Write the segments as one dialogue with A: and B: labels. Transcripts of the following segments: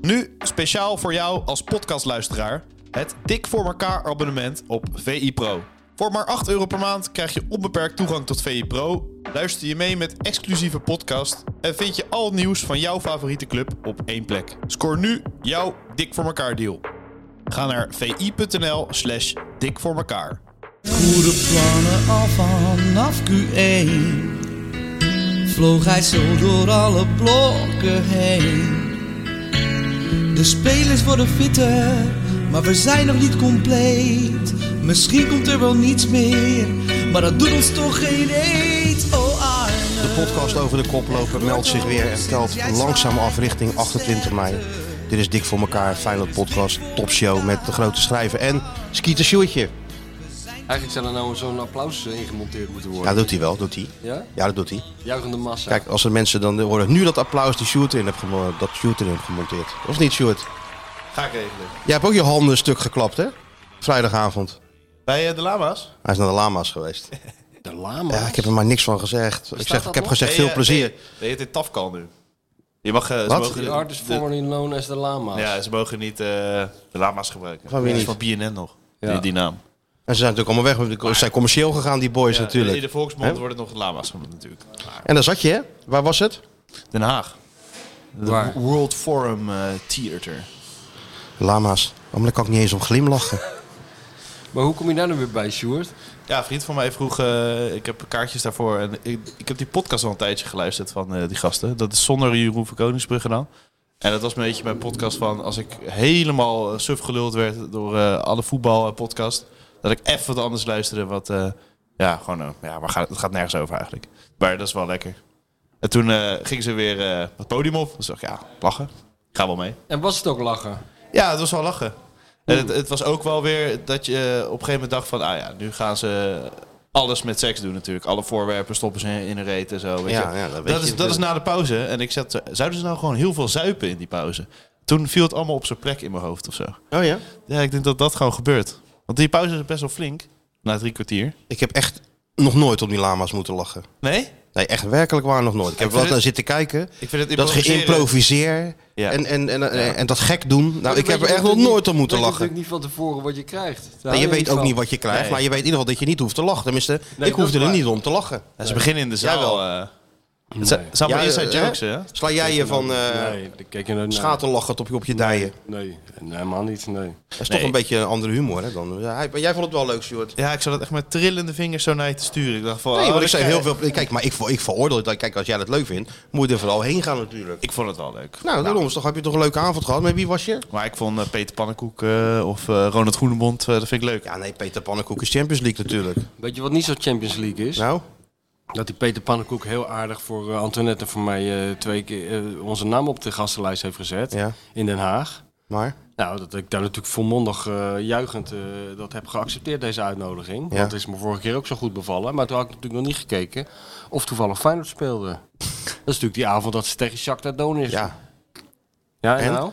A: Nu speciaal voor jou als podcastluisteraar het Dik voor elkaar abonnement op VI Pro. Voor maar 8 euro per maand krijg je onbeperkt toegang tot VI Pro, luister je mee met exclusieve podcast en vind je al het nieuws van jouw favoriete club op één plek. Scoor nu jouw Dik voor elkaar deal. Ga naar vi.nl slash dik voor elkaar.
B: Goede plannen al vanaf Q1 Vloog hij zo door alle blokken heen De spelers worden fitter Maar we zijn nog niet compleet Misschien komt er wel niets meer Maar dat doet ons toch geen eet Oh Arne
C: De podcast over de koploper meldt zich weer en telt langzaam af richting 28 mei. Dit is Dik voor elkaar, Feyenoord podcast, topshow met de grote schrijver en Skeeter Sjoertje.
D: Eigenlijk zou er nou zo'n applaus eh, ingemonteerd moeten
C: Ja,
D: worden.
C: dat doet hij wel, doet hij.
D: Ja?
C: Ja, dat doet hij.
D: Juichende massa.
C: Kijk, als er mensen dan horen, nu dat applaus die Sjoerd in heeft, gemo- dat Sjoerd in heeft gemonteerd. Of niet Sjoerd?
A: Ga ik regelen.
C: Jij hebt ook je handen stuk geklapt hè? Vrijdagavond.
A: Bij eh, de lama's?
C: Hij is naar de lama's geweest.
D: de lama.
C: Ja, ik heb er maar niks van gezegd. Ik, zeg,
D: dat
C: ik heb
D: nog?
C: gezegd veel plezier.
A: Nee, het heet Tafkal nu. Je mag... eh, ze
C: Wat?
A: mogen-
D: The artist
A: de-
D: formerly known as de lama.
A: Ja, ze mogen niet eh, de lama's gebruiken.
C: Van wie
A: Dat is
C: niet?
A: Van BNN nog.
D: Ja.
A: Die, die naam.
C: En ze zijn natuurlijk allemaal weg. want Ze zijn commercieel gegaan, die boys
A: In de
C: natuurlijk.
A: volksmond
C: Hè?
A: worden nog de lama's genoemd natuurlijk.
C: En daar zat je, hè? Waar was het?
A: Den Haag. De
D: Waar?
A: World Forum eh, Theater.
C: Lama's. Oh, maar daar kan ik niet eens om glimlachen.
D: Maar hoe kom je daar nou weer bij, Sjoerd?
A: Ja, een vriend van mij vroeg, eh, ik heb kaartjes daarvoor. En ik, ik heb die podcast al een tijdje geluisterd van eh, die gasten. Dat is zonder Jeroen van Koningsbrugge dan. En dat was een beetje mijn podcast van als ik helemaal eh, suf geluld werd door eh, alle voetbalpodcast. Dat ik even wat anders luisterde. Wat, eh, ja, gewoon, eh, ja, waar gaat, het gaat nergens over eigenlijk. Maar dat is wel lekker. En toen eh, gingen ze weer eh, het podium op. Dus dacht ik, ja, lachen. Ik ga wel mee.
D: En was het ook
C: Nou,
D: lachen?
A: Ja, het was wel lachen. En het, het was ook wel weer dat je eh, op een gegeven moment dacht van... Ah ja, nu gaan ze alles met seks doen natuurlijk. Alle voorwerpen stoppen ze in een reet en zo. Weet
C: Ja,
A: je.
C: ja, dat weet je
A: is, dat
C: natuurlijk.
A: is na de pauze. En ik zat... Zouden ze nou gewoon heel veel zuipen in die pauze? Toen viel het allemaal op zijn plek in mijn hoofd of zo.
C: Oh ja?
A: Ja, ik denk dat dat gewoon gebeurt. Want die pauze is best wel flink. Na drie kwartier.
C: Ik heb echt nog nooit op die lama's moeten lachen.
A: Nee?
C: Nee, echt werkelijk waar nog nooit. Ik heb
A: Ik
C: wel
A: vind
C: naar
A: het-
C: zitten kijken.
A: Ik vind het
C: Dat geïmproviseer
A: Ja.
C: en, en, en, en, en dat gek doen. Nou, ik heb er echt nog
D: nog
C: nooit om moeten
D: Je weet
C: lachen.
D: natuurlijk niet van tevoren wat je krijgt.
C: Nee, je weet ook niet wat je krijgt,
A: Nee.
C: maar je weet in ieder geval dat je niet hoeft te lachen. Tenminste,
D: dat
C: ik hoefde
D: is
C: er
D: waar.
C: niet om te lachen.
A: Ja, ze beginnen in de zaal.
C: Jawel.
A: eh, het zijn, het zijn allemaal
C: Ja,
A: inside
C: eh,
A: jokes, hè?
C: Sla jij je van eh
D: nee, ik kijk je naar...
C: schaterlachend op je, op je dijen?
D: Nee, nee, helemaal niet, nee.
C: Dat is
A: Nee.
C: toch een beetje een andere humor, hè? Dan, Ja, hij- maar jij vond het wel leuk, Stuart.
A: Ja, ik zou dat echt met trillende vingers zo naar je te sturen. Ik dacht van...
C: Nee,
A: oh,
C: want ik
A: dan
C: zei
A: krijg-
C: heel veel... Kijk, maar ik, ver- ik veroordeel het. Kijk, als jij dat leuk vindt, moet je er vooral heen gaan natuurlijk.
A: Ik vond het wel leuk.
C: Nou, daarom is toch, heb je toch een leuke avond gehad? Met wie was je?
A: Maar ik vond eh, Peter Pannenkoek eh, of eh, Ronald Groenebond, eh, dat vind ik leuk.
C: Ja, nee, Peter Pannenkoek is Champions League natuurlijk.
D: Weet je wat niet zo Champions League is?
C: Nou,
D: Dat die Peter Pannenkoek heel aardig voor eh, Antoinette en voor mij eh, twee keer eh, onze naam op de gastenlijst heeft gezet.
C: ja,
D: In Den Haag.
C: maar...
D: Nou, dat ik daar natuurlijk volmondig eh, juichend eh, dat heb geaccepteerd, deze uitnodiging.
C: Ja.
D: Want het is me vorige keer ook zo goed bevallen. Maar toen had ik natuurlijk nog niet gekeken of toevallig Feyenoord speelde. dat is natuurlijk die avond dat ze tegen Shakhtar Donetsk.
C: Ja,
D: ja en
C: en?
D: nou?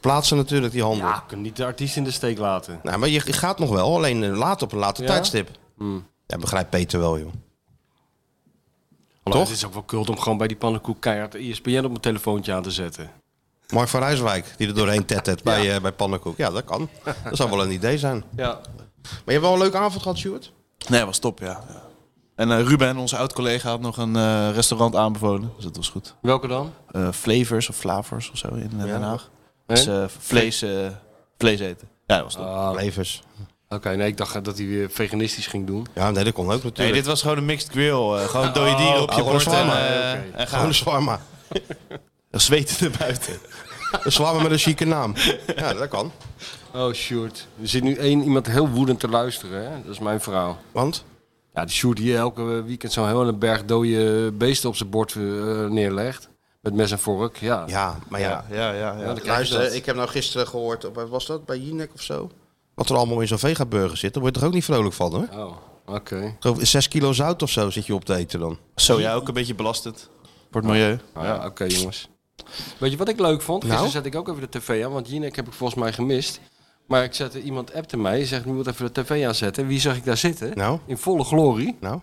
C: plaatsen natuurlijk die handel.
D: Ja, ik kan niet de artiest in de steek laten.
C: Nou, maar je gaat nog wel, alleen eh, laat op een later
D: Ja?
C: tijdstip. Ja, begrijpt Peter wel, joh.
D: Alhoewel,
C: Toch?
D: Het is ook wel kult om gewoon bij die pannenkoek keihard E de ESPN op mijn telefoontje aan te zetten.
C: Mark van Rijswijk, die er doorheen tettert bij, eh, bij Pannenkoek. Ja, dat kan. Dat zou wel een idee zijn.
D: Ja.
C: Maar je hebt wel een leuke avond gehad, Stuart?
A: Nee, was top, ja. En eh, Ruben, onze oud-collega, had nog een eh, restaurant aanbevolen. Dus dat was goed.
D: Welke dan?
A: Eh, flavors of Flavors of zo in eh, Den Haag.
D: Hè?
A: Dus eh, vlees, eh, vlees eten. Ja, dat was top.
D: Ah, Oké,
C: Levens.
D: nee, ik dacht dat hij weer veganistisch ging doen.
C: Ja, nee, dat kon ook natuurlijk.
A: nee, dit was gewoon een mixed grill. eh, gewoon dode dieren op
C: oh,
A: je
C: gewoon
A: bord en,
C: shawarma.
A: eh,
D: Ja, oké.
A: en
C: Gewoon
A: gaan
C: een zwarma.
A: zweten naar buiten.
C: Een zwarma met een chique naam. Ja, dat kan.
D: Oh, Sjoerd. Er zit nu één iemand heel woedend te luisteren, hè? Dat is mijn vrouw.
C: Want?
D: Ja, die Sjoerd die elke weekend zo'n hele berg dode beesten op zijn bord eh, neerlegt. Met mes en vork, ja.
C: Ja, maar ja.
A: ja, ja. ja.
D: dan krijg je
C: Luister,
D: dat.
C: ik heb nou gisteren gehoord, op- wat was dat, bij Jinek of zo? Wat er allemaal in zo'n vegaburger zit, daar word je toch ook niet vrolijk van, hoor?
D: Oh, oké.
C: Geloof ik, 6 kilo zout of zo zit je op te eten dan.
A: Zo, ja, ook een beetje belastend. Voor het milieu.
D: Ah, ja, oké jongens. Weet je wat ik leuk vond? Gisteren
C: Nou?
D: zet ik ook even de tv aan, want Jinek heb ik volgens mij gemist. Maar ik zette, iemand appte mij, zegt, je moet even de tv aanzetten. Wie zag ik daar zitten?
C: Nou?
D: In volle glorie.
C: Nou?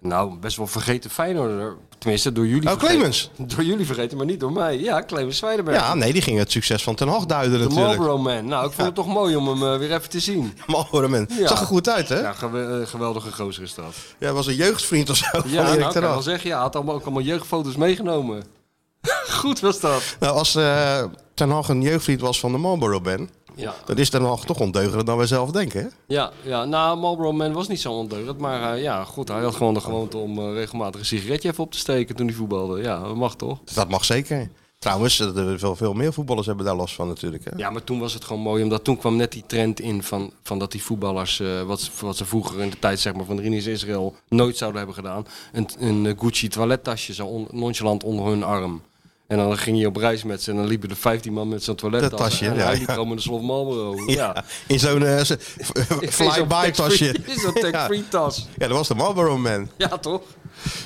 D: Nou, best wel vergeten Feyenoord. Tenminste, door jullie
C: Oh,
D: vergeten.
C: Clemens.
D: Door jullie vergeten, maar niet door mij. Ja, Clemens Zwijdenberg.
C: Ja, nee, die ging het succes van Ten Hag duiden
D: de
C: natuurlijk.
D: Marlboro Man. Nou, ik vond het toch mooi om hem eh, weer even te zien.
C: Marlboro Man.
D: Ja.
C: Zag er goed uit, hè?
D: Ja,
C: Ja,
D: gewe- eh, geweldige gozer is dat.
C: was een jeugdvriend of zo
D: Ja,
C: van
D: nou,
C: Erik
D: kan
C: Ten
D: je
C: Hag.
D: wel zeggen. Ja, hij had allemaal, ook allemaal jeugdfoto's meegenomen. Goed was dat.
C: Nou, als eh, Ten Hag een jeugdvriend was van de Marlboro Man,
D: Ja,
C: dan is Ten Hag toch ondeugender dan wij zelf denken, hè?
D: ja, ja. nou, Marlboro Man was niet zo ondeugend. Maar eh, ja, goed, hij had gewoon de gewoonte om eh, regelmatig een sigaretje even op te steken toen hij voetbalde. Ja, dat mag toch?
C: Dus dat mag zeker. Trouwens, eh, er- veel, veel meer voetballers hebben daar last van natuurlijk, hè?
D: Ja, maar toen was het gewoon mooi, omdat toen kwam net die trend in van, van dat die voetballers, eh, wat, ze- wat ze vroeger in de tijd zeg maar, van de Rinus Israël nooit zouden hebben gedaan, een, een eh, Gucci toilettasje zo on- nonchalant onder hun arm. En dan ging je op reis met ze en dan liepen er 15 man met zo'n toilettas.
C: Dat tasje,
D: en
C: ja,
D: hij
C: ja.
D: liep gewoon met een slof Marlboro. Ja.
C: In zo'n eh, z-
D: In zo'n
C: fly-by tasje.
D: tax-free- in Zo'n
C: Ja.
D: tag-free tas.
C: ja, dat was de Marlboro Man.
D: Ja, toch?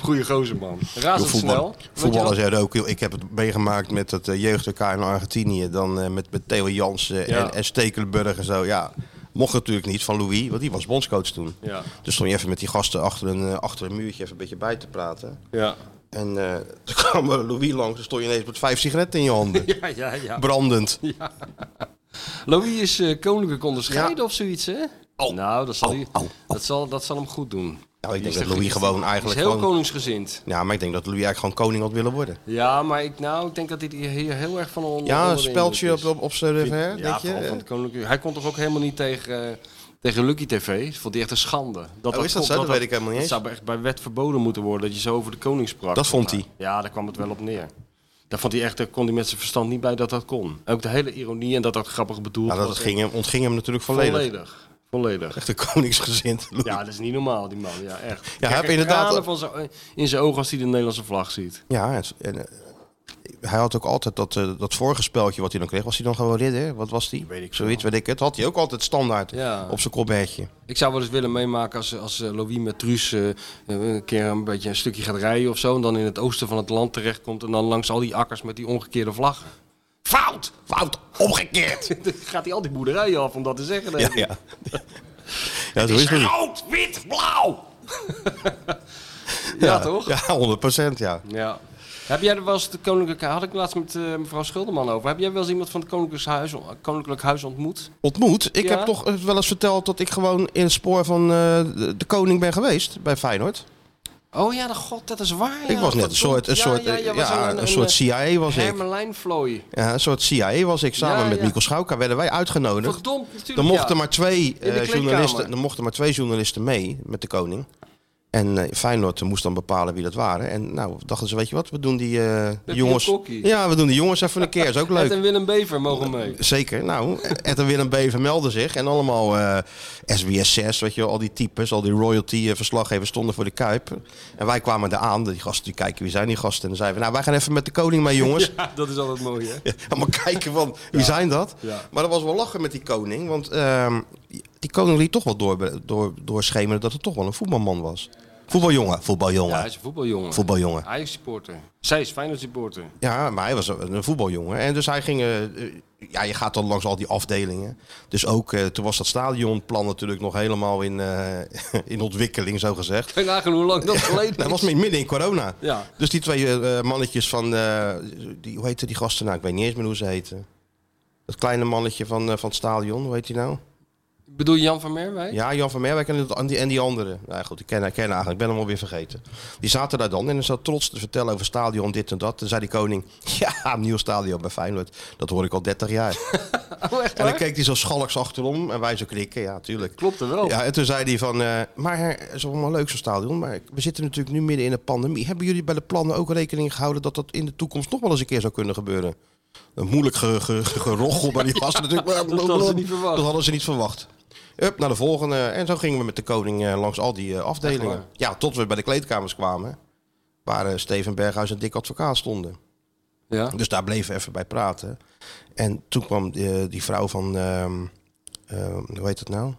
D: Goeie gozer, man. Razendsnel.
C: Voetbal,
D: Weet je dat?
C: voetballers hebben ook heel... Ik heb het meegemaakt met het eh, jeugd-WK in Argentinië. Dan eh, met, met Theo Jansen
D: Ja.
C: en, en Stekelenburg en zo. Ja, mocht natuurlijk niet van Louis, want die was bondscoach toen.
D: Ja,
C: Dus stond je even met die gasten achter een, eh, achter een muurtje even een beetje bij te praten.
D: ja.
C: En eh toen kwam eh, Louis langs en stond je ineens met vijf sigaretten in je handen.
D: Ja, ja, ja.
C: Brandend.
D: Louis is eh, koninklijk onderscheiden of zoiets, hè?
C: Oh.
D: nou, dat zal, hij-
C: au, au.
D: Dat, zal, dat zal hem goed doen.
C: Nou, ik
D: Die
C: denk
D: is
C: dat
D: er-
C: Louis gewoon
D: Hij is
C: eigenlijk
D: heel
C: gewoon...
D: koningsgezind.
C: Ja, maar ik denk dat Louis eigenlijk gewoon koning had willen worden.
D: Ja, maar ik, nou, ik denk dat hij hier heel erg van onder
C: Ja,
D: onder
C: een
D: de
C: speldje
D: indruk
C: op,
D: is.
C: op, op zijn revers,
D: Ja,
C: denk je? Eh,
D: vooral van het koninklijk. Hij kon toch ook helemaal niet tegen, eh, tegen Lucky TV? Dat vond hij echt een schande. Dat
C: Oh, is dat
D: kon-
C: zo? Dat weet ik helemaal niet
D: Dat
C: eens.
D: zou echt bij wet verboden moeten worden, dat je zo over de koning sprak.
C: Dat vond hij.
D: Ja, daar kwam het wel op neer. Daar vond hij echt, daar kon hij met zijn verstand niet bij dat dat kon. Ook de hele ironie en dat dat grappig bedoeld
C: Nou, dat
D: was.
C: ging hem, ontging hem natuurlijk volledig.
D: volledig. Volledig.
C: Echt een koningsgezind. Louis.
D: Ja, dat is niet normaal, die man. Ja, echt.
C: hij
D: Kijk,
C: heeft inderdaad-
D: tranen van zijn, in zijn ogen als hij de Nederlandse vlag ziet.
C: Ja, het- en, eh, hij had ook altijd dat, eh, dat vorige speltje wat hij dan kreeg. Was hij dan gewoon ridder? Wat was die?
D: Weet ik
C: Zoiets, weet ik het. Had hij ook altijd standaard
D: Ja.
C: op zijn kopbertje.
D: Ik zou wel eens willen meemaken als, als eh, Louis met Truus eh, eh, een keer een beetje een stukje gaat rijden of zo. En dan in het oosten van het land terechtkomt. En dan langs al die akkers met die omgekeerde vlag. Fout! Fout! Omgekeerd! Dan gaat hij al die boerderijen af om dat te zeggen.
C: Ja,
D: denk ik.
C: ja. ja zo is het. Ja,
D: Rood, wit, blauw! ja, toch?
C: Ja, 100 ja.
D: Ja. Heb jij er wel eens de koninklijke had ik laatst met eh, mevrouw Schulderman over. Heb jij wel eens iemand van het koninklijk huis, koninklijk huis ontmoet?
C: Ontmoet. Ik
D: Ja.
C: heb toch eh, wel eens verteld dat ik gewoon in het spoor van eh, de, de koning ben geweest bij Feyenoord.
D: Oh ja, de god, dat is waar. ja.
C: ik was net een
D: Verdomd.
C: soort, een
D: Ja,
C: soort,
D: ja,
C: eh,
D: jij
C: ja,
D: was
C: een, soort CIA was ik.
D: Hermelijnvlooi.
C: Ja, een soort CIA was ik. Samen
D: eh, Ja,
C: met
D: ja.
C: Mikkel Schouka werden wij uitgenodigd.
D: Verdomd, natuurlijk.
C: Er mochten,
D: ja.
C: maar twee, eh,
D: kleedkamer.
C: journalisten, er mochten maar twee journalisten mee met de koning. En eh, Feyenoord moest dan bepalen wie dat waren. En nou dachten ze, weet je wat, we doen die eh,
D: Pepje
C: jongens...
D: en Kokkie.
C: Ja, we doen die jongens even een keer, is ook
D: Ed
C: leuk.
D: en Willem Bever mogen mee.
C: Zeker, nou, Ed en Willem Beven melden zich. En allemaal eh, SBS6, weet je wel, al die types, al die royalty-verslaggevers stonden voor de Kuip. En wij kwamen daar aan, die gasten, die kijken, wie zijn die gasten? En dan zeiden we, nou, wij gaan even met de koning mee, jongens.
D: Ja, dat is altijd mooi, hè?
C: Allemaal kijken van, wie zijn dat?
D: Ja.
C: Maar dat was wel lachen met die koning. Want ehm, die koning liet toch wel door, door, doorschemeren dat het toch wel een voetbalman was. Voetbaljongen,
D: Ja,
C: voetbaljongen,
D: hij is een voetbaljongen.
C: voetbaljongen.
D: Hij is supporter. Zij is Feyenoord supporter.
C: Ja, maar hij was een een voetbaljongen. En dus hij ging... eh, eh, ja, je gaat dan langs al die afdelingen. Dus ook, eh, toen was dat stadionplan natuurlijk nog helemaal in, eh, in ontwikkeling, zo gezegd.
D: Kun je nagaan hoe lang dat geleden
C: Dat was
D: is?
C: midden in corona.
D: Ja.
C: Dus die twee eh, eh, mannetjes van... eh, die, hoe heette die gasten nou? Ik weet niet eens meer hoe ze heten. Dat kleine mannetje van, eh, van het stadion, hoe heet die nou?
D: Bedoel je Jan van Merwijk?
C: Ja, Jan van Merwijk en, dat- en die, en die andere. Nou goed, ik ken, ik ken eigenlijk, ik ben hem alweer vergeten. Die zaten daar dan en dan zat trots te vertellen over stadion, dit en dat. Toen zei die koning, ja, een nieuw stadion bij Feyenoord. Dat hoor ik al 30 jaar.
D: Oh, echt
C: en dan
D: waar?
C: keek hij zo schalks achterom en wij zo knikken, ja, tuurlijk.
D: Klopt er wel.
C: Ja, en toen zei hij van, eh, maar het is allemaal leuk zo'n stadion, maar we zitten natuurlijk nu midden in een pandemie. Hebben jullie bij de plannen ook rekening gehouden dat dat in de toekomst nog wel eens een keer zou kunnen gebeuren? Een moeilijk ge- ge- ge- gerochel, maar die gasten natuurlijk.
D: dat hadden ze niet verwacht.
C: Dat hadden ze niet verwacht. Up naar de volgende. En zo gingen we met de koning eh, langs al die eh,
D: Echt
C: afdelingen. Ja, tot we bij de kleedkamers kwamen. Waar eh, Steven Berghuis en Dick Advocaat stonden.
D: Ja.
C: Dus daar bleven we even bij praten. En toen kwam eh, die vrouw van, ehm, ehm, hoe heet het nou?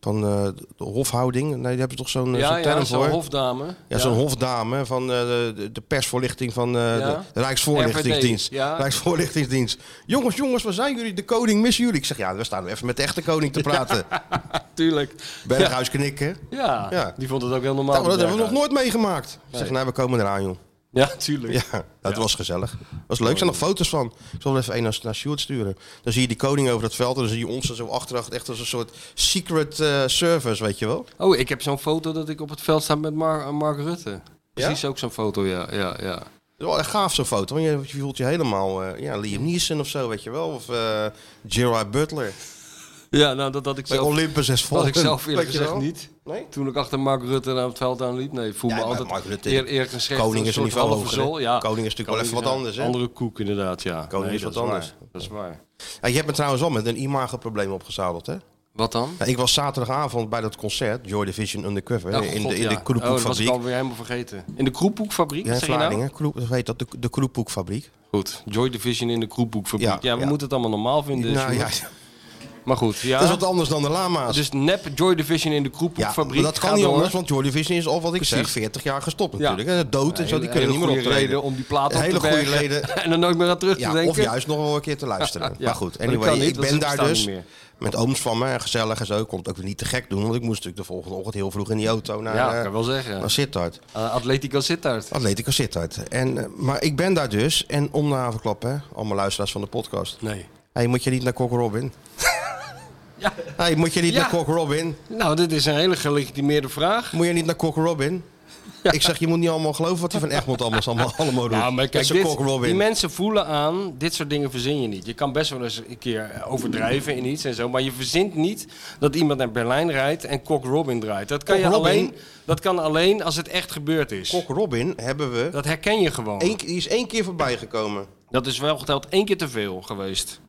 C: Van eh, de hofhouding. Nee, die hebben toch zo'n eh,
D: Ja,
C: zo'n
D: ja,
C: term
D: zo'n
C: voor.
D: hofdame.
C: ja, zo'n hofdame van eh, de, de persvoorlichting van eh,
D: Ja.
C: de Rijksvoorlichtingsdienst.
D: RVD, ja.
C: Rijksvoorlichtingsdienst. Jongens, jongens, waar zijn jullie? De koning missen jullie. Ik zeg, ja, we staan even met de echte koning te praten.
D: tuurlijk.
C: Berghuis knikken.
D: Ja,
C: Ja.
D: die vond het ook heel normaal.
C: Nou, maar dat
D: die
C: hebben we nog nooit meegemaakt. Ik Zeg,
D: Nee.
C: nou, we komen eraan, joh.
D: Berghuis. Ja, tuurlijk.
C: Ja, dat was gezellig. was leuk. Er zijn nog foto's van. Ik zal er even een naar, naar Sjoerd sturen. Dan zie je die koning over het veld en dan zie je ons er zo achterachter. Echt als een soort secret eh, service, weet je wel.
D: Oh, ik heb zo'n foto dat ik op het veld sta met Mar- Mark Rutte. Precies ook zo'n foto, ja. ja, ja.
C: Dat is wel echt gaaf zo'n foto. Want je, je voelt je helemaal eh, ja, Liam Neeson of zo, weet je wel. Of eh Gerard Butler.
D: Ja, nou, dat had ik
C: Bij
D: zelf,
C: Olympus is vol.
D: had ik zelf eerlijk
C: Weet je
D: gezegd
C: wel?
D: niet.
C: Nee?
D: Toen ik achter Mark Rutte naar het veld aan liep, nee, voel
C: Ja,
D: me
C: maar
D: altijd
C: Mark Rutte,
D: eer, eer gezegd.
C: koning
D: een
C: is een
D: soort
C: niveau
D: halve
C: hoger, hè?
D: zool, Ja.
C: Koning is natuurlijk wel even wat
D: ja,
C: anders, hè?
D: Andere koek, inderdaad, ja.
C: Koning is wat
D: dat
C: anders.
D: waar. Dat is waar.
C: Ja, je hebt me trouwens wel met een imago-probleem opgezadeld, hè?
D: Wat dan?
C: Ja, ik was zaterdagavond bij dat concert, Joy Division Undercover,
D: Ja,
C: in
D: god,
C: de, in
D: ja.
C: de
D: Oh, dat was ik
C: Kroephoekfabriek.
D: alweer helemaal vergeten. In de Kroephoekfabriek,
C: ja,
D: ja,
C: in
D: zeg je nou?
C: Vlaardingen, Kroep- heet dat de, de Kroephoekfabriek.
D: Goed, Joy Division in de Kroephoekfabriek.
C: Ja,
D: Ja, we
C: ja.
D: moeten het allemaal normaal vinden.
C: nou, ja,
D: Sjoerd. Maar goed, ja.
C: Dat is wat anders dan de lama's.
D: Dus nep Joy Division in de
C: ja,
D: Kroephoekfabriek.
C: maar dat kan
D: Ga
C: niet
D: door.
C: anders, want Joy Division is al wat ik zeg,
D: Precies.
C: 40 jaar gestopt
D: Ja.
C: natuurlijk. En dood en zo, die kunnen
D: Hele- hele
C: niet meer
D: goede
C: optreden.
D: reden om die plaat op
C: Hele
D: te
C: goede
D: bergen
C: reden.
D: en er nooit meer aan terug te
C: Ja,
D: denken.
C: of juist nog wel een keer te luisteren.
D: Ja,
C: Maar goed,
D: maar dat
C: anyway,
D: kan niet,
C: ik
D: dat
C: ben
D: is-
C: daar
D: bestaat
C: dus
D: niet meer.
C: met ooms van me, en gezellig en zo. Ik kon het ook weer niet te gek doen, want ik moest natuurlijk de volgende ochtend heel vroeg in die auto naar,
D: Ja,
C: eh,
D: kan ik wel zeggen.
C: naar Sittard.
D: Eh, Atletico Sittard.
C: Atletico Sittard. En, eh, maar ik ben daar dus, en om de havenklap, hè, allemaal luisteraars van de podcast.
D: Nee.
C: Hé, moet je niet naar Cock Robin?
D: Ja.
C: Hé, moet je niet
D: Ja.
C: naar Cock Robin?
D: Nou, dit is een hele gelegitimeerde vraag.
C: Moet je niet naar Cock Robin? Ik zeg, je moet niet allemaal geloven wat hij van Egmond allemaal, allemaal, allemaal doet.
D: Ja, Nou, maar
C: Met
D: kijk,
C: zijn
D: dit,
C: Cock Robin.
D: die mensen voelen aan, dit soort dingen verzin je niet. Je kan best wel eens een keer eh, overdrijven in iets en zo, maar je verzint niet dat iemand naar Berlijn rijdt en Cock Robin draait. Dat kan,
C: Cock
D: je
C: Robin?
D: alleen, dat kan alleen als het echt gebeurd is.
C: Cock Robin hebben we...
D: Dat herken je gewoon.
C: één- die is één keer voorbij gekomen.
D: Dat is wel geteld één keer te veel geweest.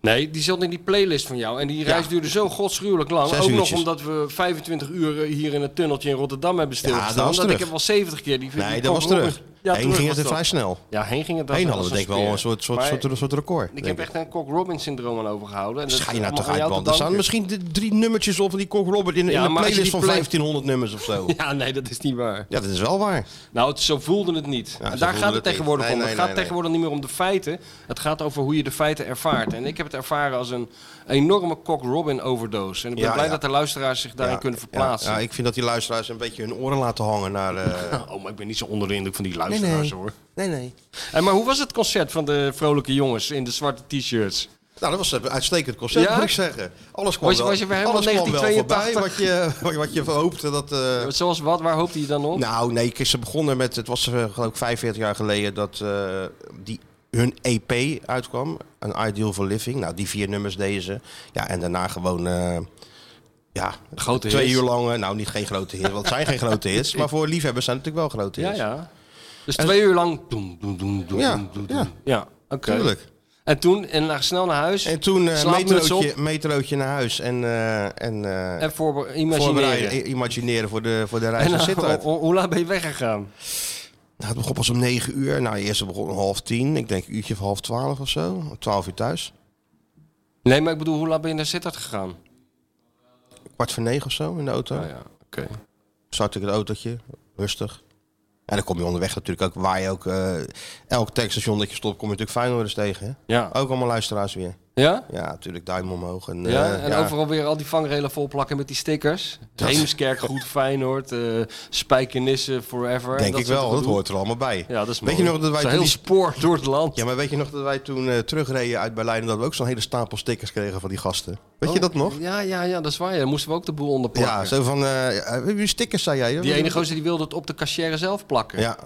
D: Nee, die zat in die playlist van jou. En die reis duurde zo godsgruwelijk lang.
C: Zes
D: ook nog
C: uurtjes.
D: omdat we 25 uur eh, hier in het tunneltje in Rotterdam hebben stilgestaan.
C: dat was
D: ik
C: terug.
D: heb wel 70 keer die
C: Nee,
D: die
C: dat was
D: Cock Robin-
C: terug.
D: Ja,
C: Eén
D: terug
C: ging
D: was
C: het
D: dat.
C: vrij snel.
D: Ja, heen ging het
C: Eén
D: als
C: hadden we denk ik wel
D: speer.
C: een soort, soort,
D: Maar
C: soort, soort, soort record.
D: Ik
C: denk
D: heb echt een Cock Robin syndroom aan overgehouden. En dat
C: Ga je nou
D: allemaal
C: toch uit,
D: aan jou
C: want
D: te
C: er staan
D: danken.
C: misschien d- drie nummertjes op die Cock Robin in,
D: Ja,
C: in een
D: maar als je
C: playlist
D: die
C: van
D: play-
C: 1500 nummers of zo.
D: Ja, nee, dat is niet waar.
C: Ja, dat is wel waar.
D: Nou, het, zo voelde het niet.
C: Ja, zo
D: Daar
C: voelde
D: gaat
C: het
D: het tegenwoordig
C: niet.
D: om.
C: Nee, nee,
D: het gaat
C: nee,
D: tegenwoordig niet meer om de feiten. Het gaat over hoe je de feiten ervaart. En ik heb het ervaren als een enorme Cock Robin overdose. En ik ben
C: Ja,
D: blij
C: ja.
D: dat de luisteraars zich daarin
C: Ja,
D: kunnen
C: ja,
D: verplaatsen.
C: Ja, ik vind dat die luisteraars een beetje hun oren laten hangen naar... eh,
D: Oh, maar ik ben niet zo onder de indruk van die luisteraars hoor.
C: Nee, nee.
D: En maar hoe was het concert van de vrolijke jongens in de zwarte t-shirts?
C: Nou, dat was een uitstekend concert,
D: Ja?
C: moet ik zeggen. Alles kwam
D: Was je-
C: wel,
D: was je weer helemaal
C: alles kwam wel
D: 1982?
C: voorbij wat je, wat, wat je hoopte dat... eh,
D: Zoals wat? Waar hoopte je dan op?
C: nou, nee, kijk, ze begonnen met... Het was eh, geloof ik 45 jaar geleden dat eh, die, hun EP uitkwam. An Ideal for Living. Nou, die vier nummers deze. Ja, en daarna gewoon... eh, ja,
D: Grote
C: twee
D: hits.
C: uur lang. eh, Nou, niet geen grote hits, want het zijn geen grote hits. Maar voor liefhebbers zijn het natuurlijk wel grote
D: ja,
C: hits.
D: ja. Dus twee uur lang. Doem, doem, doem, doem,
C: Ja,
D: doem, doem,
C: ja.
D: doem. ja oké.
C: Tuurlijk.
D: En toen en naar, snel naar huis.
C: En toen eh
D: Slaapmuts
C: metrootje, metrootje naar huis en, eh, en, eh,
D: en voor
C: voorbereiden,
D: imagineren.
C: i- imagineren voor de, voor de reis
D: En
C: naar
D: nou,
C: Sittard.
D: ho- ho- hoe laat ben je weggegaan?
C: Nou, het begon pas om 9 uur. Nou, eerst begon om half tien. Ik denk een uurtje van half twaalf of zo. Om Twaalf uur thuis.
D: Nee, maar ik bedoel, hoe laat ben je naar Sittard gegaan?
C: Kwart voor negen of zo in de auto.
D: Ah ja, oké.
C: Start ik het autootje. Rustig. En dan kom je onderweg natuurlijk ook waar je ook... eh, elk tankstation dat je stopt, kom je natuurlijk Feyenoorders tegen. Hè?
D: Ja.
C: Ook allemaal luisteraars weer.
D: Ja?
C: Ja, natuurlijk duim omhoog. En, eh,
D: Ja, en
C: ja.
D: overal weer al die vangrelen volplakken met die stickers. Heemskerk, Goed Feyenoord, eh Spijkenissen, Forever.
C: Denk
D: dat
C: ik
D: soort
C: wel, dat
D: gedoe.
C: hoort er allemaal bij.
D: Ja, dat is
C: Weet
D: mooi.
C: je nog dat wij toen
D: Zo'n heel
C: die-
D: spoor door het land.
C: Ja, maar weet je nog dat wij toen eh, terugreden uit Berlijn... en dat we ook zo'n hele stapel stickers kregen van die gasten? Weet je
D: Oh,
C: dat nog?
D: Ja, ja, ja, dat is waar. Ja. Dan moesten we ook de boel onderplakken.
C: Ja, zo van... eh wie stickers zei jij?
D: Die ene gozer die wilde het op de cashier zelf plakken.
C: Ja,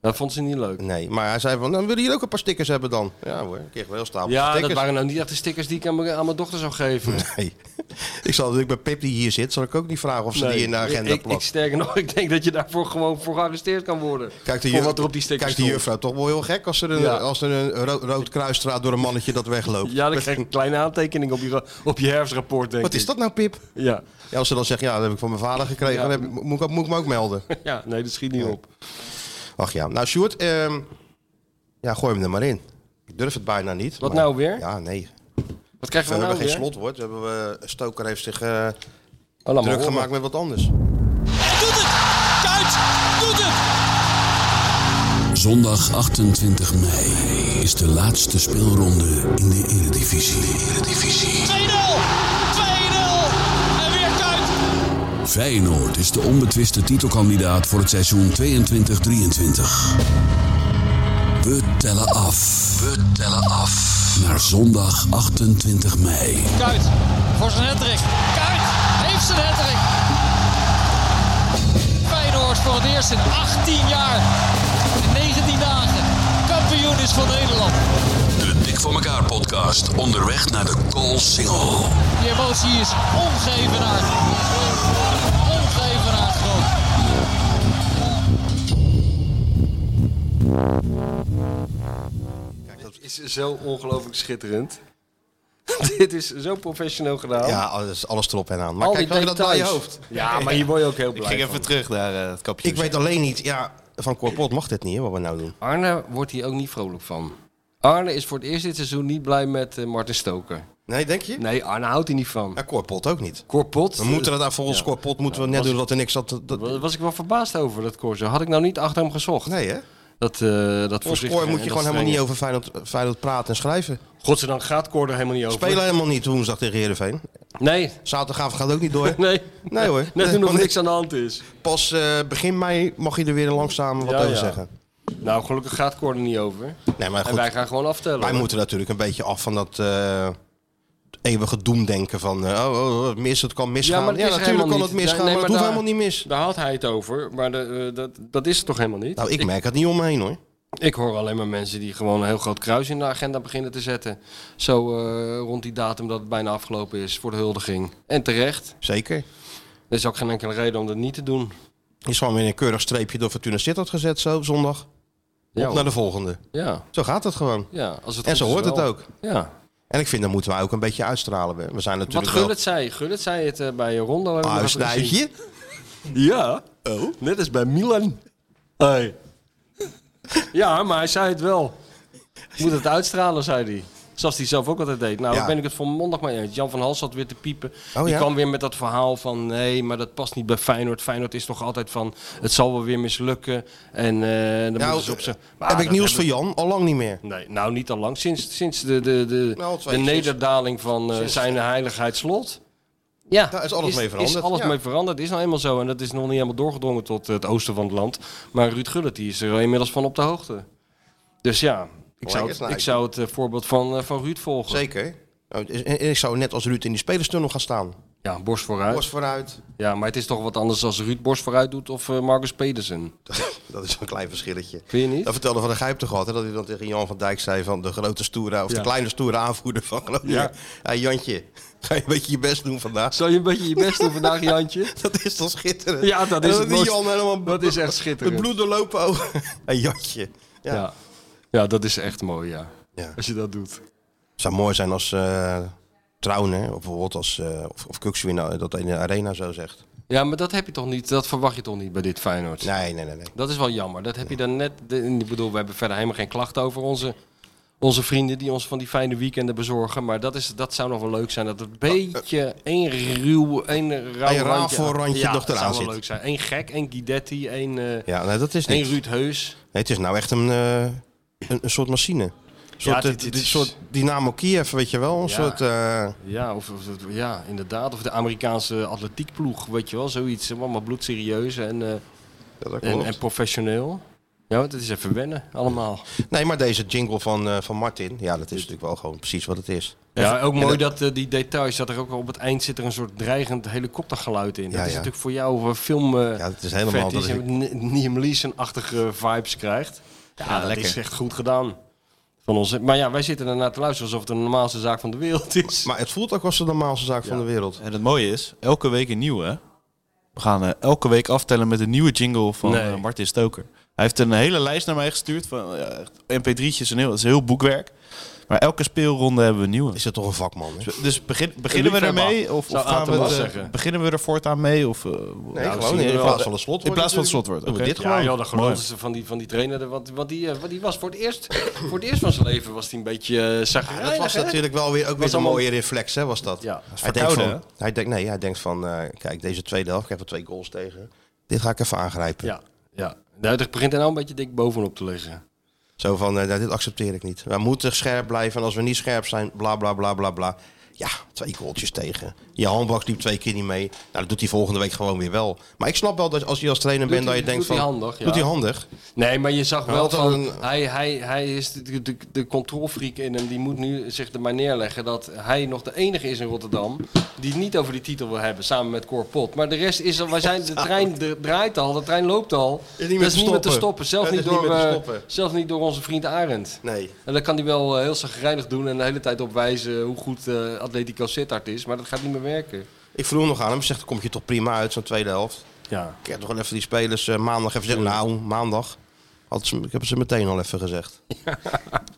D: Dat vond ze niet leuk.
C: Nee, maar hij zei van, "Nou, dan willen jullie ook een paar stickers hebben dan. Ja hoor, ik kreeg wel heel stapel
D: Ja,
C: stickers.
D: dat waren nou niet echt de stickers die ik aan mijn, aan mijn dochter zou geven.
C: Nee. ik zal natuurlijk bij Pip die hier zit, zal ik ook niet vragen of ze
D: Nee.
C: die in de agenda
D: ik, ik, ik
C: plakt.
D: sterker nog, ik denk dat je daarvoor gewoon voor gearresteerd kan worden.
C: Kijk,
D: voor wat er op die stickers
C: kijkt die juffrouw toch wel heel gek als er een,
D: Ja.
C: als er een ro- rood kruisstraat door een mannetje dat wegloopt.
D: stond. Ja, dan krijg je een kleine aantekening op je, ra- op je herfstrapport, denk
C: Wat is
D: ik.
C: dat nou, Pip?
D: Ja.
C: Ja, als ze dan zegt, ja, dat heb ik van mijn vader gekregen,
D: Ja.
C: dan heb ik- moet, ik, moet ik me ook melden.
D: ja, nee, dat schiet niet op.
C: Ach ja, nou Sjoerd, ehm, ja, gooi hem er maar in. Ik durf het bijna niet.
D: Wat
C: maar-
D: nou weer?
C: Ja, nee.
D: Wat krijgen
C: We
D: we
C: hebben
D: nou
C: geen
D: weer?
C: slotwoord. We hebben, eh, Stoker heeft zich eh,
D: Oh, laat maar
C: druk
D: horen.
C: gemaakt met wat anders.
E: Zondag 28 mei is de laatste speelronde in de Eredivisie.
F: 2-0! 2-0!
E: Feyenoord is de onbetwiste titelkandidaat voor het seizoen 22-23. We tellen af. We tellen af. Naar zondag 28 mei.
F: Kuit voor zijn hattrick. Kuit heeft zijn hattrick. Feyenoord voor het eerst in 18 jaar en 19 dagen kampioen is van Nederland.
E: De Dik voor elkaar podcast onderweg naar de goal single.
F: Die emotie is ongevenaard. Ongevenaard groot.
D: Dat is zo ongelooflijk schitterend. Dit is zo professioneel gedaan.
C: Ja, alles, alles erop en aan. Maar
D: Oh. Al
C: kijk,
D: die
C: had je dat bij je
D: details.
C: hoofd?
D: Ja, maar hier word je ook heel
A: Ik
D: blij
A: ging
D: van.
A: even terug naar eh, het kapje.
C: Ik weet alleen niet, ja, van Corpot mag dit niet, hè, wat we nou doen.
D: Arne wordt hier ook niet vrolijk van. Arne is voor het eerst dit seizoen niet blij met eh, Martin Stoker.
C: Nee, denk je?
D: Nee, Arne houdt hier niet van. eh,
C: Ja, Corpot ook niet.
D: Korpot,
C: We moeten dat daar volgens Corpot moeten we net doen dat er niks zat. te- dat-
D: daar was ik wel verbaasd over, dat Corso. Had ik nou niet achter hem gezocht.
C: nee, hè?
D: Dat, eh dat
C: Volgens
D: voorzichtige
C: Cor moet
D: en
C: je
D: dat
C: gewoon helemaal niet
D: strenge.
C: over Feyenoord, Feyenoord praten en schrijven.
D: Godzijdank gaat Cor er helemaal niet over.
C: Spelen helemaal niet woensdag tegen Heerenveen.
D: Nee,
C: Zaterdagavond gaat ook niet door.
D: nee.
C: Nee, hoor.
D: Net
C: Nee,
D: toen nog
C: want
D: niks aan de hand is.
C: Pas eh, begin mei mag je er weer langzaam wat
D: Ja,
C: over
D: ja.
C: zeggen.
D: Nou, gelukkig gaat Cor er niet over.
C: Nee, maar
D: En
C: goed,
D: wij
C: wij,
D: gaan gewoon aftellen. hoor.
C: moeten natuurlijk een beetje af van dat eh, eeuwige doemdenken van... eh, oh, oh, oh, mis, het kan misgaan.
D: Ja,
C: Ja,
D: maar het is er
C: natuurlijk kan
D: helemaal
C: het
D: niet.
C: misgaan,
D: Nee, nee,
C: maar het
D: maar
C: hoeft
D: daar-
C: helemaal niet mis.
D: Daar had hij het over, maar de, eh, dat, dat is het toch helemaal niet?
C: Nou,
D: ik,
C: ik merk het niet om me heen, hoor.
D: ik hoor alleen maar mensen die gewoon een heel groot kruis in de agenda beginnen te zetten. Zo eh, rond die datum dat het bijna afgelopen is voor de huldiging. En terecht.
C: Zeker.
D: Er is ook geen enkele reden om dat niet te doen.
C: Is gewoon weer een keurig streepje door Fortuna Sittard gezet zo op zondag.
D: Ja,
C: Op naar de volgende.
D: ja,
C: Zo gaat het gewoon.
D: ja. Als het
C: En
D: goed
C: zo
D: is
C: hoort het
D: wel.
C: ook.
D: Ja.
C: En ik vind, dat moeten wij ook een beetje uitstralen. hè. We zijn
D: Wat
C: natuurlijk wel...
D: Gullit zei. Gullit zei het eh, bij Rondo. hebben we
C: Ah,
D: nog
C: een
D: even gezien.
C: snijtje.
D: Ja. Oh. Net als bij Milan. Hey. ja, maar hij zei het wel. Moet het uitstralen, zei hij. Zoals hij zelf ook altijd deed. Nou,
C: Ja.
D: daar ben ik het volmondig mee eens. Jan van Hals zat weer te piepen.
C: Oh,
D: die
C: ja?
D: kwam weer met dat verhaal van... nee, maar dat past niet bij Feyenoord. Feyenoord is toch altijd van... het zal wel weer mislukken. En eh dan
C: Nou,
D: moeten ze op ze... Maar
C: heb ik
D: dat
C: nieuws
D: hebben-
C: voor Jan? Al lang niet meer.
D: Nee, nou niet al lang. Sinds, sinds de, de, de,
C: Nou, al
D: de
C: twee, sinds-
D: nederdaling van eh,
C: sinds-
D: zijn heiligheid slot. Ja,
C: Daar is alles mee veranderd,
D: Is alles
C: ja.
D: mee veranderd. Is nou eenmaal zo. En dat is nog niet helemaal doorgedrongen tot het oosten van het land. Maar Ruud Gullit die is er inmiddels van op de hoogte. Dus ja, ik zou,
C: Lekker
D: het,
C: snijden.
D: ik zou het eh, voorbeeld van, eh, van Ruud volgen.
C: Zeker. Nou, het is- en- en ik zou net als Ruud in die spelerstunnel gaan staan.
D: Ja, borst vooruit.
C: Borst vooruit.
D: Ja, maar het is toch wat anders als Ruud borst vooruit doet of eh, Marcus Pedersen.
C: Dat is een klein verschilletje.
D: Vind je niet?
C: Dat vertelde Van der Gijp toch altijd, dat hij dan tegen Jan van Dijk zei van de grote stoere, of
D: Ja.
C: de kleine stoere aanvoerder van Groningen. Ja.
D: Ja.
C: Jantje, ga je een beetje je best doen vandaag?
D: Zou je een beetje je best doen vandaag, Jantje?
C: Dat is toch schitterend?
D: Ja, dat
C: En
D: is
C: dan
D: het
C: die
D: mooiste.
C: Jan helemaal
D: Dat is echt
C: met
D: schitterend.
C: bloed doorlopen ogen. En Jantje. Ja.
D: Ja. Ja. ja, dat is echt mooi, ja.
C: Ja.
D: Als je dat doet.
C: zou mooi zijn als eh Trauner, of bijvoorbeeld als, eh, of, of Kuksu in de- dat in de arena zo zegt.
D: Ja, maar dat heb je toch niet, dat verwacht je toch niet bij dit Feyenoord?
C: Nee, nee, nee. nee.
D: Dat is wel jammer. Dat heb je dan net. de- Ik bedoel, we hebben verder helemaal geen klachten over onze, onze vrienden die ons van die fijne weekenden bezorgen. Maar dat, is, dat zou nog wel leuk zijn. Dat het een beetje één ruw, één rauw
C: Oh, eh. Een rafelrandje
D: ja,
C: nog
D: dat
C: eraan
D: zou wel
C: zit.
D: leuk zijn. Eén gek, één Guidetti, één, eh
C: Ja, nee, dat is
D: één
C: niet.
D: Ruud Heus.
C: Nee, het is nou echt een, eh, een, een soort machine. Een soort,
D: dit-
C: eh,
D: dit
C: dit
D: is-
C: soort Dynamo Kiev, weet je wel. Een
D: Ja.
C: soort, eh,
D: Ja, of, of dat- ja, inderdaad. Of de Amerikaanse atletiekploeg, weet je wel, zoiets. Allemaal bloedserieus en, eh,
C: ja, dat
D: en,
C: klopt.
D: en professioneel. Ja, want het is even wennen allemaal.
C: Nee, maar deze jingle van, eh, van Martin, ja, dat is natuurlijk wel gewoon precies wat het is.
D: Ja, ook mooi
C: En
D: dat eh, die details, dat er ook op het eind zit er een soort dreigend helikoptergeluid
C: Ja,
D: in. dat is
C: ja.
D: natuurlijk voor jou eh, film eh
C: Ja, het is helemaal...
D: vet
C: Dat
D: is,
C: is,
D: en met Ni- Liam Neeson-achtige vibes krijgt. Ja, dat
C: lekker.
D: is echt goed gedaan. Van ons. Maar ja, wij zitten ernaar te luisteren alsof het de normaalste zaak van de wereld is.
C: maar het voelt ook als de normaalste zaak van de wereld.
A: En het mooie is, elke week een nieuwe. hè? We gaan eh, elke week aftellen met een nieuwe jingle van
D: Nee.
A: eh, Martin Stoker. Hij heeft een hele lijst naar mij gestuurd van ja, echt mp3'tjes en heel, dat is heel boekwerk. Maar elke speelronde hebben we een nieuwe.
C: Is het toch een vakman, hè?
A: Dus begin, beginnen we
D: liefhebber,
A: ermee? Of,
D: zou
A: of gaan
D: Aad
A: we
D: wel
A: het, eh,
D: zeggen.
A: beginnen we er voortaan mee? Of, eh,
C: Nee,
A: nou,
C: gewoon
A: zien we
C: in
A: wel.
C: plaats van het slotwoord.
A: In plaats van het
C: natuurlijk.
A: slotwoord.
C: Doen we
A: oké.
C: dit
D: Ja,
C: gewoon.
D: joh, dat geloofden ze van die, van die trainer. Want, want die, eh, want die was voor het eerst, voor het eerst van zijn leven was hij een beetje uh,
C: Ja, dat was natuurlijk wel weer, ook weer een
D: allemaal-
C: mooie reflex, hè, was dat?
D: Ja. Dat
C: hij, denkt van,
A: verkouden,
C: hij, denkt, nee, hij denkt van, eh, kijk, deze tweede helft, ik heb er twee goals tegen. Dit ga ik even aangrijpen.
D: Ja, ja. Nou, het begint er nou een beetje dik bovenop te liggen.
C: Zo van, eh, nou, dit accepteer ik niet. We moeten scherp blijven en als we niet scherp zijn, bla bla bla bla bla. Ja, het twee goaltjes tegen. Je handbak liep twee keer niet mee. Nou, dat doet hij volgende week gewoon weer wel. Maar ik snap wel dat als je als trainer bent,
D: hij-
C: dat je denkt
D: doet
C: van...
D: hij handig, ja.
C: Doet hij handig?
D: Nee, maar je zag wel
C: had
D: van,
C: een-
D: hij, hij, hij is de, de, de controlfreak in hem. Die moet nu zich er maar neerleggen dat hij nog de enige is in Rotterdam die het niet over die titel wil hebben, samen met Cor Pot. Maar de rest is al, wij zijn, de trein de- draait al, de trein loopt al.
C: meer
D: dat
C: te
D: is niet meer te
C: stoppen.
D: stoppen, zelfs
C: Het
D: niet,
C: is niet
D: door,
C: meer te
D: eh,
C: stoppen.
D: zelfs niet door onze vriend Arend.
C: Nee.
D: En dat kan hij wel eh, heel zagrijnig doen en de hele tijd op wijzen hoe goed eh, Atletico Sittard is, maar dat gaat niet meer werken.
C: Ik vroeg nog aan hem. Ik zeg, dan kom je toch prima uit zo'n tweede helft.
D: Ja.
C: Ik heb toch wel even die spelers eh, maandag even zeggen. Nou, maandag. Had ze, ik heb ze meteen al even gezegd.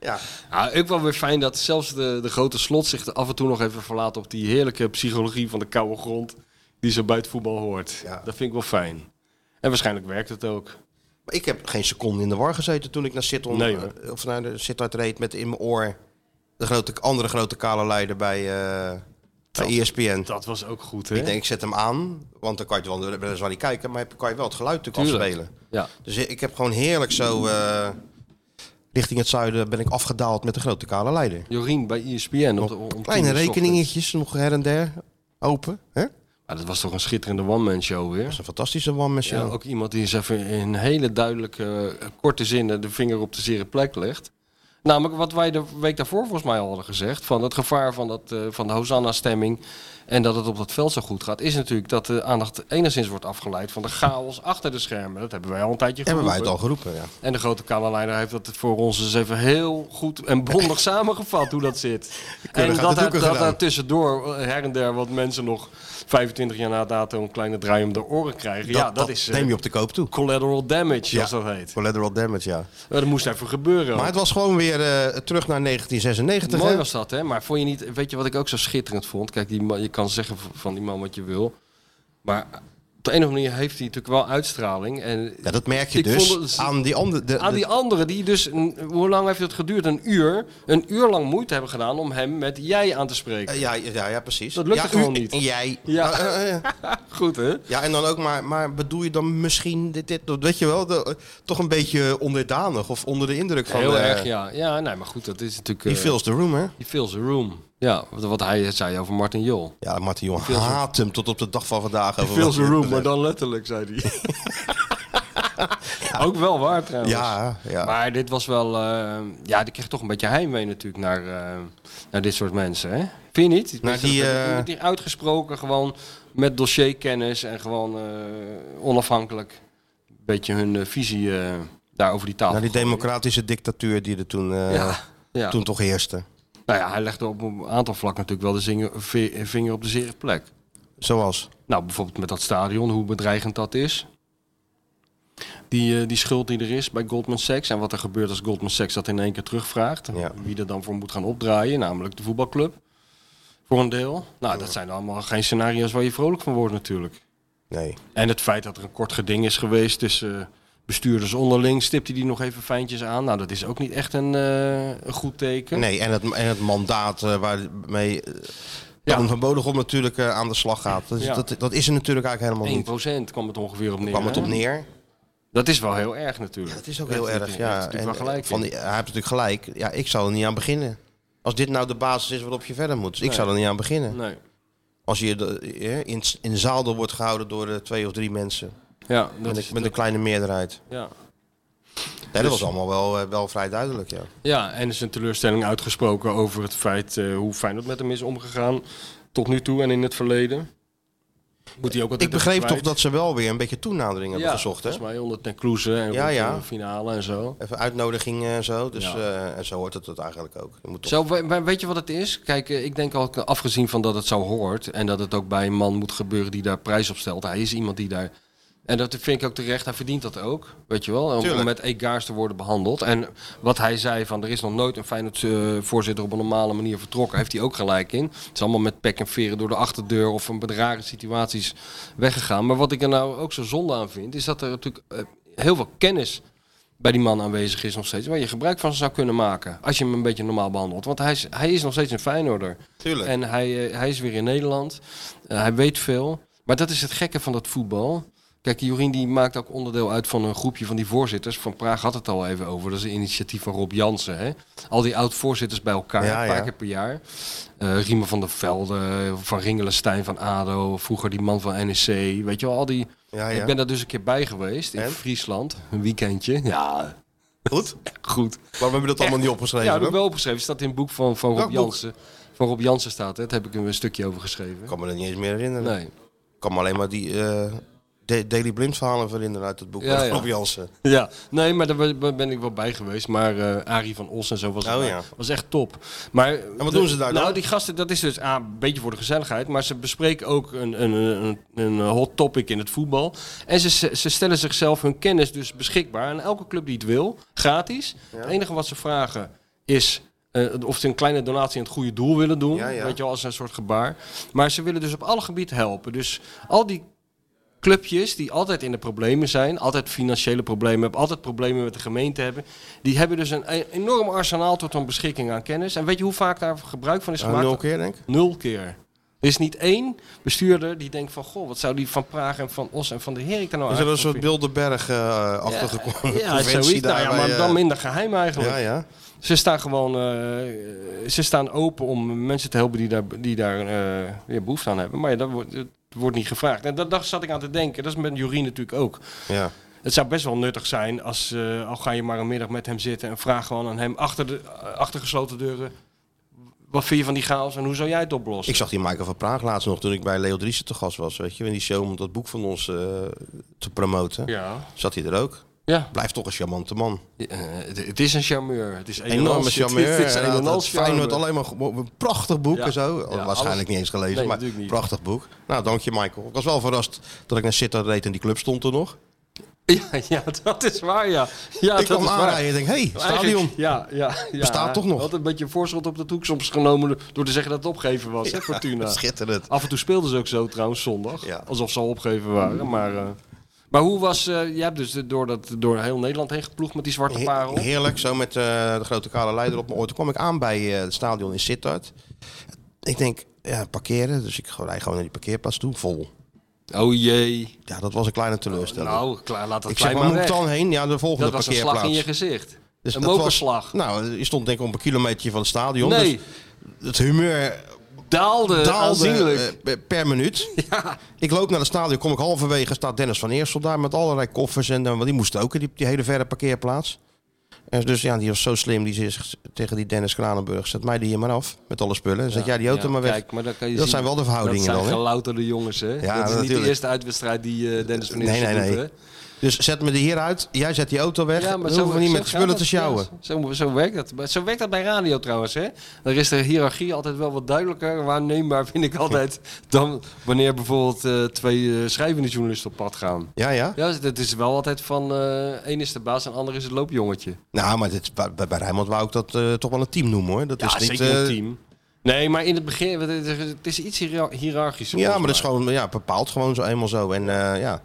C: ja.
D: Ja, ook wel weer fijn dat zelfs de, de grote slot zich af en toe nog even verlaat op die heerlijke psychologie van de koude grond. Die zo bij het voetbal hoort.
C: Ja.
D: Dat vind ik wel fijn. En waarschijnlijk werkt het ook.
C: Maar ik heb geen seconde in de war gezeten toen ik naar Sittard,
D: Nee, hoor.
C: eh, of naar de Sittard reed met in mijn oor de grote, andere grote kale leider bij, eh bij ESPN.
D: Dat was ook goed, hè?
C: Ik denk, ik zet hem aan, want dan kan je het wel weliswaar niet kijken, maar heb- kan je wel het geluid natuurlijk
D: Tuurlijk.
C: afspelen.
D: Ja.
C: Dus ik heb gewoon heerlijk zo eh, richting het zuiden ben ik afgedaald met de grote kale leider.
D: Jorien bij E ESPN. Op de, om tien uur
C: Kleine
D: 's ochtends.
C: rekeningetjes nog her en der open. Hè? Dat
D: Maar dat was toch een schitterende one-man show weer?
C: is een fantastische one man
D: Ja, ook iemand die eens even in hele duidelijke, eh, korte zinnen de vinger op de zere plek legt. Namelijk wat wij de week daarvoor volgens mij al hadden gezegd. Van het gevaar van, dat, eh, van de Hosanna-stemming. En dat het op dat veld zo goed gaat. Is natuurlijk dat de aandacht enigszins wordt afgeleid van de chaos achter de schermen. Dat hebben wij al een tijdje
C: Hebben
D: geroepen.
C: wij het al geroepen, ja.
D: En de grote kalenleider heeft dat voor ons dus even heel goed en bondig samengevat hoe dat zit. En
C: uit de
D: dat daar,
C: doeken
D: dat
C: gedaan.
D: daar tussendoor eh, her en der wat mensen nog 25 jaar na dato een kleine draai om de oren krijgen. ja, dat, is... eh,
C: neem je op de koop toe.
D: collateral damage,
C: Ja.
D: zoals dat heet.
C: Collateral damage, ja.
D: Maar dat moest even gebeuren.
C: Maar het was gewoon weer eh, terug naar 1996.
D: Mooi
C: hè?
D: was dat, hè? Maar vond je niet, weet je wat ik ook zo schitterend vond? Kijk, die man, je kan zeggen v- van die man wat je wil. Maar op de een of andere manier heeft hij natuurlijk wel uitstraling. En
C: Ja, dat merk je
D: Ik
C: dus
D: vond het-
C: aan die andere. de-
D: aan
C: de-
D: die anderen die dus, een- hoe lang heeft het geduurd? Een uur. Een uur lang moeite hebben gedaan om hem met jij aan te spreken.
C: eh, ja, ja, ja, precies.
D: Dat lukt
C: ja,
D: er gewoon
C: u-
D: niet.
C: En jij.
D: Ja.
C: Nou, eh, eh, eh.
D: Goed, hè?
C: ja, en dan ook maar, maar bedoel je dan misschien dit, dit, dat, weet je wel, de- eh, toch een beetje onderdanig of onder de indruk van.
D: Heel
C: eh,
D: erg, ja. Ja, nee, maar goed, dat is natuurlijk...
C: He
D: eh,
C: fills the room, hè?
D: he fills the room. Ja, wat, wat hij zei over Martin Jol.
C: Ja, Martin Jong
D: fills the-
C: haat hem tot op de dag van vandaag. over
D: Veel
C: wat
D: zijn
C: hij
D: room,
C: heeft
D: maar
C: gezegd.
D: dan letterlijk, zei hij. Ook wel waar trouwens.
C: Ja, ja.
D: Maar dit was wel... eh, ja, die kreeg toch een beetje heimwee natuurlijk naar, eh, naar dit soort mensen, hè? Vind je niet?
C: Naar die, eh,
D: Met die uitgesproken, gewoon met dossierkennis en gewoon eh, onafhankelijk een beetje hun eh, visie eh, daar over die tafel.
C: Naar die
D: gooien.
C: democratische dictatuur die er toen, eh,
D: Ja, ja.
C: toen toch heerste.
D: Nou ja, hij legde op een aantal vlakken natuurlijk wel de zinger- vi- vinger op de zere plek.
C: Zoals.
D: Nou, bijvoorbeeld met dat stadion, hoe bedreigend dat is. Die, eh, die schuld die er is bij Goldman Sachs en wat er gebeurt als Goldman Sachs dat in één keer terugvraagt.
C: Ja.
D: Wie er dan voor moet gaan opdraaien, namelijk de voetbalclub. Voor een deel. Nou, dat zijn allemaal geen scenario's waar je vrolijk van wordt natuurlijk.
C: Nee.
D: En het feit dat er een kort geding is geweest tussen eh, bestuurders onderling, stipt hij die nog even fijntjes aan. Nou, dat is ook niet echt een, eh, een goed teken.
C: Nee, en het, en het mandaat eh, waarmee eh,
D: Ja.
C: Toon van Bodegom natuurlijk eh, aan de slag gaat. Dat, is-
D: Ja.
C: dat, dat is er natuurlijk eigenlijk helemaal niet.
D: 1% kwam het ongeveer op neer.
C: kwam het
D: hè?
C: op neer.
D: Dat is wel heel erg natuurlijk.
C: Dat is ook heel erg,
D: Daar heeft
C: ja. eh,
D: hij natuurlijk wel gelijk
C: van
D: in.
C: die, hij heeft natuurlijk gelijk. Ja, ik zou er niet aan beginnen. Als dit nou de basis is waarop je verder moet. Ik zou er niet aan beginnen.
D: Nee.
C: Als je de- eh, in, in de zaal wordt gehouden door eh, twee of drie mensen.
D: Ja, dat
C: Met,
D: is Dus-
C: een- met een kleine meerderheid.
D: ja.
C: Nee, dat was allemaal wel, eh, wel vrij duidelijk, ja.
D: ja, en is een teleurstelling uitgesproken over het feit eh, hoe fijn het met hem is omgegaan tot nu toe en in het verleden. Moet hij ook wat
C: Ik begreep toch dat ze wel weer een beetje toenadering hebben
D: ja,
C: gezocht, hè?
D: volgens mij onder ten Kloeze en
C: Ja,
D: rond
C: ja.
D: de finale en zo.
C: Even uitnodigingen en zo. Dus,
D: Ja.
C: eh, en zo hoort het, het eigenlijk ook. Je moet toch-
D: Zo, we- maar weet je wat het is? Kijk, eh, ik denk al afgezien van dat het zo hoort en dat het ook bij een man moet gebeuren die daar prijs op stelt. Hij is iemand die daar. En dat vind ik ook terecht, hij verdient dat ook. Weet je wel, om,
C: Tuurlijk.
D: om met egaars te worden behandeld. En wat hij zei van er is nog nooit een Feyenoord eh, voorzitter op een normale manier vertrokken, heeft hij ook gelijk in. Het is allemaal met pek en veren door de achterdeur of een rare situaties weggegaan. Maar wat ik er nou ook zo zonde aan vind, is dat er natuurlijk eh, heel veel kennis bij die man aanwezig is nog steeds. Waar je gebruik van zou kunnen maken. Als je hem een beetje normaal behandelt. Want hij is, hij is nog steeds een Feyenoorder.
C: Tuurlijk.
D: En hij, eh, hij is weer in Nederland. Eh, hij weet veel. Maar dat is het gekke van dat voetbal. Kijk, Jorien die maakt ook onderdeel uit van een groepje van die voorzitters. Van Praag had het al even over. Dat is een initiatief van Rob Jansen. Hè? Al die oud-voorzitters bij elkaar,
C: Ja,
D: een paar
C: ja.
D: keer per jaar. Eh Riemen van der Velde, Van Ringelenstein van ADO, vroeger die man van NEC. Weet je wel, al die...
C: Ja, ja.
D: Ik ben daar dus een keer bij geweest in
C: En?
D: Friesland. Een weekendje. Ja,
C: Goed?
D: goed.
C: Waarom hebben we dat allemaal niet opgeschreven?
D: Ja, dat heb ik
C: dan?
D: wel opgeschreven. Het staat in het boek van, van
C: Welk
D: Rob
C: boek?
D: Jansen. Van Rob Jansen staat het. Daar heb ik hem een stukje over geschreven.
C: Ik kan me dat niet eens meer herinneren.
D: Nee.
C: Ik kan me alleen maar die eh, Da- Daily Blind verhalen herinneren uit het boek
D: Ja,
C: van
D: ja.
C: Rob Jansen.
D: Ja, nee, maar daar ben- daar ben ik wel bij geweest. Maar eh Arie van Os en zo was,
C: Oh,
D: erbij.
C: ja.
D: was echt top. Maar
C: wat doen ze daar
D: Nou,
C: dan?
D: die gasten, dat is dus ah, een beetje voor de gezelligheid. Maar ze bespreken ook een, een, een, een hot topic in het voetbal. En ze, ze stellen zichzelf hun kennis dus beschikbaar aan elke club die het wil, gratis. Het enige wat ze vragen is. eh, of ze een kleine donatie aan het goede doel willen doen.
C: Ja, ja.
D: Weet je wel, als een soort gebaar. Maar ze willen dus op alle gebieden helpen. Dus al die clubjes die altijd in de problemen zijn, altijd financiële problemen hebben, altijd problemen met de gemeente hebben, die hebben dus een e- enorm arsenaal tot hun beschikking aan kennis. En weet je hoe vaak daar gebruik van is
C: Ja,
D: gemaakt?
C: nul keer, denk ik.
D: Nul keer. Er is niet één bestuurder die denkt van, goh, wat zou die van Praag en van Os en van de Herik daar nou
C: Is er een
D: eigenlijk
C: soort
D: van
C: Bilderberg-achtige
D: vinden?
C: conventie
D: Ja, zoiets.
C: daar
D: Nou ja,
C: bij,
D: maar
C: eh,
D: dan minder geheim eigenlijk.
C: Ja, ja.
D: Ze staan gewoon eh, ze staan open om mensen te helpen die daar, die daar eh, ja, behoefte aan hebben. Maar ja, dat wordt, het wordt niet gevraagd. En dat, dat zat ik aan te denken. Dat is met Jorien natuurlijk ook.
C: ja.
D: Het zou best wel nuttig zijn als, eh, al ga je maar een middag met hem zitten en vraag gewoon aan hem achter, de, achter gesloten deuren. Wat vind je van die chaos en hoe zou jij het oplossen?
C: Ik zag die Michael van Praag laatst nog toen ik bij Leo Driessen te gast was. Weet je, in die show om dat boek van ons eh, te promoten.
D: Ja.
C: Zat hij er ook?
D: ja.
C: Blijft toch een charmante man.
D: Eh, het, het is een charmeur. Het is een en al-
C: Enorme
D: het-
C: charmeur.
D: Het is een en
C: inderdaad,
D: al
C: het Feyenoord
D: charmeur.
C: alleen maar ge- een prachtig boek
D: Ja.
C: en zo. Oh,
D: Ja,
C: Waarschijnlijk
D: alles-
C: niet eens gelezen,
D: Nee,
C: maar
D: natuurlijk niet.
C: prachtig boek. Nou, dank je Michael. Ik was wel verrast dat ik naar Sittard reed en die club stond er nog.
D: Ja, ja, dat is waar, ja. ja
C: ik
D: dat
C: kwam
D: is waar.
C: aanrijden en denk, hé, hey, stadion.
D: Eigenlijk, Ja, ja, ja.
C: Bestaat toch nog?
D: Had een beetje voorschot op de toek soms genomen door te zeggen dat het opgeven was, hè, Fortuna.
C: Schitterend.
D: Af en toe speelden ze ook zo trouwens zondag.
C: Ja.
D: Alsof ze al opgegeven waren. Maar, eh, maar hoe was... eh je hebt dus de- door, dat, door heel Nederland heen geploegd met die zwarte
C: He-
D: parel.
C: Heerlijk, zo met eh, de grote kale leider op mijn oor. Toen kwam ik aan bij eh, het stadion in Sittard. Ik denk, ja, parkeren. Dus ik rijd gewoon naar die parkeerplaats toe, vol.
D: Oh jee.
C: Ja, dat was een kleine teleurstelling.
D: Nou, klaar, laat dat
C: ik zeg,
D: klein
C: waar
D: maar
C: moet ik
D: weg.
C: dan heen? Ja, de volgende
D: Dat was een
C: parkeerplaats.
D: slag in je gezicht.
C: Dus
D: een
C: dat was-
D: mokerslag.
C: nou, je stond denk ik op een kilometer van het stadion.
D: nee,
C: Dus het humeur
D: daalde,
C: daalde
D: aanzienlijk.
C: eh, per- per minuut. Ik loop naar het stadion, kom ik halverwege, staat Dennis van Eersel daar met allerlei koffers. En, eh, want die moest ook in die, die hele verre parkeerplaats. En dus ja, die was zo slim, die zegt tegen die Dennis Kranenburg, zet mij die hier maar af met alle spullen. En zet jij die auto
D: Ja,
C: maar weg.
D: Kijk, maar dan kan je
C: Dat
D: zien,
C: zijn wel de verhoudingen
D: dat
C: dan,
D: zijn
C: hè?
D: gelouterde jongens, hè? dat is niet
C: natuurlijk.
D: de eerste uitwedstrijd die eh, Dennis van
C: Nee,
D: Eersel
C: nee,
D: doet,
C: nee.
D: hè?
C: Dus zet me die hier uit, jij zet die auto weg. Ja, maar dan hoeven we niet met
D: gaat
C: spullen te
D: dat,
C: sjouwen.
D: ja, zo, zo werkt dat. Maar Zo werkt dat bij radio trouwens. Hè? Daar is de hiërarchie altijd wel wat duidelijker waarneembaar, vind ik altijd, dan wanneer bijvoorbeeld eh, twee eh, schrijvende journalisten op pad gaan.
C: Ja, ja.
D: Ja, dat is wel altijd van eh één is de baas en ander is het loopjongetje.
C: Nou, maar dit, bij, bij bij Rijnmond wou ik dat eh, toch wel een team noemen hoor. Dat
D: Ja,
C: is niet,
D: zeker een
C: eh,
D: team. Nee, maar in het begin, het is- het is iets hiëra- hiërarchischer.
C: Ja,
D: volgens
C: maar dat is
D: mij.
C: gewoon ja, bepaald gewoon zo eenmaal zo. En eh, ja.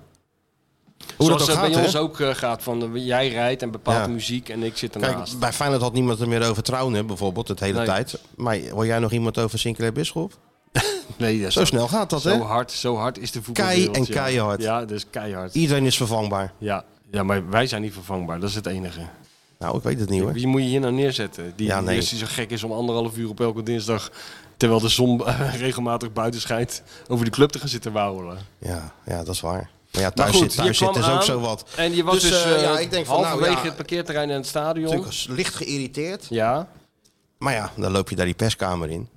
C: Hoe
D: Zoals
C: dat ook
D: het
C: gaat,
D: bij
C: hè?
D: ons ook eh, gaat, van eh, jij rijdt en bepaalt
C: Ja.
D: de muziek en ik zit ernaast.
C: Kijk, bij Feyenoord had niemand er meer over Trouwen bijvoorbeeld, het hele
D: Nee.
C: tijd. Maar hoor jij nog iemand over Sinclair Bisschop?
D: nee, dat is
C: Zo snel gaat dat, hè?
D: Zo hard, zo hard is de voetbalwereld.
C: en
D: ja.
C: keihard.
D: Ja, dus keihard.
C: Iedereen is vervangbaar.
D: Ja. ja, maar wij zijn niet vervangbaar. Dat is het enige.
C: Nou, ik weet het niet hoor.
D: Wie moet je hier nou neerzetten? Die,
C: Ja,
D: die
C: nee.
D: is die zo gek is om anderhalf uur op elke dinsdag... terwijl de zon eh, regelmatig buiten schijnt... over die club te gaan zitten wauwelen.
C: Ja, ja, dat is waar. Maar ja, thuis,
D: maar goed,
C: zit, thuis
D: je kwam
C: zit is
D: aan
C: ook zo wat.
D: En je was dus,
C: Dus, eh,
D: eh,
C: ja, ik denk van, nou,
D: halverwege
C: ja.
D: het parkeerterrein en het stadion.
C: Natuurlijk was licht geïrriteerd.
D: Ja,
C: Maar ja, dan loop je daar die perskamer in.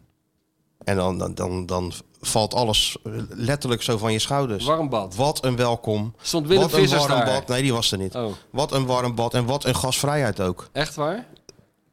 C: En dan, dan, dan, dan valt alles eh, letterlijk zo van je schouders.
D: warm bad.
C: Wat een welkom.
D: Stond Willem
C: wat een
D: Vissers
C: warm
D: daar.
C: bad. Nee, die was er niet.
D: Oh,
C: Wat een warm bad en wat een gasvrijheid ook.
D: echt waar?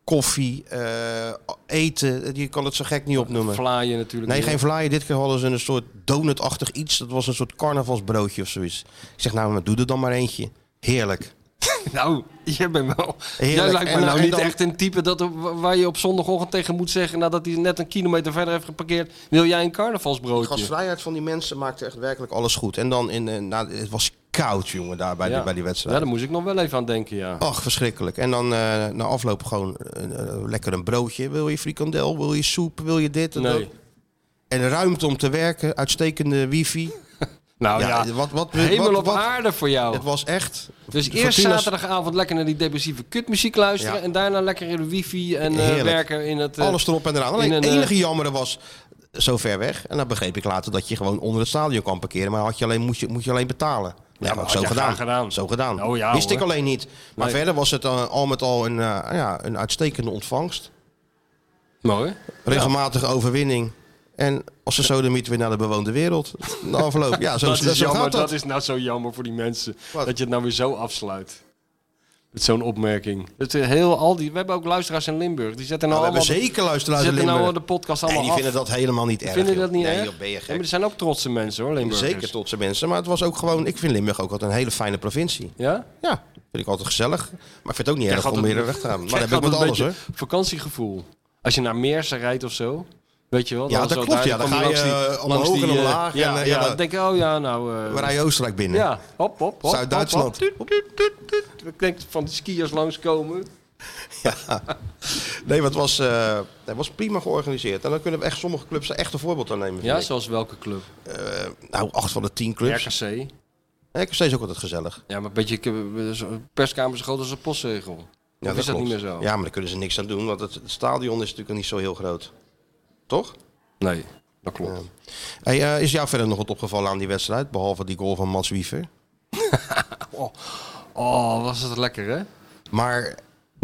C: koffie, eh, eten. Je kan het zo gek niet opnoemen.
D: Vlaaien natuurlijk.
C: Nee,
D: niet.
C: geen vlaaien. Dit keer hadden ze een soort donutachtig iets. Dat was een soort carnavalsbroodje of zoiets. Ik zeg, nou, maar doe er dan maar eentje. Heerlijk.
D: Nou, jij bent wel. Jij
C: Heerlijk.
D: lijkt me
C: En-
D: nou
C: en
D: niet
C: dan-
D: echt een type dat, waar je op zondagochtend tegen moet zeggen. nadat hij net een kilometer verder heeft geparkeerd. wil jij een carnavalsbroodje?
C: gastvrijheid van die mensen maakte echt werkelijk alles goed. En dan, in, eh, nou, het was koud, jongen, daar bij,
D: Ja.
C: die, bij die
D: Ja,
C: wedstrijd.
D: daar moest ik nog wel even aan denken, ja.
C: Ach, verschrikkelijk. En dan eh, na afloop gewoon eh, eh, lekker een broodje. Wil je frikandel? Wil je soep? Wil je dit? En, dat?
D: Nee.
C: en ruimte om te werken. Uitstekende wifi.
D: Nou ja,
C: Ja, wat- wat-
D: hemel
C: wat-
D: op
C: wat-
D: aarde voor jou.
C: Het was echt...
D: dus
C: de
D: eerst
C: Fortuna's-
D: zaterdagavond lekker naar die depressieve kutmuziek luisteren.
C: Ja.
D: En daarna lekker in de wifi en eh,
C: Heerlijk.
D: werken in het... eh,
C: Alles erop en eraan.
D: in
C: Alleen het
D: een, eh,
C: enige jammer was eh, zo ver weg. En dan begreep ik later dat je gewoon onder het stadion kan parkeren. Maar had je alleen, moest, je, moet je alleen betalen. Ja,
D: maar
C: maar
D: had
C: zo
D: jij
C: gedaan.
D: graag gedaan.
C: Zo gedaan.
D: Oh ja,
C: Wist
D: hoor.
C: ik alleen niet. Maar
D: Nee.
C: verder was het eh, al met al een, eh, ja, een uitstekende ontvangst.
D: Mooi.
C: Regelmatige overwinning. En als ze sodemiet weer naar de bewoonde wereld. Na afloop. Ja, zo,
D: Dat
C: zo
D: is, jammer,
C: gaat dat.
D: dat is nou zo jammer voor die mensen.
C: Wat?
D: Dat je het nou weer zo afsluit. Met zo'n opmerking. Het, eh, heel, al die, we hebben ook luisteraars in Limburg. Die zetten
C: Nou,
D: nou
C: we hebben
D: allemaal...
C: zeker luisteraars in
D: zetten nou
C: Limburg.
D: de podcast
C: En
D: allemaal
C: die
D: af.
C: vinden dat helemaal niet erg.
D: Vinden
C: joh.
D: dat niet
C: nee,
D: erg?
C: joh, ben je
D: Ja,
C: gek.
D: maar er zijn ook trotse mensen hoor, Limburgers.
C: Zeker tot zijn mensen. Maar het was ook gewoon... Ik vind Limburg ook altijd een hele fijne provincie.
D: Ja?
C: Ja, vind ik altijd gezellig. Maar ik vind het ook niet erg om
D: altijd-
C: meer weg te gaan. Maar
D: Krijg
C: dat heb ik met
D: altijd
C: alles,
D: een
C: hoor.
D: beetje Vakantiegevoel. Als je naar Meersen rijdt of zo. Weet je wel?
C: Ja,
D: dan
C: dat
D: zo
C: klopt,
D: daar,
C: ja. Dan
D: kom
C: ga je,
D: langs die-
C: eh,
D: langs
C: omhoog en
D: die, eh,
C: omlaag en,
D: Ja,
C: eh,
D: ja,
C: ja,
D: dan
C: dat-
D: denk ik, oh ja, nou... eh,
C: We rijden Oostenrijk binnen.
D: Ja, hop, hop, hop.
C: Zuid-Duitsland.
D: hop, hop. Tuut, tuut, tuut, tuut. Ik denk van de skiers langskomen.
C: Nee, maar het was, eh, het was prima georganiseerd. En dan kunnen we echt sommige clubs er echt een voorbeeld aan nemen.
D: Ja,
C: vind ik.
D: zoals welke club?
C: Nou, acht van de tien clubs. Ja,
D: RKC.
C: ik steeds ook altijd gezellig.
D: Ja, maar een beetje ik heb, eh, zo'n perskamer zo groot als een postzegel.
C: Ja,
D: Ja, is dat
C: klopt.
D: niet meer zo?
C: Ja, maar daar kunnen ze niks aan doen, want het, het stadion is natuurlijk niet zo heel groot. Toch?
D: Nee, dat klopt.
C: Hey, eh, is jou verder nog wat opgevallen aan die wedstrijd? Behalve die goal van Mats Wiever.
D: Oh, was dat lekker hè?
C: Maar dan,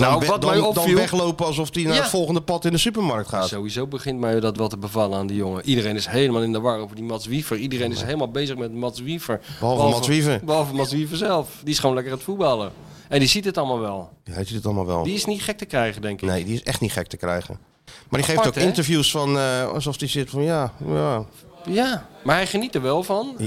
D: Nou,
C: we-
D: wat mij
C: dan, dan
D: opviel-
C: weglopen alsof hij naar
D: Ja.
C: het volgende pad in de supermarkt gaat.
D: Sowieso begint mij dat wel te bevallen aan die jongen. Iedereen is helemaal in de war over die Mats Wiever. Iedereen is helemaal bezig met Mats Wiever.
C: Mats Wiever.
D: Behalve Mats Wiever zelf. Die is gewoon lekker aan het voetballen. En die ziet het allemaal wel.
C: Ja, Hij ziet het allemaal wel.
D: Die is niet gek te krijgen, denk ik.
C: Nee, die is echt niet gek te krijgen. Maar die geeft
D: Apart,
C: ook
D: hè?
C: interviews van eh, alsof die zit van ja, ja.
D: Ja, maar hij geniet er wel van.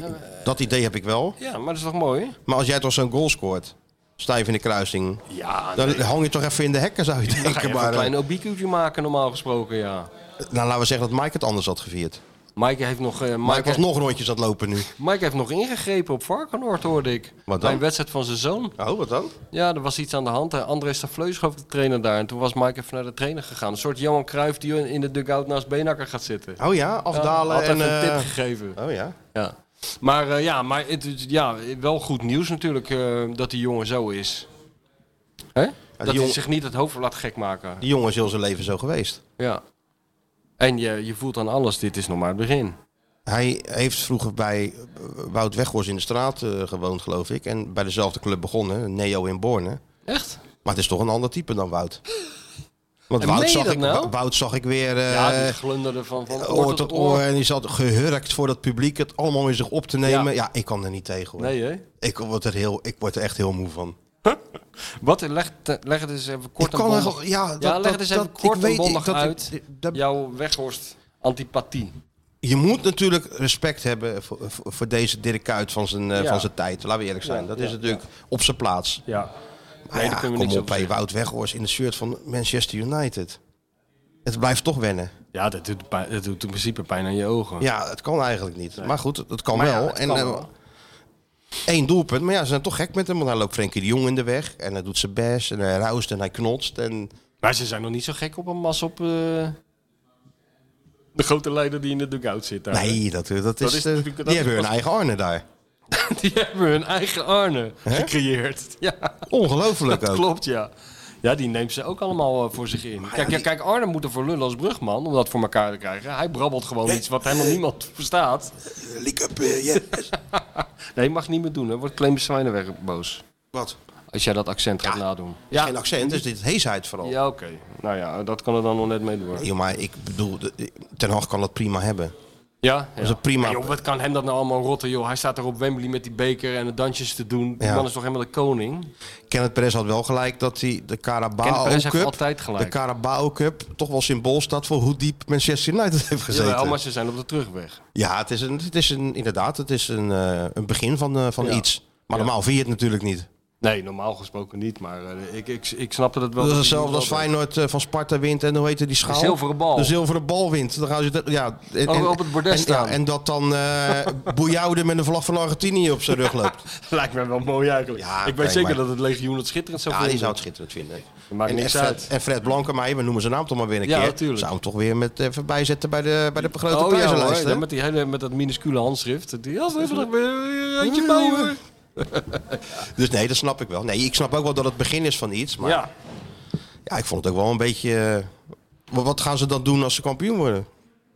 C: Dat idee heb ik wel.
D: Ja, maar dat is toch mooi?
C: Maar als jij toch zo'n goal scoort, stijf in de kruising,
D: Ja,
C: dan hang je toch even in de hekken zou je
D: Dan ga je
C: denken.
D: even
C: Maar,
D: een
C: eh,
D: klein obiekuutje maken normaal gesproken, ja.
C: nou, laten we zeggen dat Mike het anders had gevierd.
D: Mike heeft nog, eh, Mike
C: Mike was
D: heeft,
C: nog rondjes aan het lopen nu.
D: Mike heeft nog ingegrepen op Varkenoord, hoorde ik.
C: dan?
D: Bij een wedstrijd van zijn zoon.
C: Oh, wat dan?
D: Ja, er was iets aan de hand. Eh, André Stafleus gaf de trainer daar. En toen was Mike even naar de trainer gegaan. Een soort Johan Cruijff die in de dugout naast Benakker gaat zitten.
C: Oh ja, afdalen
D: Ja, had
C: en...
D: even een
C: eh,
D: tip gegeven.
C: oh ja.
D: Ja. Maar, eh, ja, maar het, het- ja, wel goed nieuws natuurlijk eh, dat die jongen zo is. Hè? dat hij
C: jongen-
D: zich niet het hoofd laat gek maken.
C: Die jongen is heel zijn leven zo geweest.
D: Ja. En je, je voelt aan alles, dit is nog maar het begin.
C: Hij heeft vroeger bij eh, Wout Weghorst in de straat eh, gewoond, geloof ik. En bij dezelfde club begonnen, Neo in Borne.
D: Echt?
C: Maar het is toch een ander type dan Wout. Want
D: En meen
C: Wout
D: je
C: zag,
D: dat
C: ik,
D: nou?
C: Wout zag ik weer eh,
D: ja, die glunderde van, van
C: oor tot oor. En die zat gehurkt voor dat publiek het allemaal in zich op te nemen. Ja, ik kan er niet tegen hoor.
D: Nee, hè?
C: Ik, word er heel, ik word er echt heel moe van.
D: Wat, eh, leg, te- leg het eens even
C: ik
D: kort en
C: kan er
D: bondig.
C: gewoon- ja, dat,
D: ja, leg het
C: dat-
D: eens even
C: dat- ik
D: kort en
C: weet-
D: bondig
C: dat-
D: uit.
C: dat-
D: jouw weghorst antipathie.
C: je moet natuurlijk respect hebben voor, voor, voor deze Dirk Kuyt van zijn, eh,
D: Ja.
C: van zijn tijd. Laten we eerlijk zijn. dat is natuurlijk op zijn plaats.
D: Ja.
C: Maar Ah, ja,
D: daar kunnen we
C: kom
D: niks
C: op,
D: over
C: bij
D: zeggen.
C: Wout Weghorst in de shirt van Manchester United. Het blijft toch wennen.
D: Ja, dat doet, pijn- dat doet in principe pijn aan je ogen.
C: Ja, het kan eigenlijk niet. Maar goed, het kan
D: Maar ja,
C: wel.
D: het
C: en,
D: kan
C: eh,
D: wel.
C: één doelpunt. Maar ja, ze zijn toch gek met hem. Want hij loopt Frenkie de Jong in de weg. En hij doet zijn best. En hij ruist en hij knotst. En
D: Maar ze zijn nog niet zo gek op een mas op eh, de grote leider die in de dugout zit daar.
C: nee, dat, dat,
D: is
C: is... eh,
D: natuurlijk- dat
C: die
D: is
C: hebben hun
D: pas-
C: eigen Arne daar.
D: Die hebben hun eigen Arne gecreëerd. Ja.
C: Ongelooflijk
D: Dat
C: ook.
D: klopt, ja. Ja, die neemt ze ook allemaal eh, voor zich in. kijk, ja,
C: die-
D: kijk, Arne moet er voor lullen als brugman om dat voor elkaar te krijgen. Hij brabbelt gewoon iets wat helemaal niemand verstaat.
C: Leak up, eh, yes.
D: Nee, mag niet meer doen. Hè. Wordt Clemens Zwijnenberg boos.
C: Wat?
D: Als jij dat accent gaat nadoen. Ja,
C: Geen accent, dus dit heesheid vooral.
D: ja oké. Nou ja, dat kan er dan nog net mee door.
C: Ja, maar ik bedoel, de- Ten Hag kan dat prima hebben.
D: Ja,
C: is een prima-
D: Maar joh, wat kan hem dat nou allemaal rotten, joh? Hij staat er op Wembley met die beker en de dansjes te doen. Die
C: Ja.
D: man is toch helemaal de koning?
C: Kenneth Perez had wel gelijk dat hij de
D: Kenneth Perez
C: Carabao
D: heeft
C: Cup...
D: altijd gelijk.
C: De Carabao Cup toch wel symbool staat voor hoe diep Manchester United heeft gezeten.
D: Jawel, maar ze zijn op de terugweg.
C: Ja, het is, een, het is een, inderdaad, het is een, eh, een begin van, eh, van
D: Ja.
C: iets. Maar normaal vind je het natuurlijk niet.
D: Nee, normaal gesproken niet, maar eh, ik, ik, ik snapte dat wel.
C: Dat is
D: die
C: hetzelfde als
D: wel-
C: Feyenoord eh, van Sparta wint en hoe heet die schaal?
D: De zilveren bal.
C: De zilveren bal wint. Dan gaan ze, dat- ja, en,
D: Oh,
C: en-
D: op het bordes
C: en,
D: staan.
C: ja, en dat dan eh Boujoude met een vlag van Argentinië op zijn rug loopt.
D: Lijkt mij wel mooi eigenlijk.
C: Ja,
D: ik
C: oké,
D: weet zeker
C: maar-
D: dat het legioen het schitterend zou
C: Ja, die
D: vinden.
C: zou het schitterend vinden.
D: Maakt
C: en,
D: niks
C: Fred,
D: uit.
C: en Fred Blankenmeijer, we noemen zijn naam toch maar weer een
D: Ja,
C: keer.
D: tuurlijk.
C: Zou hem toch weer met, even bijzetten bij de, bij de begrote
D: Oh ja,
C: prijzenlijst.
D: hoor,
C: hè?
D: Ja, met, die hele, met dat minuscule handschrift. Die had even nog weer eentje bij hoor.
C: Dus nee, dat snap ik wel. Nee, ik snap ook wel dat het begin is van iets. Maar ja,
D: Ja,
C: ik vond het ook wel een beetje... eh, Wat wat gaan ze dan doen als ze kampioen worden?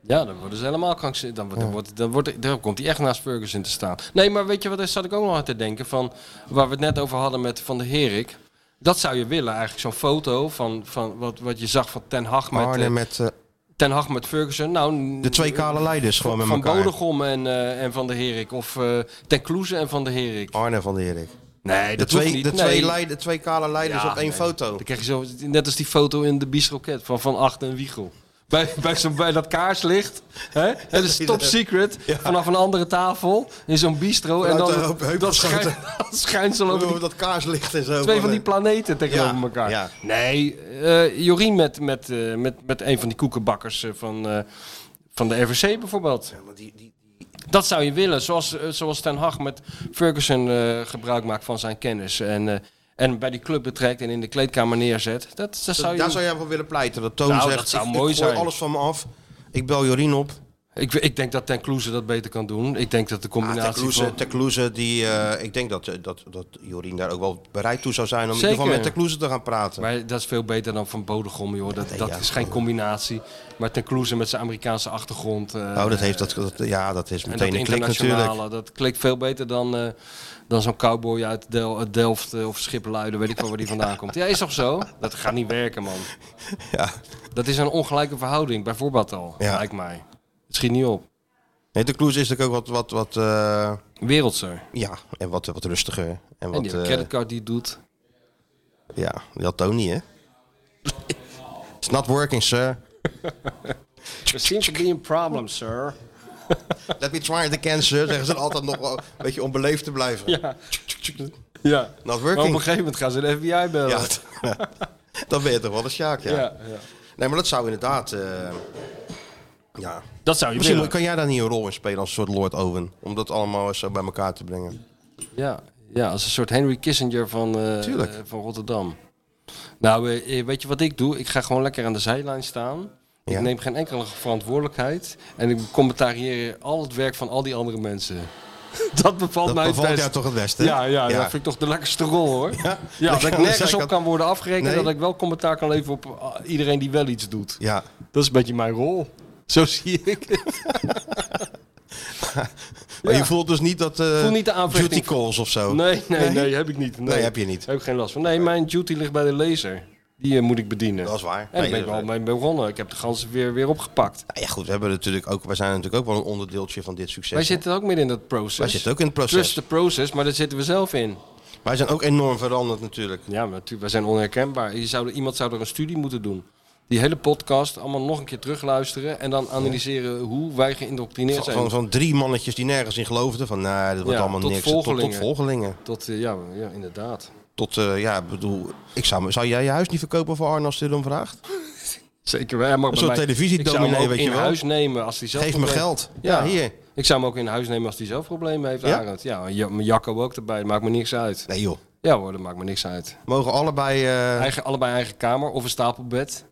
D: ja, dan worden ze helemaal krankzinnig. Dan, wordt- dan, wordt, dan, wordt, dan komt hij echt naast Ferguson te staan. Nee, maar weet je wat, daar zat ik ook nog aan te denken. Van, waar we het net over hadden met Van der Herik. Dat zou je willen eigenlijk, zo'n foto van, van wat, wat je zag van Ten Hag met,
C: Met,
D: eh,
C: met eh,
D: Ten Hag met Ferguson. Nou,
C: de twee kale leiders gewoon met
D: Van
C: elkaar.
D: Bodegom en, eh, en Van der Herik. Of eh Ten Kloeze en Van der Herik.
C: Arne van der Erik.
D: Nee,
C: Oh, De
D: dat hoeft
C: twee,
D: niet.
C: de, twee
D: Nee.
C: leid- de twee kale leiders
D: Ja,
C: op één
D: nee.
C: foto.
D: Dan krijg je zo, net als die foto in de bistroket van Van Acht en Wiegel. Bij, bij, zo, bij dat kaarslicht. Hè? Het is top secret. Vanaf een andere tafel. In zo'n bistro. En
C: Vanuit
D: dan
C: de heup- heup
D: dat, schijn,
C: geschoten.
D: dat schijnsel over die,
C: dat kaarslicht en zo.
D: twee van die planeten tegenover
C: Ja,
D: elkaar.
C: ja.
D: Nee, eh, Jorien met, met, eh, met, met een van die koekenbakkers eh, van, eh, van de RVC bijvoorbeeld. Dat zou je willen, zoals, eh, zoals Ten Hag met Ferguson eh, gebruik maakt van zijn kennis. En, eh, en bij die club betrekt en in de kleedkamer neerzet. Dat, dat zou
C: Daar
D: je doen.
C: zou jij voor willen pleiten. Dat Toon
D: Nou,
C: zegt,
D: dat zou
C: ik,
D: mooi
C: ik gooi
D: zijn.
C: alles van me af. Ik bel Jorien op.
D: ik, ik denk dat Ten Kloeze dat beter kan doen. Ik denk dat de
C: Ah,
D: combinatie
C: Ter Kloeze-
D: van...
C: Ter Kloeze, die, eh, ik denk dat, eh, dat, dat Jorien daar ook wel bereid toe zou zijn om in
D: Zeker.
C: ieder geval met Ter Kloeze te gaan praten.
D: Maar dat is veel beter dan Van Bodegom, joh. Dat, dat
C: ja.
D: is geen combinatie. Maar Ten Kloeze met zijn Amerikaanse achtergrond... eh,
C: oh, dat heeft, dat, dat- ja, dat is
D: En
C: meteen
D: dat
C: een klik
D: internationale,
C: natuurlijk.
D: dat klikt veel beter dan, eh, dan zo'n cowboy uit Del- uit Delft eh, of Schipluiden, weet ik wel waar die vandaan komt. Ja, is toch zo? Dat gaat niet werken, man.
C: Ja.
D: Dat is een ongelijke verhouding, bijvoorbeeld al,
C: Ja.
D: lijkt mij. Het schiet niet op.
C: Nee, Ter Kloeze is natuurlijk ook wat, wat, wat eh,
D: Wereldser.
C: ja, en wat, wat rustiger. En
D: En
C: wat,
D: die
C: eh,
D: creditcard die het doet.
C: ja, dat Tony, hè? It's not working, sir.
D: There seems to be a problem, sir.
C: Let me try it again, sir. Zeggen ze dan altijd nog wel een beetje onbeleefd te blijven.
D: Ja. ja.
C: Not working.
D: Maar op een gegeven moment gaan ze de FBI bellen.
C: Ja, d- dan ben je toch wel een Sjaak, ja.
D: Ja, ja.
C: Nee, maar dat zou inderdaad... eh, ja.
D: Dat zou je
C: Misschien
D: willen.
C: kan jij daar niet een rol in spelen als een soort Lord Owen. Om dat allemaal eens zo bij elkaar te brengen.
D: Ja, ja als een soort Henry Kissinger van, eh,
C: Tuurlijk.
D: eh, van Rotterdam. Nou, eh, eh, weet je wat ik doe? Ik ga gewoon lekker aan de zijlijn staan. Ik
C: Ja.
D: neem geen enkele verantwoordelijkheid. En ik commentarieer al het werk van al die andere mensen. Dat bevalt
C: Dat
D: mij het
C: bevalt
D: best.
C: jou toch het beste?
D: Ja, ja, dat vind ik toch de lekkerste rol hoor. Ja, dat ik
C: aan de
D: nergens op
C: zijkant.
D: kan worden afgerekend.
C: Nee.
D: Dat ik wel commentaar kan leveren op ah, iedereen die wel iets doet.
C: Ja. Oh.
D: Dat is een beetje mijn rol. Zo zie ik het.
C: Maar
D: Ja.
C: je voelt dus niet dat... eh
D: Voel niet de aanvechting.
C: Duty calls of zo.
D: Nee, nee, nee, heb ik niet.
C: Nee, heb je niet.
D: Heb ik geen last van. Nee, mijn duty ligt bij de laser. Die eh, moet ik bedienen.
C: Dat is waar.
D: En daar
C: Nee, eh,
D: ben ik
C: dat
D: wel
C: is waar.
D: mee begonnen. Ik heb de ganse weer, weer opgepakt.
C: Nou ja, goed. We hebben natuurlijk ook, wij zijn natuurlijk ook wel een onderdeeltje van dit succes.
D: Wij zitten ook midden in dat proces.
C: Wij zitten ook in het proces.
D: Trust the process, maar daar zitten we zelf in.
C: Wij zijn ook enorm veranderd natuurlijk.
D: Ja, maar natuurlijk, wij zijn onherkenbaar. Je zou, er- iemand zou er een studie moeten doen. Die hele podcast allemaal nog een keer terugluisteren. En dan analyseren hoe wij geïndoctrineerd
C: Van,
D: zijn.
C: van, van drie mannetjes die nergens in geloofden. Van, nou, dat wordt
D: Ja,
C: allemaal
D: tot
C: niks. Tot,
D: volgelingen.
C: tot volgelingen.
D: Tot, eh, ja, ja, inderdaad.
C: Tot, eh, ja, ik bedoel, ik zou, zou jij je huis niet verkopen voor Arne als hij erom vraagt?
D: Zeker. Hij mag bij
C: soort
D: mij-
C: televisiedominee,
D: Ik zou hem ook
C: weet je
D: in
C: wel.
D: huis nemen als hij zelf
C: Geef me
D: problemen-
C: geld. Ja,
D: Ja.
C: hier.
D: Ik zou hem ook in huis nemen als hij zelf problemen heeft,
C: Ja?
D: ja? Arend. Ja, en Ja, mijn Jacco ook erbij, dat maakt me niks uit.
C: Nee joh,
D: Ja hoor, dat maakt me niks uit.
C: mogen allebei... eh,
D: Eigen, allebei eigen kamer of een stapelbed.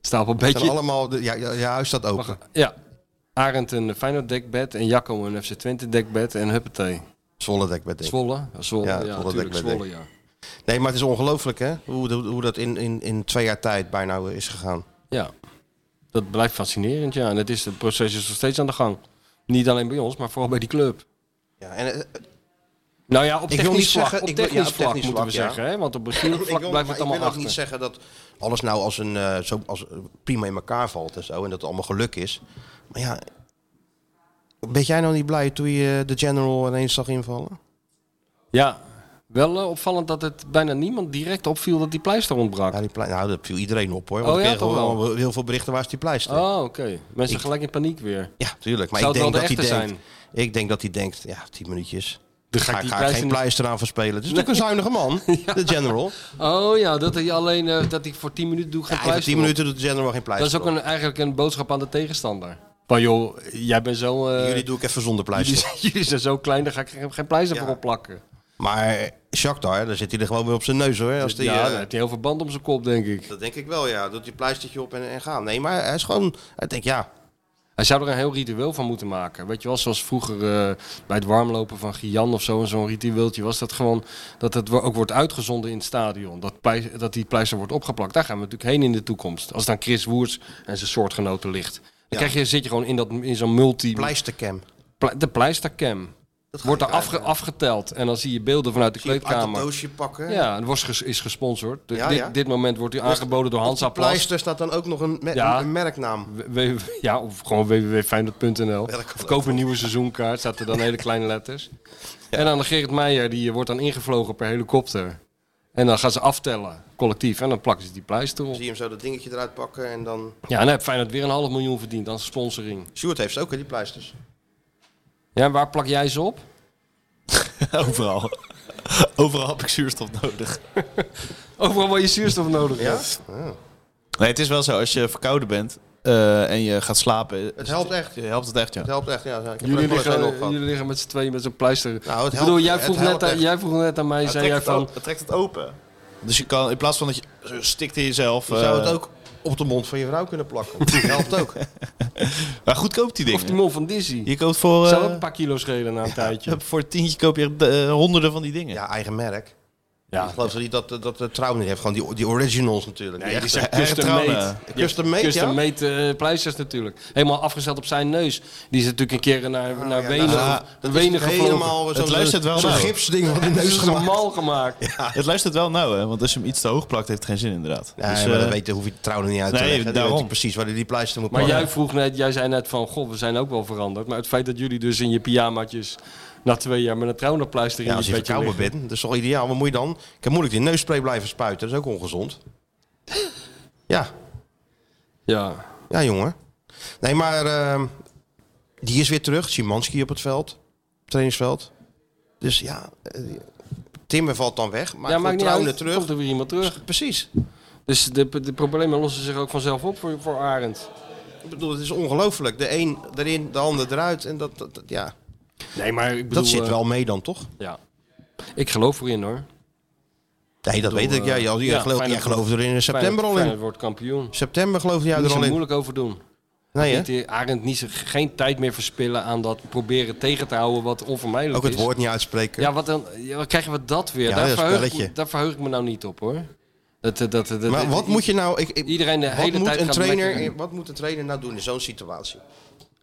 C: zijn
D: Stapelbedje.
C: allemaal... de- ja, ja, je huis staat open.
D: Ja. Arend een Feyenoord dekbed en Jacco een FC Twente dekbed en huppatee.
C: Zwolle dekbed. denk ik.
D: Zwolle? Ja, Zwolle,
C: Ja,
D: ja,
C: Zwolle
D: natuurlijk
C: dekbed,
D: Zwolle, ja.
C: Nee, maar het is ongelooflijk hè, hoe, hoe, hoe dat in, in, in twee jaar tijd bijna is gegaan.
D: Ja. Dat blijft fascinerend, ja. En het, is, het proces is nog steeds aan de gang. Niet alleen bij ons, maar vooral bij die club.
C: Ja, en, eh,
D: Nou ja, op
C: wil
D: technisch
C: niet
D: vlak,
C: zeggen-
D: op
C: ik wil- ja,
D: technisch
C: op
D: vlak
C: technisch
D: moeten we
C: vlak, ja.
D: zeggen, hè? Want op
C: ik
D: bestuurlijk
C: wil,
D: vlak
C: maar
D: blijft
C: ik
D: het
C: wil
D: allemaal
C: ook
D: achter.
C: niet zeggen dat alles nou als een, eh, zo, als, eh, prima in elkaar valt en zo. En dat het allemaal geluk is. Maar ja, ben jij nou niet blij toen je eh, de General ineens zag invallen?
D: Ja, wel eh, opvallend dat het bijna niemand direct opviel dat die pleister ontbrak.
C: Ja, die plei- nou, dat viel iedereen op hoor. Want
D: Oh,
C: ik
D: ja,
C: kreeg
D: toch
C: wel
D: wel?
C: heel veel berichten waar is die pleister.
D: oh, oké. Mensen
C: Ik-
D: gelijk in paniek weer.
C: Ja, tuurlijk. Maar
D: Zou
C: ik
D: het
C: denk
D: wel
C: dat
D: de
C: hij denkt.
D: echte
C: Ik denk dat hij denkt, ja, tien minuutjes.
D: Dan
C: Ga,
D: ga ik
C: ik
D: die
C: ga
D: pleister
C: geen
D: niet-
C: pleister aan verspelen. Het is natuurlijk een zuinige man, de general.
D: Oh ja, dat hij alleen eh, dat hij voor 10 minuten doet geen
C: Ja, even
D: pleister.
C: tien
D: op.
C: minuten doet de general geen
D: Dat
C: pleister.
D: is ook
C: op.
D: een, eigenlijk een boodschap aan de tegenstander. Van joh, jij bent zo. eh,
C: Jullie doe ik even zonder
D: jullie,
C: pleister.
D: zijn- jullie zijn zo klein, daar ga ik geen, geen pleister
C: Ja.
D: voor opplakken.
C: Maar Shakhtar, daar zit hij er gewoon weer op zijn neus hoor. Als die,
D: ja,
C: eh,
D: dan heeft hij heel veel band om zijn kop, denk ik.
C: dat denk ik wel, ja. Doet hij pleistertje op en, en gaan. Nee, maar hij is gewoon... Hij denkt, ja,
D: Hij zou er een heel ritueel van moeten maken. Weet je wel, zoals vroeger eh, bij het warmlopen van Gian of zo, en zo'n ritueeltje was dat gewoon dat het wo- ook wordt uitgezonden in het stadion. Dat, plei- dat die pleister wordt opgeplakt. Daar gaan we natuurlijk heen in de toekomst. Als dan Chris Woerts en zijn soortgenoten ligt. Dan krijg je, zit je gewoon in, dat- in zo'n multi...
C: pleistercam.
D: ple- de pleistercam.
C: Dat
D: Wordt er
C: daar
D: afge- afgeteld en dan zie je beelden vanuit de
C: Uit het
D: kleedkamer.
C: doosje pakken.
D: Ja, het was ges- is gesponsord. De-
C: Ja,
D: dit,
C: ja.
D: dit moment wordt u
C: Dus
D: aangeboden door Hansa
C: Op die
D: Plas.
C: pleister staat dan ook nog een, me-
D: Ja.
C: een merknaam.
D: W- w- Ja, of gewoon www.feyenoord.nl.
C: kan
D: Of koop een nieuwe seizoenkaart, staat er dan hele kleine letters.
C: Ja.
D: En dan de Gerrit Meijer, die eh, wordt dan ingevlogen per helikopter. En dan gaan ze aftellen, collectief. En dan plakken ze die pleister op.
C: Zie je hem zo dat dingetje eruit pakken en dan...
D: Ja, en dan heeft Feyenoord weer een half miljoen verdiend aan sponsoring.
C: Sjoerd heeft ze ook, hè, die pleisters.
D: Ja, en waar plak jij ze op?
A: Overal. Overal heb ik zuurstof nodig.
D: Overal waar je zuurstof nodig
C: Ja?
D: hebt.
A: Nee, het is wel zo. Als je verkouden bent eh, en je gaat slapen...
C: Het helpt echt. Het
A: Helpt het echt, ja.
C: helpt echt, ja. Ik heb
D: Jullie
C: er ook wel eens een
D: liggen,
C: opgehad.
D: jullie liggen met z'n tweeën met zo'n pleister.
C: helpt-
D: ik bedoel, jij
C: Nou, het
D: vroeg,
C: helpt
D: net aan,
C: echt.
D: jij vroeg net aan mij, zei jij van...
A: het trekt het open. Dus je kan, in plaats van dat je zo stikt in jezelf...
C: Je zou het
A: eh,
C: ook op de mond van je vrouw kunnen plakken. Dat helpt ook.
A: Maar goedkoop die dingen.
D: Of die mol van Dizzy.
A: Je koopt voor,
D: Zou
A: eh,
D: ook een paar kilo schelen na een tijdje.
A: voor een tientje koop je eh, honderden van die dingen.
C: Ja, eigen merk.
D: Ja,
C: Ik geloof dat, die- dat, dat de trouw niet heeft. Gewoon die, die originals natuurlijk.
D: Nee,
C: die echte.
D: die zijn
A: echt
D: custom
A: trouwen.
D: made.
C: Custom made,
D: Custom
C: ja?
D: made eh, pleisters natuurlijk. Helemaal afgesteld op zijn neus. Die is natuurlijk een keer naar, naar
C: Ja,
D: Wenen,
C: nou, dat is
D: Wenen gevlogen.
C: helemaal
A: Het
C: zo'n-
A: luistert wel
C: Zo'n
A: naar.
C: gipsding van die
D: Dat
C: neus
D: is een
C: gemaakt.
D: mal gemaakt.
A: Het luistert wel nauw, hè? Want als je hem iets te hoog plakt, heeft het geen zin inderdaad.
C: Nee,
A: Dus,
C: maar
A: eh,
C: dan weet, hoef je het trouw er niet uit te
A: nee,
C: leggen. Dan
A: daarom.
C: weet hij precies waar hij die pleister moet
D: Maar
C: plakken.
D: jij vroeg net, jij zei net van, god, we zijn ook wel veranderd. Maar het feit dat jullie dus in je pyjamaatjes na twee jaar met een trouwenpleister in
C: Ja,
D: je
C: als je
D: bedje
C: verkouden
D: liggen.
C: bent, dat is toch ideaal. Wat moet je dan? Ik heb moeilijk die neusspray blijven spuiten. Dat is ook ongezond. Ja,
D: Ja.
C: ja jongen. Nee, maar ehm, die is weer terug. Simanski op het veld. Trainingsveld. Dus ja, eh, Timmer valt dan weg. Maar,
D: ja, maakt niet
C: Trouwen
D: uit.
C: terug.
D: Komt er weer iemand terug.
C: Precies.
D: Dus de, de problemen lossen zich ook vanzelf op voor, voor Arend.
C: Ik bedoel, het is ongelooflijk. De een erin, de ander eruit. En dat, dat, dat- ja.
D: Nee, maar ik bedoel...
C: dat zit
D: eh,
C: wel mee dan, toch?
D: Ja. Ik geloof erin, hoor.
C: Nee, dat weet ik. Ja, jij,
D: eh, ja,
C: jij, gelooft, jij
D: Feyenoord-
C: geloofde er in september al
D: Feyenoord
C: in.
D: wordt kampioen.
C: September geloofde jij
D: Niet
C: er
D: zo
C: al in.
D: moeilijk over doen.
C: Nee, hè?
D: Niet die Arend niet, zo- geen tijd meer verspillen aan dat proberen tegen te houden wat onvermijdelijk
C: Ook het
D: is.
C: woord niet uitspreken.
D: Ja, wat dan ja, wat krijgen we dat weer?
C: Ja,
D: daar,
C: dat is een
D: verheug ik, me-
C: spelletje.
D: daar verheug ik me nou niet op hoor. Dat, dat, dat, dat-
C: maar
D: dat-
C: wat moet je nou... Ik, ik-
D: Iedereen de
C: wat
D: hele
C: moet
D: tijd
C: een
D: gaat
C: trainer,
D: mekkeren.
C: Wat moet een trainer nou doen in zo'n situatie?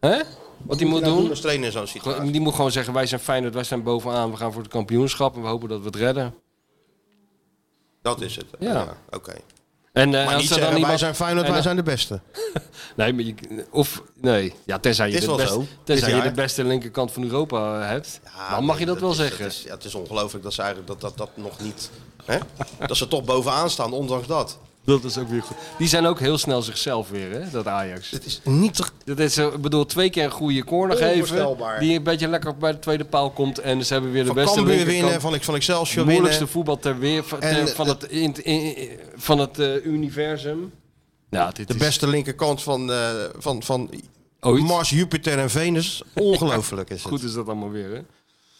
D: Hè? Wat die moet
C: nou
D: doen?
C: als trainer in zo'n situatie?
D: Die moet gewoon zeggen, wij zijn Feyenoord, wij staan bovenaan, we gaan voor het kampioenschap en we hopen dat we het redden.
C: Dat is het. eh,
D: Ja.
C: Oké.
D: En, eh,
C: Maar
D: als
C: niet
D: er dan
C: zeggen, wij
D: iemand-
C: zijn Feyenoord,
D: en,
C: wij
D: eh,
C: zijn de beste.
D: Nee, maar je, of, nee. Ja, tenzij je,
C: Het is
D: de
C: wel
D: beste,
C: zo.
D: tenzij
C: Dit
D: je de
C: jaar.
D: beste linkerkant van Europa eh, hebt,
C: Ja,
D: dan mag je
C: nee,
D: dat, wel
C: is-
D: zeggen.
C: Het is, ja, het is ongelooflijk dat ze eigenlijk dat, dat, dat nog niet... Hè? dat ze toch bovenaan staan, ondanks dat.
D: Dat is ook weer goed. Die zijn ook heel snel zichzelf weer, hè, dat Ajax.
C: Het is niet te...
D: Dat is, eh, ik bedoel, twee keer een goede corner geven.
C: Onvoorstelbaar.
D: Die een beetje lekker bij de tweede paal komt. En ze hebben weer de
C: Van
D: beste
C: Cambuur
D: linkerkant.
C: winnen, van, van
D: de
C: Excelsior
D: moeilijkste
C: winnen.
D: voetbal ter weer van, ter-
C: En,
D: van
C: eh,
D: het, in- in- in- van het eh, universum. Ja, dit
C: De
D: is
C: beste linkerkant van, eh, van, van
D: ooit.
C: Mars, Jupiter en Venus. Ongelooflijk is het.
D: Goed is dat allemaal weer, hè?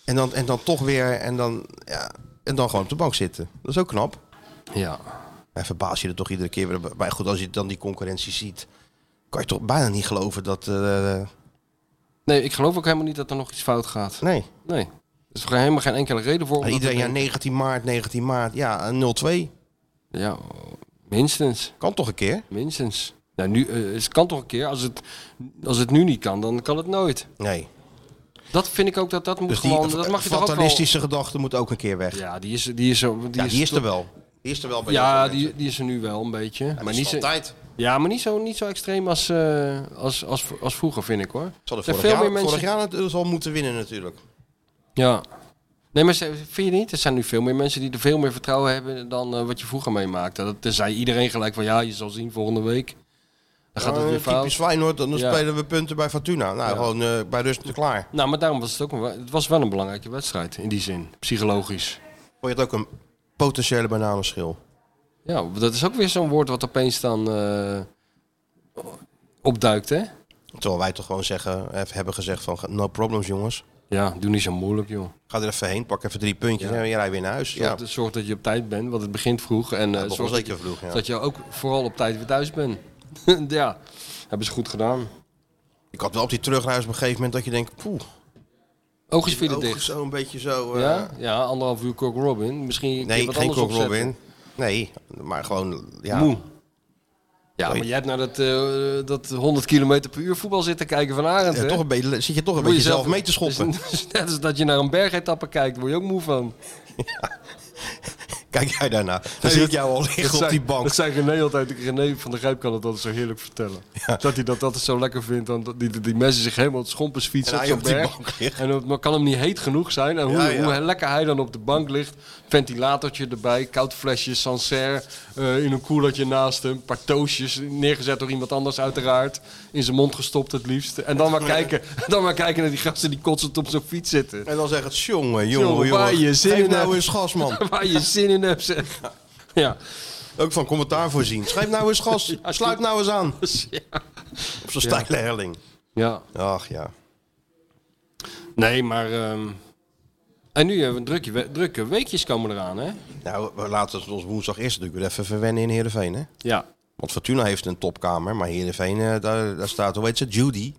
C: En dan, en dan toch weer, en dan, ja, en dan gewoon op de bank zitten. Dat is ook knap.
D: Ja.
C: En verbaas je er toch iedere keer weer. Maar goed, als je dan die concurrentie ziet, kan je toch bijna niet geloven dat... eh,
D: Nee, ik geloof ook helemaal niet dat er nog iets fout gaat.
C: nee.
D: Nee. Er is toch helemaal geen enkele reden voor. om
C: En
D: dat te
C: iedereen, ja,
D: denken.
C: 19 maart, 19 maart. Ja, 0-2.
D: Ja, minstens.
C: Kan toch een keer?
D: Minstens. Nou, nu, eh, het kan toch een keer. Als het, als het nu niet kan, dan kan het nooit.
C: Nee.
D: Dat vind ik ook dat dat moet
C: Dus die
D: gewoon. Dat mag je toch ook wel.
C: fatalistische gedachte moet ook een keer weg. Ja,
D: Ja, die is, die is, zo- die
C: die is,
D: is,
C: er wel. Die is er wel bij
D: Ja,
C: heel veel
D: die,
C: mensen.
D: die is er nu wel een beetje.
C: Ja,
D: maar
C: die
D: niet
C: is
D: zo,
C: altijd.
D: ja, maar niet zo, niet zo extreem als, eh, als, als, als vroeger, vind ik hoor.
C: Ze hadden
D: zijn
C: vorig,
D: veel
C: jaar,
D: meer mensen-
C: vorig jaar natuurlijk al moeten winnen natuurlijk.
D: Ja. Nee, maar ze- vind je niet? Er zijn nu veel meer mensen die er veel meer vertrouwen hebben dan eh, wat je vroeger meemaakte. Dat, er zei iedereen gelijk van ja, je zal zien volgende week. Dan gaat het
C: Ja,
D: weer fout.
C: Eh, Typisch Feyenoord, dan
D: Ja.
C: spelen we punten bij Fortuna. Nou, gewoon eh, bij rust klaar.
D: Nou, maar daarom was het ook een, het was wel een belangrijke wedstrijd in die zin, psychologisch.
C: Vond je het ook een potentiële bananenschil?
D: Ja, dat is ook weer zo'n woord wat opeens dan eh, opduikt, hè?
C: eh, Terwijl wij toch gewoon zeggen, hef- hebben gezegd van no problems jongens.
D: Ja, doe niet zo moeilijk, joh.
C: Ga er even heen, pak even drie puntjes en je rijdt weer naar huis.
D: Zorg,
C: Ja,
D: zorg dat je op tijd bent, want het begint vroeg. En eh,
C: begon
D: zorg dat
C: zeker
D: je,
C: vroeg, ja.
D: dat je ook vooral op tijd weer thuis bent. ja, hebben ze goed gedaan.
C: ik had wel op die terugreis op een gegeven moment dat je denkt, poeh,
D: Oog is
C: die
D: verder
C: ogen
D: dicht.
C: zo een beetje zo... eh,
D: Ja? ja, anderhalf uur Cock Robin. Misschien een keer
C: Nee,
D: wat
C: geen
D: anders
C: Cock
D: opzetten.
C: Robin. Nee, maar gewoon... Ja.
D: Moe. Ja,
C: Sorry.
D: maar jij hebt naar dat, eh, dat 100 km per uur voetbal zitten kijken van Arend.
C: Ja,
D: hè?
C: toch een beetje, zit je toch een
D: Moet je Dus-
C: beetje zelf mee te schoppen.
D: Het is Net als dat je naar een bergetappe kijkt, daar word je ook moe van.
C: Kijk jij daarna. Dan zie ik jou al liggen op die bank.
D: Dat zei René altijd. René van de Grijp kan het altijd zo heerlijk vertellen. Dat hij dat altijd zo lekker vindt. Want die, die, die mensen zich helemaal het schompens fietsen
C: En hij
D: op zo'n
C: op die
D: berg.
C: bank ligt.
D: En het maar kan hem niet heet genoeg zijn. En hoe,
C: Ja, ja.
D: hoe lekker hij dan op de bank ligt. Ventilatortje erbij, koud flesje, Sancerre. eh, in een koelertje naast hem. Een paar toastjes, neergezet door iemand anders uiteraard. In zijn mond gestopt het liefst. En dan maar kijken, dan maar kijken naar die gasten die kotsend op zo'n fiets zitten.
C: En dan zegt het, jongen,
D: Jongen,
C: jongen,
D: waar
C: jongen.
D: je zin
C: Geef
D: in hebt.
C: nou eens gas, man.
D: Waar je zin in hebt zeg. Ja,
C: Ook van commentaar voorzien. Schrijf nou eens gas. Sluit nou eens aan.
D: ja.
C: Op zo'n steile helling.
D: ja.
C: Ach ja.
D: Nee, maar. ehm, En nu hebben we drukke, we- drukke weekjes komen eraan, hè?
C: Nou, we laten het ons woensdag eerst natuurlijk weer even verwennen in Heerenveen, hè?
D: Ja.
C: Want Fortuna heeft een topkamer, maar Heerenveen, eh, daar, daar staat, hoe heet ze, Judy.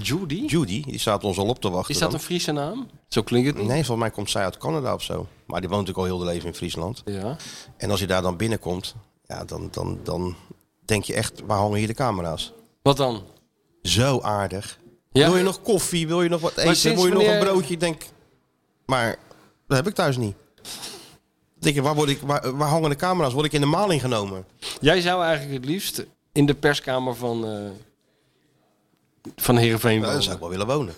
D: Judy?
C: Judy, die staat ons al op te wachten.
D: Is dat een
C: dan.
D: Friese naam? Zo klinkt het niet.
C: Nee, volgens mij komt zij uit Canada of zo. Maar die woont natuurlijk al heel de leven in Friesland.
D: Ja.
C: En als je daar dan binnenkomt, ja, dan, dan, dan denk je echt, waar hangen hier de camera's?
D: Wat dan?
C: Zo aardig.
D: Ja.
C: Wil je nog koffie? Wil je nog wat eten?
D: sinds
C: Wil je nog een
D: wanneer-
C: broodje? Ik Denk, maar dat heb ik thuis niet. Denk je, waar, word ik, waar, waar hangen de camera's? Word ik in de maling genomen?
D: Jij zou eigenlijk het liefst in de perskamer van. eh van
C: Nou,
D: Heerenveen
C: dat
D: wonen.
C: zou ik wel willen wonen.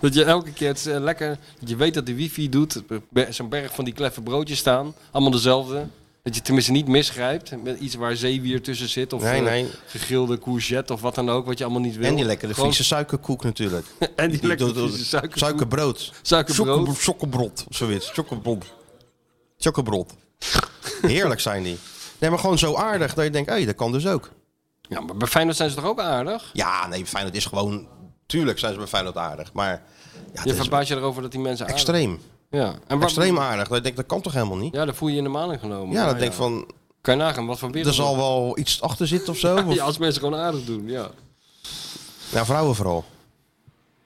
D: Dat je elke keer het, is, eh, lekker, dat je weet dat de wifi doet, be- zo'n berg van die kleffe broodjes staan, allemaal dezelfde. Dat je tenminste niet misgrijpt met iets waar zeewier tussen zit of
C: Nee,
D: eh,
C: nee.
D: gegrilde courgette of wat dan ook, wat je allemaal niet wil.
C: En die lekkere
D: Gewoon-
C: Friese suikerkoek natuurlijk.
D: En die lekkere
C: doet- doet-
D: Friese suikerkoek.
C: Suikerbrood.
D: Suikerbrood.
C: Chocobro- Chocobrot, of zoiets. Chocobrot. Chocobrot. Heerlijk zijn die. Nee, maar gewoon zo aardig dat je denkt, hé, dat kan dus ook.
D: Ja, maar bij Feyenoord zijn ze toch ook aardig?
C: Ja, nee, Feyenoord is gewoon... Tuurlijk zijn ze bij Feyenoord aardig, maar... Ja,
D: Je
C: dat is
D: verbaast je erover dat die mensen aardig
C: extreem.
D: Ja. En waar-
C: Extreem aardig. Dat je denkt, dat kan toch helemaal niet?
D: Ja, daar voel je je in de maling genomen.
C: Ja, dat denk ik van,
D: Kan je nagaan, wat voor wereld.
C: er zal wel iets achter zitten of zo. Of,
D: Ja, als mensen gewoon aardig doen, ja.
C: Ja, vrouwen vooral.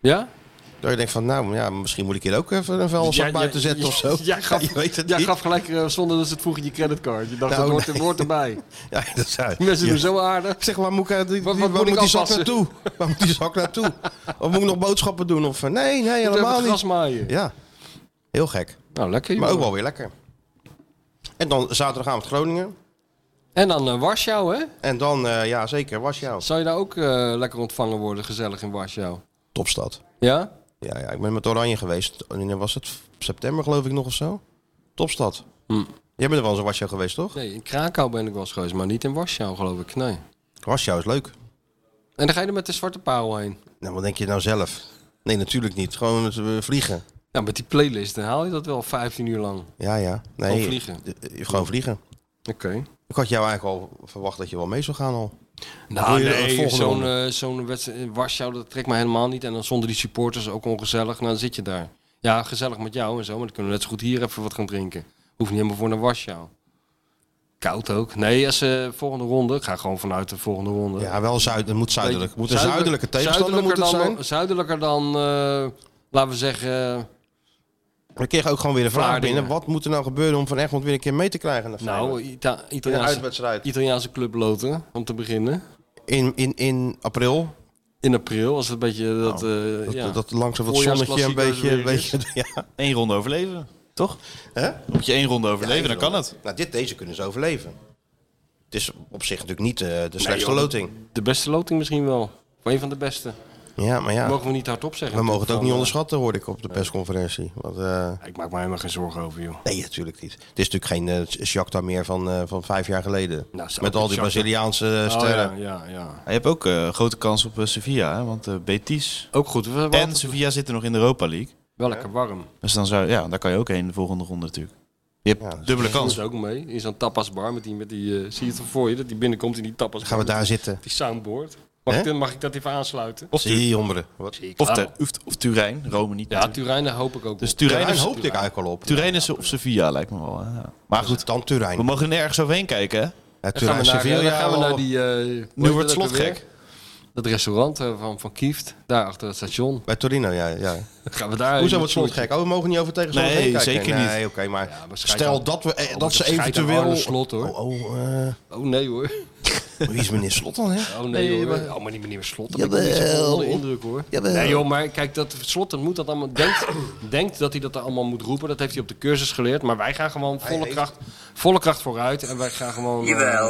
D: Ja?
C: Dat je denkt van, nou ja, misschien moet ik hier ook even een vuilniszak
D: Jij-
C: buiten
D: jij-
C: zetten of zo.
D: Jij gaf,
C: Ja, je weet het
D: jij
C: niet.
D: gaf gelijk, eh, zonder dat ze het vroeg in je creditcard. Je dacht,
C: Nou,
D: dat hoort,
C: nee.
D: er- hoort erbij.
C: Ja, dat zou
D: Die mensen
C: Ja.
D: doen zo aardig.
C: Ik zeg, waar moet, ik, eh, die,
D: Wat-
C: die-
D: wat
C: waar
D: moet ik
C: moet die zak
D: afwassen?
C: naartoe? Waar moet die zak naartoe? Of moet ik nog boodschappen doen? Of, eh, nee, nee,
D: Moet even
C: helemaal
D: het gras
C: niet.
D: maaien.
C: Ja, heel gek.
D: Nou, lekker.
C: Maar ook
D: jongen.
C: wel weer lekker. En dan zaterdagavond Groningen.
D: En dan eh, Warschau, hè?
C: En dan, eh, ja zeker, Warschau.
D: Zou je daar ook eh, lekker ontvangen worden, gezellig in Warschau?
C: Topstad.
D: Ja?
C: Ja, ja, ik ben met Oranje geweest. Wanneer was het? September geloof ik nog of zo. Topstad.
D: Hm.
C: Jij bent er wel eens in Warschau geweest, toch?
D: Nee, in Krakau ben ik wel eens geweest, maar niet in Warschau, geloof ik. Nee.
C: Warschau is leuk.
D: En dan ga je er met de zwarte parel heen.
C: Nou, wat denk je nou zelf? Nee, natuurlijk niet. Gewoon met, eh, vliegen.
D: Ja, met die playlist dan haal je dat wel 15 uur lang.
C: Ja, ja. Nee,
D: Gewoon vliegen.
C: eh, eh, gewoon vliegen.
D: Oké.
C: Ik had jou eigenlijk al verwacht dat je wel mee zou gaan al.
D: Nou,
C: Doe je een
D: nee,
C: volgende
D: zo'n
C: ronde?
D: eh, zo'n wedstrijd in Warschau, dat trekt me helemaal niet. En dan zonder die supporters ook ongezellig. Nou, dan zit je daar. Ja, gezellig met jou en zo, maar dan kunnen we net zo goed hier even wat gaan drinken. Hoeft niet helemaal voor naar Warschau. Koud ook. Nee, als eh volgende ronde, ik ga gewoon vanuit de volgende ronde.
C: Ja, wel zuid, het moet zuidelijk. Het moet een
D: Zuidelijk-
C: zuidelijke tegenstander moet
D: zuidelijker
C: het zijn.
D: dan, Zuidelijker dan, eh, laten we zeggen,
C: Dan kreeg ook gewoon weer de vraag
D: Vlaardingen.
C: binnen. Wat moet er nou gebeuren om Van Egmond weer een keer mee te krijgen? naar
D: nou,
C: Feyenoord?
D: Ita
C: in een
D: Italiaanse,
C: uitwedstrijd.
D: Italiaanse club loten, om te beginnen.
C: In, in, in april.
D: In april, als het een beetje dat... eh,
C: Nou, Dat,
D: ja.
C: dat langzaam dat zonnetje een
D: Voorjaarsklassieker
C: beetje... Een
D: weer is.
C: beetje ja.
A: Eén ronde overleven, toch?
C: Hè?
A: Moet je één ronde overleven, dan kan het.
C: Nou, dit, deze kunnen ze overleven. Het is op zich natuurlijk niet eh, de slechtste loting.
D: De beste loting misschien wel. Of een van de beste.
C: Ja, maar ja.
D: Mogen we niet hardop zeggen.
C: we mogen het ook niet
D: Van,
C: onderschatten, hoorde ik op de persconferentie. Want, eh,
D: eh, Ik maak me helemaal geen zorgen over, joh.
C: nee, natuurlijk niet. Het is natuurlijk geen eh Shakhtar meer van, eh, van vijf jaar geleden.
D: Nou, zou
C: Met
D: ook
C: al die
D: Shakhtar-
C: Braziliaanse eh,
D: Oh,
C: sterren.
D: ja, ja, ja.
A: Je hebt ook eh, grote kans op eh, Sevilla, hè? want eh, Betis
D: Ook goed. We waren
A: en
D: altijd
A: Sevilla zitten nog in de Europa League.
D: wel lekker warm.
A: Dus dan zou, ja, daar kan je ook heen de volgende ronde natuurlijk. Je hebt
C: Ja, dus
A: dubbele
D: Dat
A: kans.
D: is ook mee. In zo'n tapasbar met die... Met die eh, zie je het voor je? Dat die binnenkomt in die tapasbar.
C: Gaan we daar
D: met
C: zitten?
D: Die soundboard. Mag,
C: Hè?
D: ik, dit- mag ik dat even aansluiten?
A: Of, Tu-
C: Zie jongeren. Wat?
A: of, Ter- of, of Turijn, Rome niet.
D: Ja, Turijn daar hoop ik ook
A: dus
D: op.
A: Turijn,
C: Turijn
A: is,
C: hoopte ik eigenlijk al op.
A: Turijn is of Sevilla lijkt me wel. hè. Ja. Maar goed,
C: Dan
A: we
C: Turijn.
A: mogen nergens overheen kijken. Hè?
C: Ja,
D: Dan gaan we
C: Turijn,
D: naar,
C: Sevilla. oh.
D: dan gaan we
C: al-
D: naar die... eh, hoe heet
A: wordt
D: dat
A: slot
D: ook alweer?
A: gek.
D: Dat restaurant eh, van, van Kieft, daar achter het station.
C: Bij Torino, ja. ja.
D: Dan gaan we daar
C: Hoezo
D: wat
C: wordt slot gek? Oh, we mogen niet over tegen slot
A: Nee,
C: heen kijken.
A: zeker
C: nee,
A: niet.
C: oké, maar
D: Ja, maar schijt
C: stel
D: aan-
C: dat, we, eh,
D: Oh,
C: dat
D: dat
C: ze
D: schijt aan
C: eventueel...
D: Arne Slot, hoor.
C: Oh, oh eh,
D: Oh nee hoor.
C: wie is meneer Slot dan, hè?
D: Oh nee, hoor. Maar... Oh, maar niet meneer Slot. Daar ben ik niet zo onder de indruk hoor. Nee joh, maar kijk, dat Slot dat moet dat allemaal... Denkt, denkt dat hij dat allemaal moet roepen. Dat heeft hij op de cursus geleerd. Maar wij gaan gewoon volle kracht, volle kracht vooruit. En wij gaan gewoon... eh,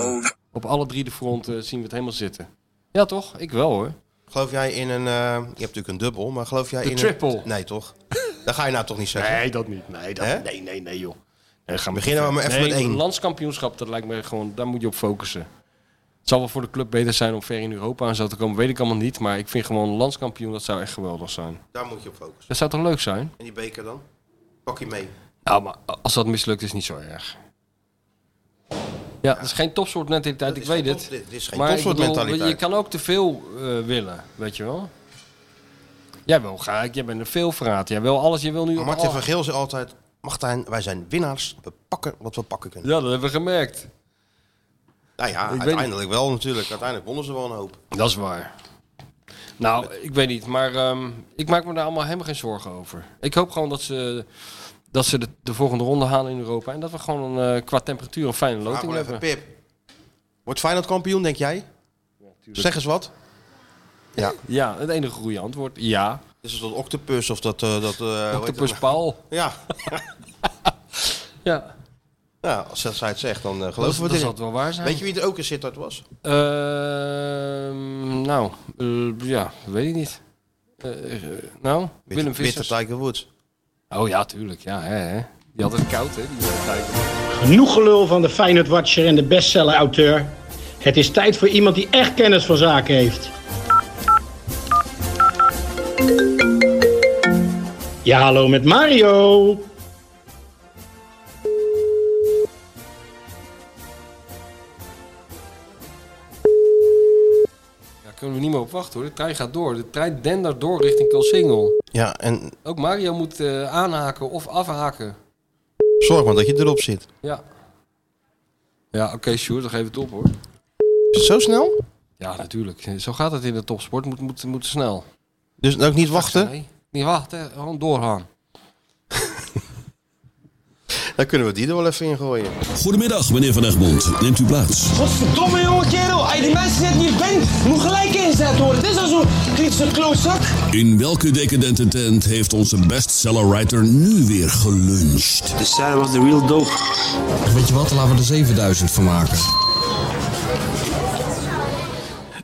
D: op alle drie de fronten zien we het helemaal zitten. Ja toch? Ik wel hoor.
C: Geloof jij in een... eh, je hebt natuurlijk een dubbel, maar geloof jij
D: De
C: in
D: triple.
C: een... Nee, toch? Dat ga je nou toch niet zeggen?
D: Nee, dat niet. Nee, dat,
C: Hè?
D: nee, nee, nee joh. Nee, gaan
C: Beginnen we maar even
D: nee,
C: met één.
D: landskampioenschap, dat lijkt me gewoon... Daar moet je op focussen. Het zal wel voor de club beter zijn om ver in Europa aan zou te komen. Weet ik allemaal niet. Maar ik vind gewoon landskampioen, dat zou echt geweldig zijn.
C: Daar moet je op focussen.
D: Dat zou toch leuk zijn?
C: En die beker dan? Pak je mee.
D: Nou, maar als dat mislukt is niet zo erg. Ja, het is geen topsportmentaliteit, ik
C: is
D: weet
C: geen
D: het.
C: top- dit is geen
D: Maar ik bedoel,
C: topsportmentaliteit.
D: Je kan ook te veel eh, willen, weet je wel. Jij wil graag, jij bent een veelverraad. Jij wil alles, je wil nu...
C: Maar
D: op
C: Martin
D: al-
C: van Geel zei altijd... Martijn, wij zijn winnaars. We pakken wat we pakken kunnen.
D: Ja, dat hebben we gemerkt.
C: Nou ja,
D: weet
C: uiteindelijk wel natuurlijk. Uiteindelijk wonnen ze wel een hoop.
D: Dat is waar. Nou, ik weet niet, maar ehm, ik maak me daar allemaal helemaal geen zorgen over. Ik hoop gewoon dat ze, dat ze de, de volgende ronde halen in Europa. En dat we gewoon eh, qua temperatuur een fijne
C: Vraag
D: loting
C: maar even,
D: hebben.
C: Pip. Wordt Feyenoord kampioen, denk jij? zeg eens wat. Ja.
D: Ja, het enige goede antwoord, ja.
C: Is het dat octopus of dat... eh dat eh, hoe Eh, heet
D: Octopus
C: dat?
D: Paul.
C: Ja.
D: Ja,
C: ja, als zij het zegt, dan eh,
D: dat,
C: geloven we
D: dat
C: het
D: zal
C: in.
D: wel waar zijn.
C: Weet je wie er ook in Sittard was?
D: Ehm, nou, eh, ja, dat weet ik niet. Eh, eh, nou, Willem
C: Witte-
D: Vissers.
C: Witte Tiger Woods.
D: Oh ja, tuurlijk, ja. Hè, hè. Die had het koud, hè, die Willem Tijger.
G: Genoeg gelul van de Feyenoord Watcher en de bestseller auteur. Het is tijd voor iemand die echt kennis van zaken heeft. Ja, hallo met Mario.
D: Daar kunnen we niet meer op wachten, hoor. De trein gaat door. De trein dendert door richting Kalsingel.
C: Ja, en
D: Ook Mario moet eh, aanhaken of afhaken.
C: zorg maar dat je erop zit.
D: Ja. Ja, oké, Sjoerd, dan geef het op, hoor.
C: Is het zo snel?
D: Ja, natuurlijk. Zo gaat het in de topsport. Moet, moet, moet snel.
C: Dus ook niet wachten?
D: Nee, niet wachten. Gewoon doorgaan.
C: Dan kunnen we die er wel even in gooien.
E: Goedemiddag, meneer Van Egmond. Neemt u plaats.
H: Godverdomme jonge kerel, als je die mensen net niet bent, moet gelijk inzet worden. Dit is al zo'n kritische klootzak.
E: In welke decadente tent heeft onze bestsellerwriter nu weer geluncht?
I: De Sarah was de real dope.
J: Weet je wat, laten we er 7000 van maken.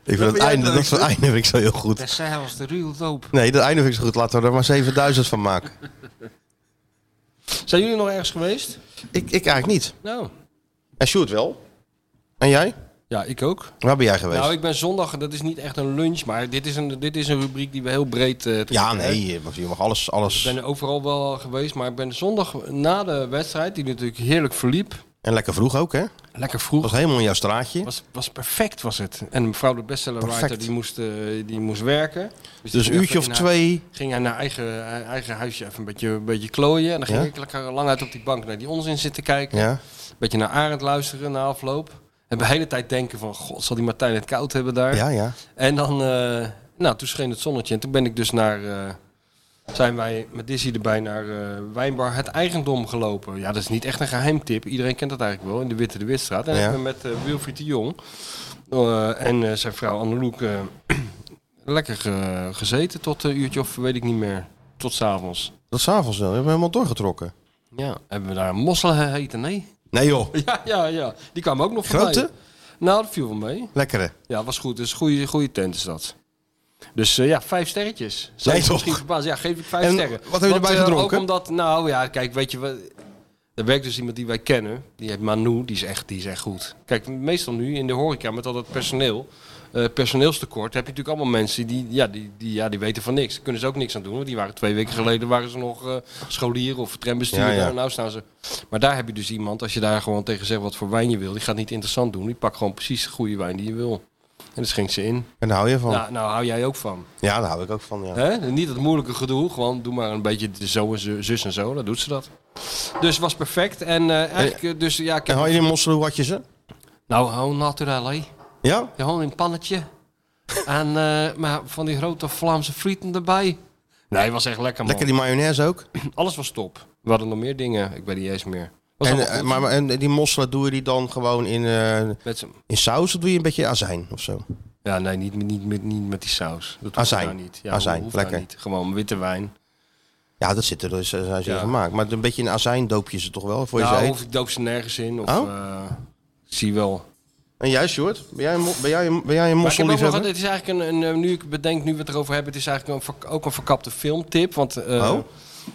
C: Ik vind het einde, dat van einde vind ik zo heel goed.
D: Dat zij was de real dope.
C: Nee, dat einde vind ik zo goed. Laten we er maar 7000 van maken.
D: Zijn jullie nog ergens geweest?
C: Ik, ik eigenlijk niet.
D: Nou.
C: En Sjoerd wel. En jij?
D: Ja, ik ook.
C: Waar ben jij geweest?
D: Nou, ik ben zondag, dat is niet echt een lunch, maar dit is een, dit is een rubriek die we heel breed... eh,
C: Ja,
D: trekken, hè.
C: nee, je mag- je mag alles... alles.
D: Ik ben overal wel geweest, maar ik ben zondag na de wedstrijd, die natuurlijk heerlijk verliep.
C: En lekker vroeg ook, hè? Dat
D: Lekker vroeg.
C: was helemaal in jouw straatje.
D: Was, was perfect, was het. En mevrouw de bestsellerwriter,
C: Perfect.
D: die moest, eh, die moest werken. Dus, die
C: Dus
D: ging
C: een uurtje
D: even
C: of
D: in
C: twee.
D: Haar, ging hij naar eigen, haar eigen huisje even een beetje, een beetje klooien. En dan ging
C: Ja?
D: ik lekker lang uit op die bank naar die onzin zitten kijken.
C: Ja.
D: Een beetje naar Arend luisteren na afloop. En de hele tijd denken van, god, zal die Martijn het koud hebben daar?
C: Ja, ja.
D: En dan, eh, nou, toen scheen het zonnetje. En toen ben ik dus naar, eh, zijn wij met Dizzy erbij naar eh, Wijnbar het eigendom gelopen. Ja, dat is niet echt een geheim tip. Iedereen kent dat eigenlijk wel, in de Witte de Witstraat. En
C: Ja.
D: ik ben met eh, Wilfried de Jong eh, en eh, zijn vrouw Anneloek eh lekker eh, gezeten tot een uurtje of weet ik niet meer. Tot s'avonds.
C: Dat s'avonds wel. We hebben helemaal doorgetrokken.
D: Ja, hebben we daar een mossel gegeten? Nee.
C: Nee, joh.
D: Ja, ja, ja. Die kwamen ook nog
C: Grote?
D: voorbij. Nou, dat viel wel mee.
C: Lekkere.
D: Ja, was goed. Dus goede, goede tent is dat. Dus eh, ja, vijf sterretjes. Zou
C: Nee,
D: je
C: toch?
D: misschien verbaasd. Ja, geef ik vijf
C: En
D: sterren.
C: wat heb je
D: Want,
C: erbij
D: eh,
C: gedronken?
D: Ook omdat, nou ja, kijk, weet je, wat- er werkt dus iemand die wij kennen. Die heet Manu, die is echt, die is echt goed. Kijk, meestal nu in de horeca met al dat personeel, eh, personeelstekort, heb je natuurlijk allemaal mensen die, ja, die, die, ja, die weten van niks. Daar kunnen ze ook niks aan doen. Want die waren twee weken geleden waren ze nog eh scholieren of trambestuurder.
C: Ja, ja.
D: En nou staan ze. Maar daar heb je dus iemand, als je daar gewoon tegen zegt wat voor wijn je wil, die gaat niet interessant doen. Die pakt gewoon precies de goede wijn die je wil. dat ging ze in.
C: En daar hou je van.
D: Nou, nou hou jij ook van.
C: Ja, daar hou ik ook van. Ja.
D: Hè? Niet dat moeilijke gedoe, gewoon doe maar een beetje zo en zo- zus en zo, dan doet ze dat. Dus was perfect. En eh, eigenlijk, eh, dus ja, ik
C: En
D: heb-
C: hou je in Mosselen, hoe had je ze?
D: Nou, gewoon naturel, hè.
C: Ja?
D: Gewoon in een pannetje. en, eh, maar van die grote Vlaamse frieten erbij. Nee, was echt lekker, man.
C: Lekker die mayonaise ook.
D: Alles was top. We hadden nog meer dingen, ik weet niet eens meer. Was
C: En,
D: allemaal
C: eh,
D: goed.
C: maar, maar- en die mosselen doe je die dan gewoon in, eh,
D: Met z'n-
C: in saus of doe je een beetje azijn of zo?
D: Ja, nee, niet, niet, niet, niet met die saus. Dat hoeft
C: Azijn.
D: nou niet. Ja,
C: Azijn,
D: hoeft nou
C: lekker.
D: niet. Gewoon witte wijn.
C: Ja, dat zit er dus, eh, zijn ze
D: Ja.
C: in gemaakt. Maar een beetje in azijn doop je ze toch wel voor je
D: Nou,
C: ze
D: of
C: eet?
D: ik doop ze nergens in. Of,
C: Oh?
D: eh, zie wel.
C: En jij, Sjoerd? Ben jij een, mo- ben jij een, ben jij een
D: Maar ik heb ook nog,
C: mosselliefhebber?
D: het is eigenlijk een, een, eh, nu ik bedenk, nu we het erover hebben, het is eigenlijk een, verk- ook een verkapte filmtip. Want eh,
C: Oh.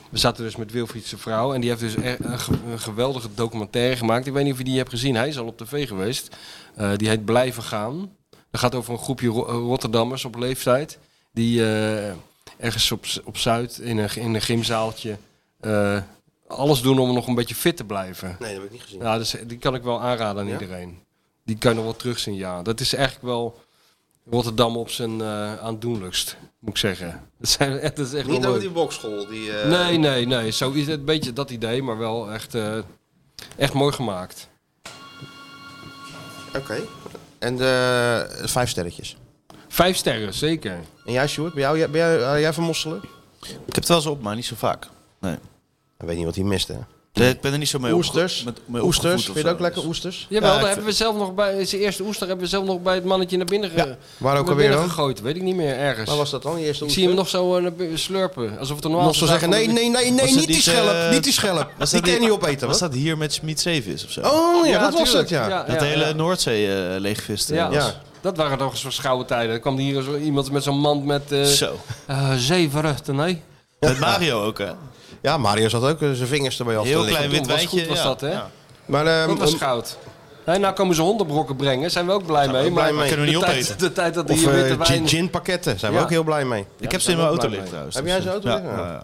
D: we zaten dus met Wilfried zijn vrouw en die heeft dus e- een, ge- een geweldige documentaire gemaakt. Ik weet niet of je die hebt gezien, hij is al op tv geweest. Eh, die heet Blijven Gaan. Dat gaat over een groepje Ro- eh, Rotterdammers op leeftijd. Die eh, ergens op, Z- op Zuid in een, in een gymzaaltje eh, alles doen om nog een beetje fit te blijven.
C: Nee, dat heb ik niet gezien.
D: Ja, dus die kan ik wel aanraden aan
C: Ja?
D: iedereen. Die kan je nog wel terugzien, ja. Dat is eigenlijk wel Rotterdam op zijn eh, aandoenlijkst, moet ik zeggen. Dat, zijn, echt- dat is echt
C: Niet
D: wel
C: over
D: leuk.
C: die bokschool. Die, eh,
D: Nee, nee, nee. Zo is het een beetje dat idee, maar wel echt, eh, echt mooi gemaakt.
C: Oké. En eh, vijf sterretjes.
D: Vijf sterren, zeker.
C: En jij, Sjoerd? Ben, jou, ben jij, hou jij van mosselen?
A: Ik heb het wel eens op, maar niet zo vaak. Nee.
C: Ik weet niet wat hij mist, hè?
A: Nee, ik ben er niet zo mee
C: Oesters.
A: opge- met- mee opgevoed
C: oesters.
A: of
C: Vind je
A: zo,
C: dat ook lekker,
A: dus-
C: oesters?
D: Jawel,
A: ik
D: daar
A: vind-
D: hebben we zelf nog bij zijn eerste oester hebben we zelf nog bij het mannetje naar binnen, ge-
C: Ja, waar ook
D: naar
C: alweer
D: binnen
C: dan?
D: gegooid. Weet ik niet meer ergens.
C: Waar was dat dan? Die eerste
D: ik zie hem
C: oester?
D: nog zo eh, naar binnen slurpen, alsof het een normaal
C: Nog zo zeggen, nee, nee, nee, nee,
A: Was dat
C: niet die
A: niet, eh,
C: schelp, niet die schelp.
A: Was
C: Die
A: dat
C: kan je niet opeten,
A: Was
C: hoor.
A: dat hier met Schmid Zeevis of zo?
C: Oh ja, dat was het, ja.
A: dat hele Noordzee eh, leegvisten.
D: Ja,
C: Ja.
D: als- dat waren toch eens verschouwen tijden. Dan kwam hier zo iemand met zo'n mand met eh
A: Zo.
D: eh, zeven ruchten, nee.
A: Met Mario ook, hè?
C: Ja, Mario zat ook eh, zijn vingers erbij af te
A: Heel
C: likken.
A: klein wit
D: Toen was
A: wijntje.
D: goed was
A: ja.
D: dat, hè?
A: Ja.
C: Maar ehm,
D: Dat was
C: ehm,
D: goud. Hé, nou komen ze hondenbrokken brengen, zijn we ook blij mee.
C: ook blij
D: maar
C: mee.
A: Kunnen we
D: de
A: niet
D: tijd-
A: opeten.
D: De tijd dat
C: of
D: die
C: eh,
D: witte
C: gin,
D: wijn...
C: pakketten, zijn
D: Ja.
C: we ook heel blij mee.
A: ik heb ze in mijn auto
D: blij
A: liggen
D: mee.
A: trouwens.
C: Heb jij
A: dus,
C: ze auto
A: ja,
C: liggen?
A: ja, ja.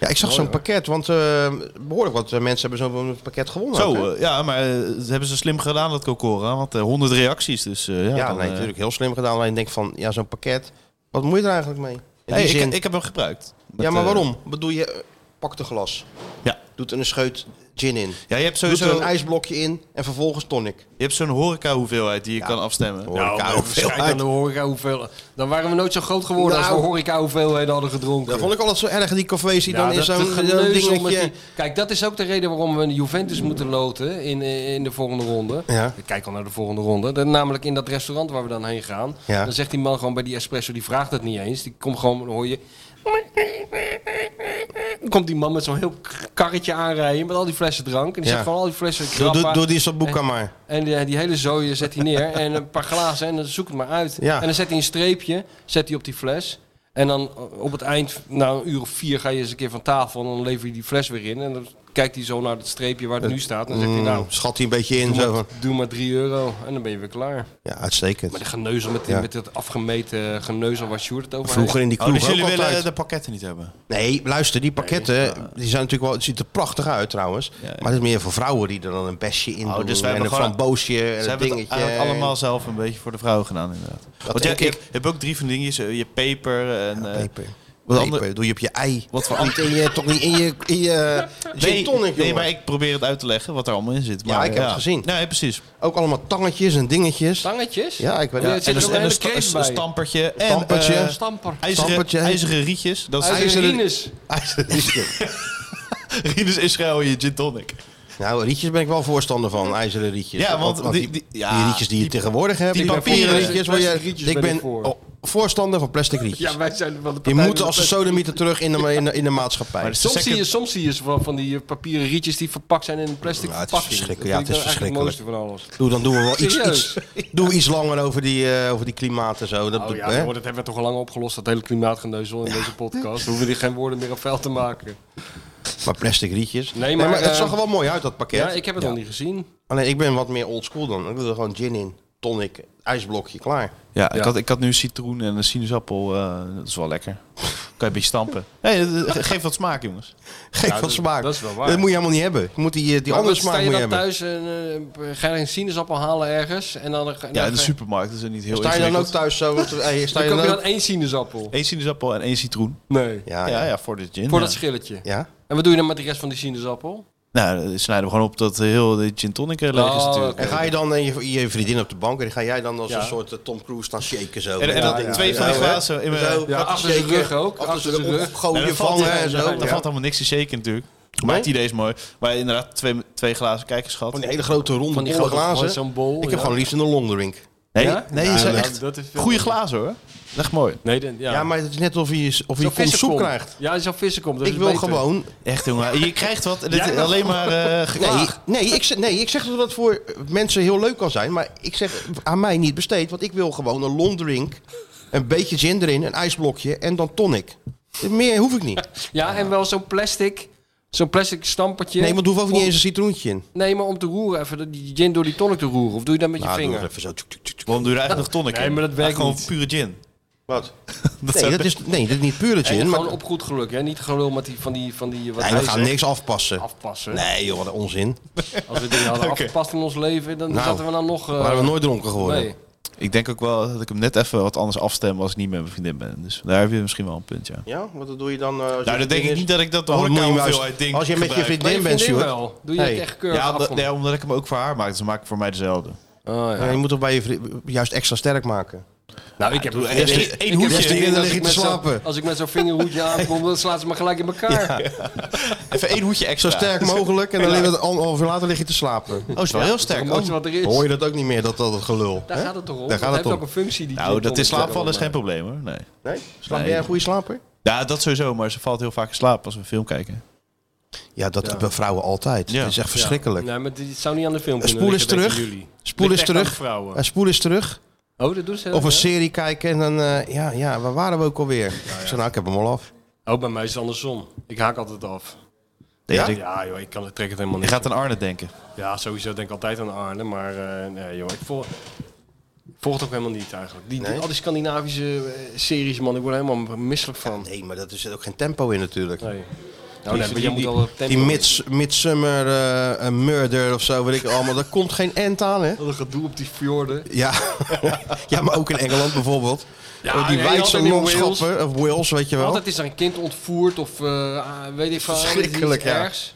C: Ja, ik zag zo'n pakket, want eh, behoorlijk wat eh, mensen hebben zo'n pakket gewonnen. ook, hè?
A: Zo, eh, ja, maar eh, dat hebben ze slim gedaan, dat Cocora. Want eh, 100 reacties, dus eh, ja.
C: ja,
A: dan,
C: nee,
A: eh,
C: natuurlijk heel slim gedaan. Alleen ik denk van, ja, zo'n pakket, wat moet je er eigenlijk mee? In
A: hey,
C: die zin.
A: ik, ik heb hem gebruikt. Met,
C: ja, maar
A: eh,
C: waarom? Bedoel je, eh, pak de glas,
A: Ja.
C: doet er een scheut gin in,
A: Ja, je hebt
C: doet er
A: sowieso
C: een ijsblokje in en vervolgens tonic.
A: je hebt zo'n horeca-hoeveelheid die je kan afstemmen. oh,
C: Horeca
D: Nou,
C: hoeveelheid.
D: schijt aan de horeca hoeveel... Dan waren we nooit zo groot geworden als
C: Nou.
D: we horeca hoeveelheden hadden gedronken.
C: Dat vond ik altijd zo erg, die cafés die
D: Ja,
C: dan in
D: dat-
C: zo'n eh,
D: dat
C: zo'n
D: geneuzel met
C: dingetje...
D: die- Kijk, dat is ook de reden waarom we Juventus moeten loten in, eh, in de volgende ronde.
C: Ja.
D: Ik kijk al naar de volgende ronde. Dat, namelijk in dat restaurant waar we dan heen gaan.
C: Ja.
D: Dan zegt die man gewoon bij die espresso, die vraagt het niet eens. Die komt gewoon, dan hoor je... Dan komt die man met zo'n heel k- karretje aanrijden met al die flessen drank. En die
C: Ja.
D: zet gewoon al die flessen
C: Doe,
D: krabben.
C: doe, doe die Sabuka maar.
D: En die, die hele zooi zet hij neer. en een paar glazen. En dan zoek het maar uit.
C: Ja.
D: En dan zet hij een streepje. Zet hij op die fles. En dan op het eind, na een uur of vier, ga je eens een keer van tafel. En dan lever je die fles weer in. En dan kijkt hij zo naar het streepje waar het nu staat. En dan zegt hij, nou,
C: Mm, Schat die een beetje in,
D: doe
C: zo
D: maar,
C: van...
D: doe maar drie euro. En dan ben je weer klaar.
C: Ja, uitstekend.
D: Maar de geneuzel met, die-
C: Ja.
D: met dat afgemeten geneuzel waar Sjoerd het over heeft.
C: Vroeger in die
A: Oh,
C: kroeg
A: dus jullie
C: ook
A: willen
C: altijd.
A: de pakketten niet hebben?
C: Nee, luister, die pakketten, die zijn natuurlijk wel, het ziet er prachtig uit trouwens.
A: ja.
C: Maar het is meer voor vrouwen die er dan een besje in
A: Oh,
C: doen
A: dus wij
C: en
A: hebben
C: een
A: gewoon-
C: framboosje en
A: Ze
C: een
A: hebben het
C: dingetje.
A: eigenlijk allemaal zelf een beetje voor de vrouwen gedaan, inderdaad. Want jij,
C: denk
A: je
C: ik.
A: hebt- je hebt ook drie van dingetjes. eh, Je hebt peper en... eh,
C: Peper.
A: Wat
C: Peper,
A: andere-
C: doe je op je ei.
A: Wat voor
C: Niet in je, toch niet in je, eh, in je
A: Nee,
C: gin tonic,
A: nee,
C: jongen.
A: maar ik probeer het uit te leggen wat er allemaal in zit. Maar,
C: ik heb het gezien.
A: Nee, precies.
C: Ook allemaal tangetjes en dingetjes.
D: Tangetjes?
C: Ja, ik weet
D: Ja,
C: het.
D: het
A: En
D: zit
A: een,
D: er
A: en
D: een
A: een,
D: kreet
A: sta-
D: bij.
A: een stampertje. En,
C: Stampertje.
A: eh,
D: Stamper.
A: ijzeren,
C: Stampertje.
A: ijzeren rietjes. Dat is
D: IJzeren
A: ijzeren
D: Ines.
A: rietjes Israël in je gin tonic.
C: Nou, rietjes ben ik wel voorstander van, ijzeren rietjes.
A: Ja, want die-
C: die,
A: die- ja,
C: rietjes die je
A: die-
C: tegenwoordig hebt,
A: die
C: die papieren
A: papieren
C: rietjes.
D: rietjes,
C: waar je-
D: plastic rietjes
C: ik
D: ben ik
C: ben
D: voor.
C: oh, voorstander van plastic rietjes.
D: Ja, wij zijn van de
C: Die
D: partij
C: moeten
D: met
C: als
D: de
C: de
D: pet.
C: sodemieter terug in de, ma- in de, in de maatschappij.
A: Maar de
D: Soms
A: second-
D: zie, je, soms zie je van, van die eh, papieren rietjes die verpakt zijn in een plastic
C: Ja, het is
D: verpakking.
C: verschrikkelijk.
D: Dat
C: Ja,
D: vind
C: het
D: ik
C: is
D: nou eigenlijk het mooiste van
C: Doe, dan doen we wel iets,
D: Serieus?
C: iets, doen we iets langer over die, eh, over die klimaat en zo. Dat,
D: alles.
C: doet-
D: Oh ja,
C: hè?
D: hoor, dat hebben we toch al lang opgelost, dat hele klimaatgeneuzel in deze podcast. We hoeven die geen woorden meer aan vuil te maken.
C: Maar plastic rietjes.
D: Nee, maar,
C: het
D: eh,
C: zag er wel mooi uit, dat pakket.
D: Ja, ik heb het nog niet gezien.
C: Alleen ik ben wat meer oldschool dan. Ik doe er gewoon gin in, tonic, ijsblokje, klaar.
A: Ja, Ik,
D: Ja.
A: had, ik had nu citroen en een sinaasappel. eh, dat is wel lekker. je een beetje stampen. Nee, geef wat smaak, jongens.
C: Geef
D: Ja,
C: wat
D: dat-
C: smaak.
D: dat is wel waar.
C: Dat moet je helemaal niet hebben. Je moet die, eh, die andere
D: Anders sta
C: smaak
D: je
C: moet je
D: dan
C: hebben.
D: thuis en eh, ga je een sinaasappel halen ergens. En dan, dan,
A: Ja, in de supermarkt is het niet heel
C: Sta je dan ook
A: ingewikkeld.
C: thuis zo? Hey, sta
D: dan
C: je dan
D: koop je
C: ook...
D: dan één sinaasappel.
A: Eén sinaasappel en één citroen.
D: Nee.
C: Ja,
A: Ja,
C: ja.
A: ja, voor de gin.
D: Voor
A: ja.
D: dat schilletje.
C: ja?
D: En wat doe je dan met de rest van die sinaasappel?
A: Nou, dan snijden we gewoon op dat heel de gin tonic eh, leeg is
D: Oh,
A: natuurlijk.
C: En ga je dan eh, je, je vriendin op de bank en die ga jij dan als
D: Ja.
C: een soort eh, Tom Cruise staan shaken zo?
A: En, en
C: Ja,
A: dat
C: ja,
A: twee
C: ja,
A: van die
C: zo, hè?
A: glazen in mijn...
C: Zo,
A: Nee,
D: Ja,
C: gaat
D: achter de
C: shaken.
D: rug ook, achter
C: Achter
D: de
C: de
D: rug.
A: dan
C: opgooien
A: valt,
C: van hè, en
A: dan
C: zo.
A: valt helemaal niks te shaken natuurlijk. Maakt idee is mooi. Maar inderdaad, twee, twee glazen kijkers gehad.
D: Oh,
C: Van die hele grote ronde
D: Van die
C: bolle
D: grote-
C: glazen.
D: gewoon zo'n bol,
C: Ik
D: ja.
C: heb gewoon liefst een longdrink.
A: Nee,
D: Ja?
A: nee,
D: Ja,
A: ze zijn
D: dat-
A: echt
D: dat is veel
A: goede
D: beter.
A: glazen hoor. Echt mooi.
D: Nee, dan, ja.
C: Ja, maar het is net of je, of je
D: Zo'n
C: kom soep
D: vissenkom.
C: krijgt.
D: Ja, zo'n vissenkom. dat
C: Ik
D: is
C: wil
D: beter.
C: gewoon...
A: Echt jongen, je krijgt wat. Dit
D: Jij
A: is
D: nog?
A: alleen maar eh
C: Nee,
A: geklaag.
C: nee, ik, zeg- nee, ik zeg dat dat voor mensen heel leuk kan zijn. Maar ik zeg aan mij niet besteed. Want ik wil gewoon een longdrink, een beetje gin erin, een ijsblokje en dan tonic. Meer hoef ik niet.
D: Ja, en wel zo'n plastic... Zo'n plastic stampertje.
C: Nee, want hoef ook niet
D: Om-
C: eens een citroentje in.
D: Nee, maar om te roeren. Even die gin door die tonic te roeren. Of doe je dat met je
C: Nou, doe
D: vinger?
C: het even zo. Tjuk, tjuk, tjuk.
A: Waarom doe je er eigenlijk nog tonic
D: Nee,
A: in?
D: maar dat
A: Ja,
D: werkt
A: Gewoon
D: niet.
A: pure gin.
C: Wat?
A: Dat
C: Nee,
A: zou-
C: dat is, nee, dat is niet puur
D: En
C: gin. Maar,
D: gewoon op goed geluk, hè? Niet gelul met die van die van die wat
C: nee,
D: hij
C: we gaan
D: zegt,
C: niks afpassen.
D: afpassen.
C: Nee joh, wat een
D: Eh,
C: onzin.
D: Als we dingen hadden afgepast in ons leven, dan
C: Nou,
D: zaten we dan nog. eh,
C: Waren we nooit dronken geworden.
D: nee.
A: Ik denk ook wel dat ik hem net even wat anders afstem als ik niet met mijn vriendin ben. Dus daar heb je misschien wel een punt, ja.
C: Ja, wat doe je dan?
A: Nou, dan denk ik niet dat ik dat de
C: Dan moet je hem
A: horeca-hoeveelheid
C: juist-
A: ding
C: als je met je
A: gebruik.
D: Maar je
C: vriendin bent,
D: vriendin
C: Stuart.
D: wel. Doe je het
C: Hey.
D: echt keurig
A: Ja,
D: af
A: omdat,
D: van-
A: nee, omdat ik hem ook voor haar maak. Dus dan maak ik voor mij dezelfde.
D: Oh, ja.
C: je moet toch bij je vri- juist extra sterk maken.
D: Nou, ik heb een
A: Eén
D: vriendin-
A: één
D: ik heb
A: hoedje.
D: een vriendin
C: Daar
D: als
C: liggen
D: ik
C: te
D: met zo'n-
C: slapen.
D: Als ik met zo'n vingerhoedje aankom, dan slaat ze me gelijk in elkaar.
A: Even één hoedje extra.
C: Zo sterk mogelijk en dan lig je- anderhalf uur later lig je te slapen.
A: Oh, is wel heel sterk.
D: Omdat je wat er is.
C: Hoor je dat ook niet meer, dat, dat, dat gelul?
D: Daar
C: hè?
D: gaat het toch om?
C: Daar
D: Dat
C: gaat
D: heeft
C: het
D: ook
C: om.
D: een functie. Die
A: Nou, dat is slaapvallen is geen
D: probleem.
A: probleem hoor. Nee.
C: Nee? Slaap
A: Nee.
C: jij een goede slaper?
A: Ja, dat sowieso. Maar ze valt heel vaak in slaap als we een film kijken.
C: Ja, dat hebben vrouwen altijd.
A: Ja.
C: Dat is echt verschrikkelijk.
D: Nee, maar dit zou niet aan de film kunnen
C: spoel eens
D: liggen, denken
C: terug.
D: jullie.
C: Spoel
D: Ligt
C: eens
D: echt aan
C: terug.
D: de vrouwen.
C: Ja, spoel eens terug.
D: Oh, dat doen ze.
C: Of een
D: ja?
C: serie kijken en dan... eh, ja, ja, waar waren we ook alweer? Ik zei, nou, ik heb hem al af.
D: Oh, bij mij is het andersom. Ik haak altijd af.
C: Ja?
D: Ja, joh, ik kan, ik trek het helemaal
A: Je
D: niet.
A: gaat aan Arne denken.
D: Ja, sowieso denk ik altijd aan Arne, maar eh, nee joh, ik volg, ik volg het ook helemaal niet eigenlijk. Die, die-
C: Nee?
D: al die Scandinavische eh, series, man, ik word er helemaal misselijk van.
C: Nee, maar dat is ook geen tempo in natuurlijk.
D: Nee. Nou, nee, maar
C: die-
D: jij moet al het tempo
C: Die mids, Midsummer eh, eh, Murder of zo, weet ik allemaal. Daar komt geen end aan, hè?
D: Wat een gedoe op die fjorden.
C: Ja. ja, maar ook in Engeland bijvoorbeeld.
D: Ja,
C: Oh, die
D: nee,
C: wijdse
D: altijd in
C: landschappen, of Wales, weet je wel.
D: Altijd is er een kind ontvoerd of eh, ah, weet ik veel.
C: Verschrikkelijk,
D: iets
C: ja.
D: ergs.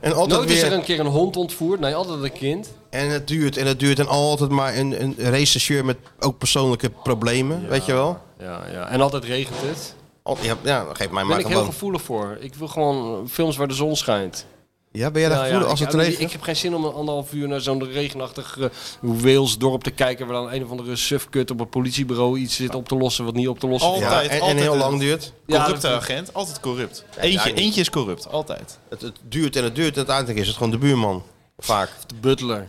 C: en altijd
D: Nooit is
C: weer,
D: er een keer een hond ontvoerd. Nee, altijd een kind.
C: en het duurt, en het duurt, en altijd maar een, een rechercheur met ook persoonlijke problemen, weet je wel.
D: Ja, ja. En altijd regent het.
C: Al- ja, ja, geef mij
D: Daar
C: maar
D: ben ik heel
C: gewoon.
D: gevoelig voor. Ik wil gewoon eh, films waar de zon schijnt.
C: Ja, ben jij daar
D: Nou ja,
C: gevoelig als
D: ik-
C: het
D: ik-
C: regent?
D: Ik heb geen zin om een anderhalf uur naar zo'n regenachtig eh, Wales dorp te kijken... waar dan een of andere sufkut op een politiebureau iets zit op te lossen... wat niet op te lossen
A: Oh,
D: valt.
C: ja,
A: altijd,
C: en, en
A: altijd
C: heel
A: een-
C: lang duurt.
D: Ja,
A: Corrupte
D: dat-
A: agent, altijd corrupt. Eentje,
C: ja, ja.
A: eentje is corrupt, altijd.
C: Het, het duurt en het duurt en uiteindelijk is het gewoon de buurman. Vaak.
D: De butler.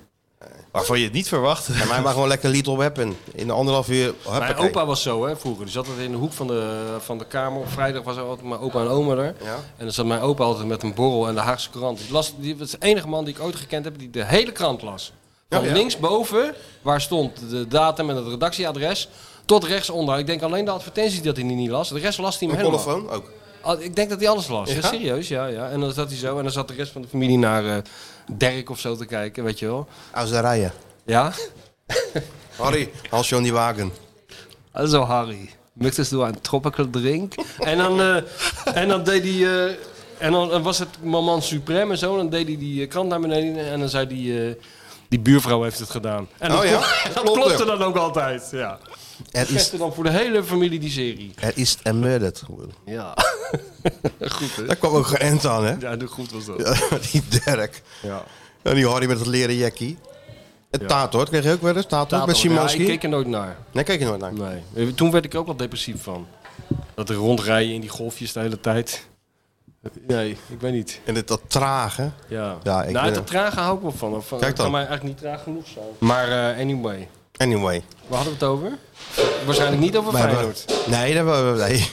A: Waarvan je het niet verwacht.
C: En mij maar gewoon lekker Little Weapon. In de anderhalf uur,
D: Mijn
C: huppakee.
D: opa was zo hè, vroeger. Die zat altijd in de hoek van de, van de kamer. Op vrijdag was er altijd mijn opa en oma er.
C: Ja.
D: En dan zat mijn opa altijd met een borrel en de Haagse krant. Die las, die was de enige man die ik ooit gekend heb die de hele krant las. Van linksboven, waar stond de datum en het redactieadres... Tot rechtsonder. Ik denk alleen de advertenties dat hij die niet las. De rest las hij hem
C: Een
D: helemaal.
C: telefoon ook.
D: Ah, ik denk dat hij alles las. Ja?
C: Ja?
D: serieus, ja, ja. En dan zat hij zo en dan zat de rest van de familie naar eh Dirk of zo te kijken, weet je wel.
C: Aus der Reihe.
D: Ja?
C: Harry, als je aan die wagen.
D: Also Harry, möchtest du een tropical drink? en, dan, eh, en dan deed hij... eh, en dan eh, was het moment supreme en zo. Dan deed hij die eh, krant naar beneden en dan zei hij... eh, die buurvrouw heeft het gedaan. En dat,
C: Oh ja,
D: klop- dat
C: klopt, ja.
D: klopte dan ook altijd, ja.
C: Er is,
D: Gisteren dan voor de hele familie die serie.
C: er is een murdered. geworden.
D: Ja. goed, hè?
C: Daar kwam ook geen end aan, hè?
D: Ja, dat goed was dat.
C: die Dirk.
D: Ja.
C: En die Harry met het leren jackie. En Tator, kreeg je ook wel eens? Tator met
D: ja,
C: Simanski?
D: ik keek er nooit naar.
C: Nee, kijk je nooit naar.
D: Nee. Eh, Toen werd ik ook wel depressief van. Dat er rondrijden in die golfjes de hele tijd. Nee, ik weet niet.
C: En het, dat trage.
D: Ja.
C: Ja, ik
D: nou,
C: ben-
D: het trage hou ik wel van. Of, Kijk
C: dan.
D: kan mij eigenlijk niet traag genoeg zijn. Maar eh, anyway,
C: Anyway.
D: waar hadden we het over? Waarschijnlijk niet over
C: wij
D: Feyenoord.
C: hebben- Nee, dat hebben we... Nee.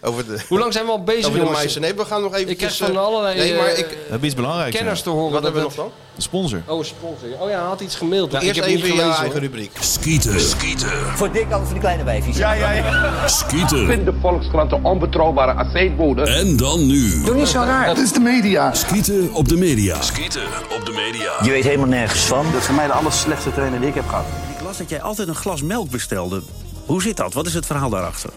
C: Over de,
D: Hoe lang zijn we al bezig,
C: over de
D: jongens?
C: meisjes. Nee, we gaan nog even...
D: Ik heb van allerlei
C: Nee, maar ik...
D: eh,
A: We hebben iets belangrijks.
D: kenners
A: ja.
D: te horen.
C: Wat
D: dat
C: hebben we nog
D: het-
C: dan?
A: Sponsor.
D: Oh, sponsor. Oh ja, hij had iets gemaild. Ja,
C: Eerst
D: ik heb
C: even
D: het niet
C: je
D: gelezen,
C: eigen
D: hoor.
C: rubriek.
E: Skieten. Skieten.
I: Voor dik als voor de kleine wijfjes. Ja, ja, ja.
E: Skieten.
K: de Volkskrant de onbetrouwbare aceetbode.
E: En dan nu.
I: Doe niet zo raar.
E: Skieten op de media. Skieten op de media.
I: Je weet helemaal nergens van.
K: Dat is voor mij de aller slechtste trainer die ik heb gehad.
I: Ik las dat jij altijd een glas melk bestelde. Hoe zit dat? Wat is het verhaal daarachter?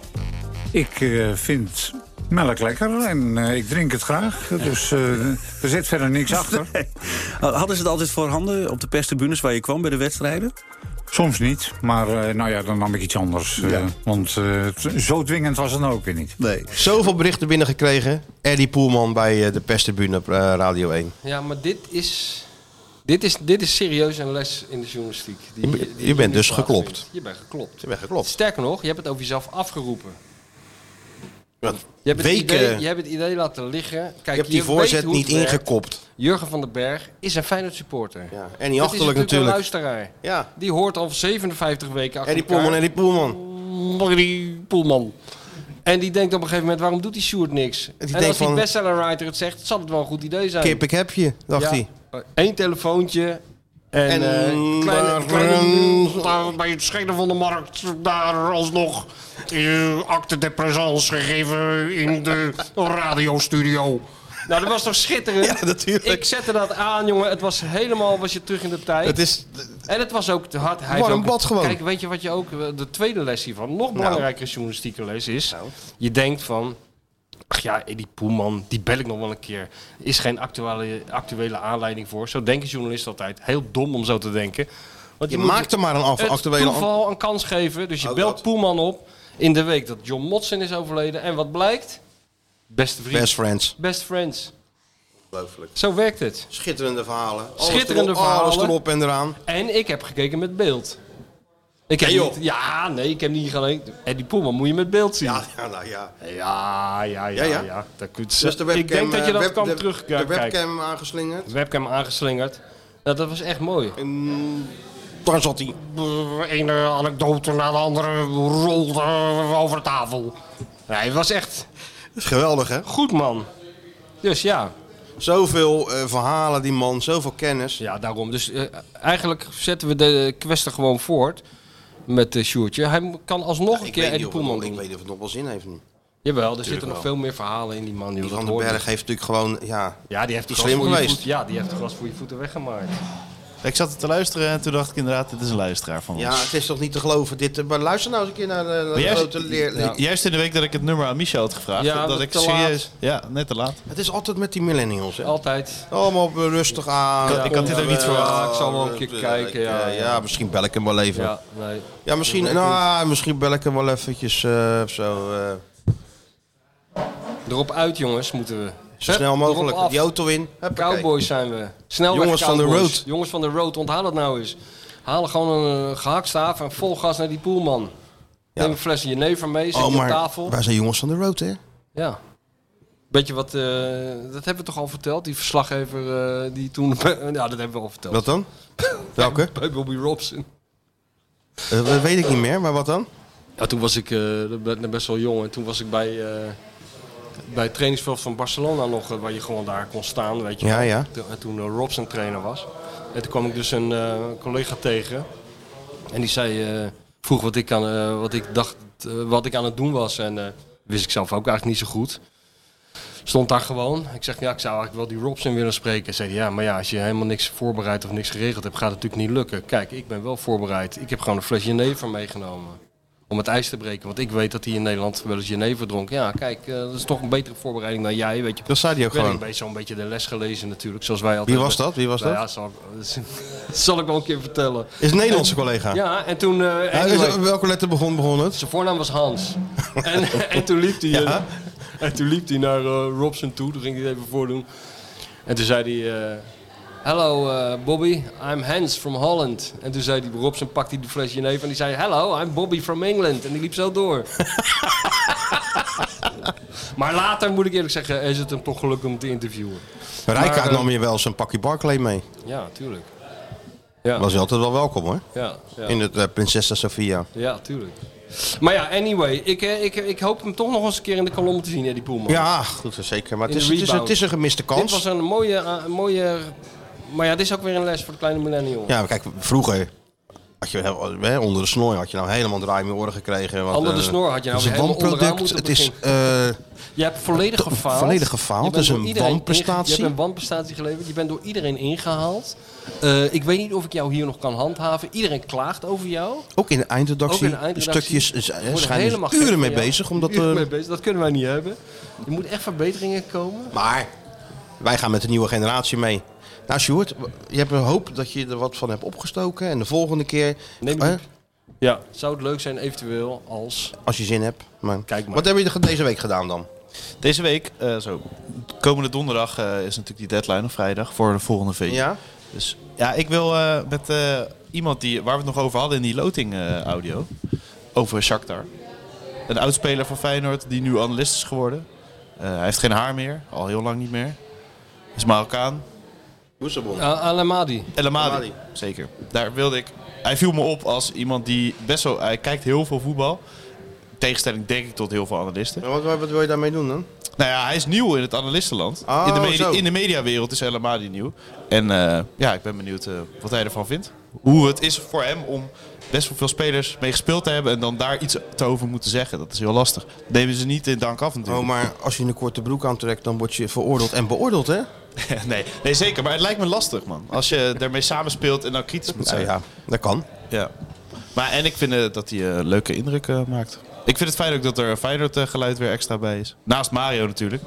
B: Ik eh, vind melk lekker en eh, ik drink het graag. Dus eh, er zit verder niks achter.
I: Hadden ze het altijd voorhanden op de perstribunes waar je kwam bij de wedstrijden?
B: Soms niet, maar eh, nou ja, dan nam ik iets anders. eh, want eh, t- zo dwingend was het nou ook weer niet.
I: Nee.
C: Zoveel berichten binnengekregen. Eddie Poelman bij eh, de perstribune op eh, Radio 1.
D: Ja, maar dit is, dit, is, dit is serieus een les in de journalistiek. Die,
C: Je-
D: die
C: je
D: hier
C: bent
D: nu
C: dus
D: plaatsvindt.
C: geklopt.
D: Je bent geklopt.
C: Ze werd geklopt.
D: Sterker nog, je hebt het over jezelf afgeroepen.
C: Want
D: Je hebt, het
C: Weken-
D: idee, je hebt het idee laten liggen. Kijk,
C: je hebt die
D: weet
C: voorzet
D: hoe het
C: niet
D: werkt.
C: ingekopt.
D: Jurgen van den Berg is een Feyenoord supporter.
C: Ja. En die
D: Dat is
C: achterlijk
D: natuurlijk een
C: natuurlijk.
D: luisteraar.
C: Ja.
D: Die hoort al 57 weken achter
C: Eddie
D: elkaar.
C: Poelman, Eddie Poelman.
D: Marie Poelman. En die denkt op een gegeven moment, waarom doet die Sjoerd niks?
C: die
D: en
C: denkt
D: als die
C: van-
D: bestsellerwriter het zegt, zal het wel een goed idee zijn.
C: Kip, ik heb je, dacht hij.
D: Eén telefoontje. En,
C: En,
D: eh,
C: mm,
D: kleine,
C: daar,
D: kleine-
C: mm,
D: daar bij het schenen van de markt, daar alsnog eh, acte de présence gegeven in de radiostudio. Nou, dat was toch schitterend?
C: Ja, natuurlijk.
D: Ik zette dat aan, jongen. Het was helemaal, was je terug in de tijd.
C: Het is,
D: En het was ook te hard. Hij
C: Warm
D: heeft ook-
C: bad gewoon. Nou.
D: Kijk, weet je wat je ook... eh, De tweede les hiervan, nog belangrijkere journalistieke les is... Je denkt van... Ach ja, die Poelman, die bel ik nog wel een keer. Is geen actuele, actuele aanleiding voor. Zo denken journalisten altijd. Heel dom om zo te denken. Want
C: je
D: moet
C: maakt er maar een af,
D: het
C: actuele an-
D: toeval een kans geven. Dus je
C: Ook
D: belt
C: dat.
D: Poelman op in de week dat John Motsen is overleden. En wat blijkt? Beste vriend.
C: Best
D: Best,
C: friends.
D: friends.
C: Ongelooflijk.
D: Zo werkt het.
C: Schitterende verhalen. Alles
D: Schitterende
C: erop, Alles
D: verhalen.
C: erop en eraan.
D: En ik heb gekeken met beeld. Ik heb
C: Nee, joh.
D: niet, ja, nee, ik heb niet gelijk. En die Poelman moet je met beeld zien.
C: Ja, ja, nou ja.
D: Ja, ja, ja,
C: Ja, ja.
D: ja. Dat kun je-
C: Dus de webcam,
D: ik denk dat je
C: eh,
D: dat
C: web-
D: kan
C: de-
D: terugkijken.
C: De webcam aangeslingerd.
D: Webcam aangeslingerd. Nou, dat was echt mooi.
C: En daar zat hij.
D: De ene anekdote na de andere rolde over tafel. Nee, het was echt
C: Dat is geweldig, hè?
D: goed, man. Dus ja,
C: Zoveel eh, verhalen, die man. Zoveel kennis.
D: ja daarom. Dus eh, eigenlijk zetten we de kwestie gewoon voort met eh Sjoertje. Hij mo- kan alsnog een
C: Ik
D: keer
C: weet, niet
D: Eddie
C: of het nog,
D: Poelman
C: ik
D: doen.
C: weet niet of het nog wel zin heeft nu.
D: Jawel, er zitten nog veel meer verhalen in die man. joh,
C: Die
D: dat
C: Van den
D: hoor je.
C: Berg heeft natuurlijk gewoon... Ja,
D: Ja, die heeft
C: Die
D: gras
C: slim
D: voor je
C: geweest.
D: voet- ja, die heeft gras voor je voeten weggemaakt.
A: Ik zat te luisteren en toen dacht ik inderdaad, dit is een luisteraar van ons.
C: ja het is toch niet te geloven. Dit, eh, maar luister nou eens een keer naar de, naar de
A: Maar juist-
C: grote leer...
A: Ja. Juist in de week dat ik het nummer aan Michel had gevraagd.
D: Ja,
A: dat
D: maar
A: ik
D: te
A: serieus. Ja, net te laat.
C: Het is altijd met die millennials, hè?
D: Altijd.
C: Allemaal eh, rustig aan. eh,
A: Ik had- ik had dit ook niet verwacht.
D: Ja, ik zal wel een keer kijken, ja,
C: ja,
D: ja.
C: misschien bel ik hem wel even. Ja,
D: Ja, nee.
C: misschien, nou, misschien bel ik hem wel eventjes eh, of zo. eh,
D: Erop uit, jongens, moeten we.
C: zo
D: Hup,
C: snel mogelijk.
D: erop af.
C: Die auto in. Huppakee. Oh,
D: Cowboys zijn we. Snelweg
C: Jongens van de
D: cowboys.
C: road.
D: Jongens van de road, onthaal het nou eens. Haal gewoon een eh, gehaktstaaf en vol gas naar die poelman. Neem een fles jenever mee, zet
C: Oh,
D: die op
C: maar
D: tafel.
C: wij zijn jongens van de road, hè?
D: Ja. Weet je wat, eh, dat hebben we toch al verteld? Die verslaggever eh, die toen... ja, dat hebben we al verteld.
C: Wat dan? Welke?
D: Bij Bobby Robson.
C: Eh, dat weet ik niet meer, maar wat dan?
D: Ja, toen was ik eh, dat ben ik best wel jong en toen was ik bij, eh, bij het trainingsveld van Barcelona nog, eh, waar je gewoon daar kon staan, weet je
C: Ja,
D: wel.
C: ja.
D: Toen, en toen eh, Rob zijn trainer was. En toen kwam ik dus een eh, collega tegen en die zei, eh, vroeg wat ik, aan, eh, wat ik dacht, eh, wat ik aan het doen was en eh, wist ik zelf ook eigenlijk niet zo goed. Stond daar gewoon. Ik zeg, ja, ik zou eigenlijk wel die Robson willen spreken. Zei hij, ja, maar ja, als je helemaal niks voorbereid of niks geregeld hebt, gaat het natuurlijk niet lukken. Kijk, ik ben wel voorbereid. Ik heb gewoon een fles jenever meegenomen om het ijs te breken. Want ik weet dat hij in Nederland wel eens Geneve dronk. Ja, kijk, eh, dat is toch een betere voorbereiding dan jij, weet je.
C: Dat zei hij ook
D: Ik ben
C: gewoon.
D: een beetje zo'n beetje de les gelezen natuurlijk, zoals wij altijd...
C: Wie was dat? Wie was
D: Nou
C: dat?
D: ja, zal, ik- zal ik wel een keer vertellen.
C: Is een Nederlandse collega.
D: Ja, en toen... eh,
C: Ja,
D: anyway,
C: Nou, is- welke letter begon, begon het?
D: zijn voornaam was Hans. en, en toen liep hij... eh, en toen liep hij naar eh, Robson toe, toen ging hij het even voordoen. En toen zei hij... eh, Hello eh, Bobby, I'm Hans from Holland. En toen zei die Robson, pakte hij de flesje neef en die zei... Hello, I'm Bobby from England. En die liep zo door. maar later, moet ik eerlijk zeggen, is het hem toch gelukt om te interviewen.
C: Rijkaard
D: Maar, eh,
C: nam je wel zijn pakje Barclay mee.
D: Ja, tuurlijk. Ja,
C: Was je altijd wel welkom, hoor.
D: ja, ja,
C: In het eh, Prinsessa Sofia.
D: ja tuurlijk. Maar ja, anyway. Ik, eh, ik, ik hoop hem toch nog eens een keer in de kolom te zien, hè, die Poelman.
C: Ja, goed, zeker. Maar het
D: In
C: is,
D: de
C: het, is,
D: rebound.
C: het is een gemiste
D: Dit was
C: kans.
D: een mooie, eh, een mooie... Maar ja, dit is ook weer een les voor de kleine millennial.
C: Ja, maar kijk, vroeger had je heel- hè, onder de snor had je nou helemaal draai in je oren gekregen. want,
D: Onder de
C: eh,
D: snor had je nou
C: het is een
D: weer helemaal onderaan
C: wanproduct. Het
D: moeten
C: is eh,
D: Je hebt volledig
C: To-
D: gefaald.
C: volledig gefaald.
D: Je bent
C: Dat is
D: door
C: een
D: iedereen
C: wanprestatie.
D: inge- Je hebt een wanprestatie geleverd. Je bent door iedereen ingehaald. Eh, ik weet niet of ik jou hier nog kan handhaven. Iedereen klaagt over jou.
C: eh, ook in de eindredactie,
D: Ook in de eindredactie
C: stukjes eh,
D: Worden
C: zijn er
D: helemaal gek
C: uren
D: van
C: mee
D: jou.
C: bezig. Omdat,
D: Uren
C: eh,
D: mee bezig. Dat kunnen wij niet hebben. Er moeten echt verbeteringen komen.
C: maar wij gaan met de nieuwe generatie mee. Nou, Sjoerd, w- je hebt een hoop dat je er wat van hebt opgestoken. En de volgende keer,
D: Neem
C: eh,
D: het Ja. Zou het leuk zijn eventueel als...
C: als je zin hebt. Maar.
D: Kijk maar.
C: Wat heb je de- deze week gedaan dan?
A: Deze week, eh, zo, komende donderdag eh, is natuurlijk die deadline of vrijdag voor de volgende VJ.
C: Ja?
A: Dus ja, ik wil eh, met eh, iemand die, waar we het nog over hadden in die loting eh, audio, over Shakhtar. Een oudspeler van Feyenoord die nu analist is geworden. Eh, hij heeft geen haar meer, al heel lang niet meer. Is Marokkaan.
C: Boezebon.
D: Uh, Alamadi.
A: El Amadi.
C: Amadi.
A: Zeker. Daar wilde ik. Hij viel me op als iemand die best wel. Hij kijkt heel veel voetbal. Tegenstelling denk ik tot heel veel analisten.
C: Wat, wat wat wil je daarmee doen dan?
A: Nou ja, hij is nieuw in het analistenland.
C: Oh,
A: in, de media,
C: zo.
A: in de mediawereld is El Amadi nieuw. En eh, ja, ik ben benieuwd eh, wat hij ervan vindt. Hoe het is voor hem om best wel veel spelers mee gespeeld te hebben en dan daar iets te over moeten zeggen. Dat is heel lastig. Dat nemen ze niet in dank af natuurlijk.
C: Oh, maar als je een korte broek aantrekt, dan word je veroordeeld en beoordeeld, hè?
A: nee, nee, zeker. Maar het lijkt me lastig, man. Als je daarmee samenspeelt en dan kritisch moet
C: Nou
A: zijn.
C: ja, dat kan.
A: Ja. Maar en ik vind eh, dat hij eh, een leuke indruk eh, maakt. Ik vind het fijn ook dat er Feyenoord eh, geluid weer extra bij is. Naast Mario natuurlijk.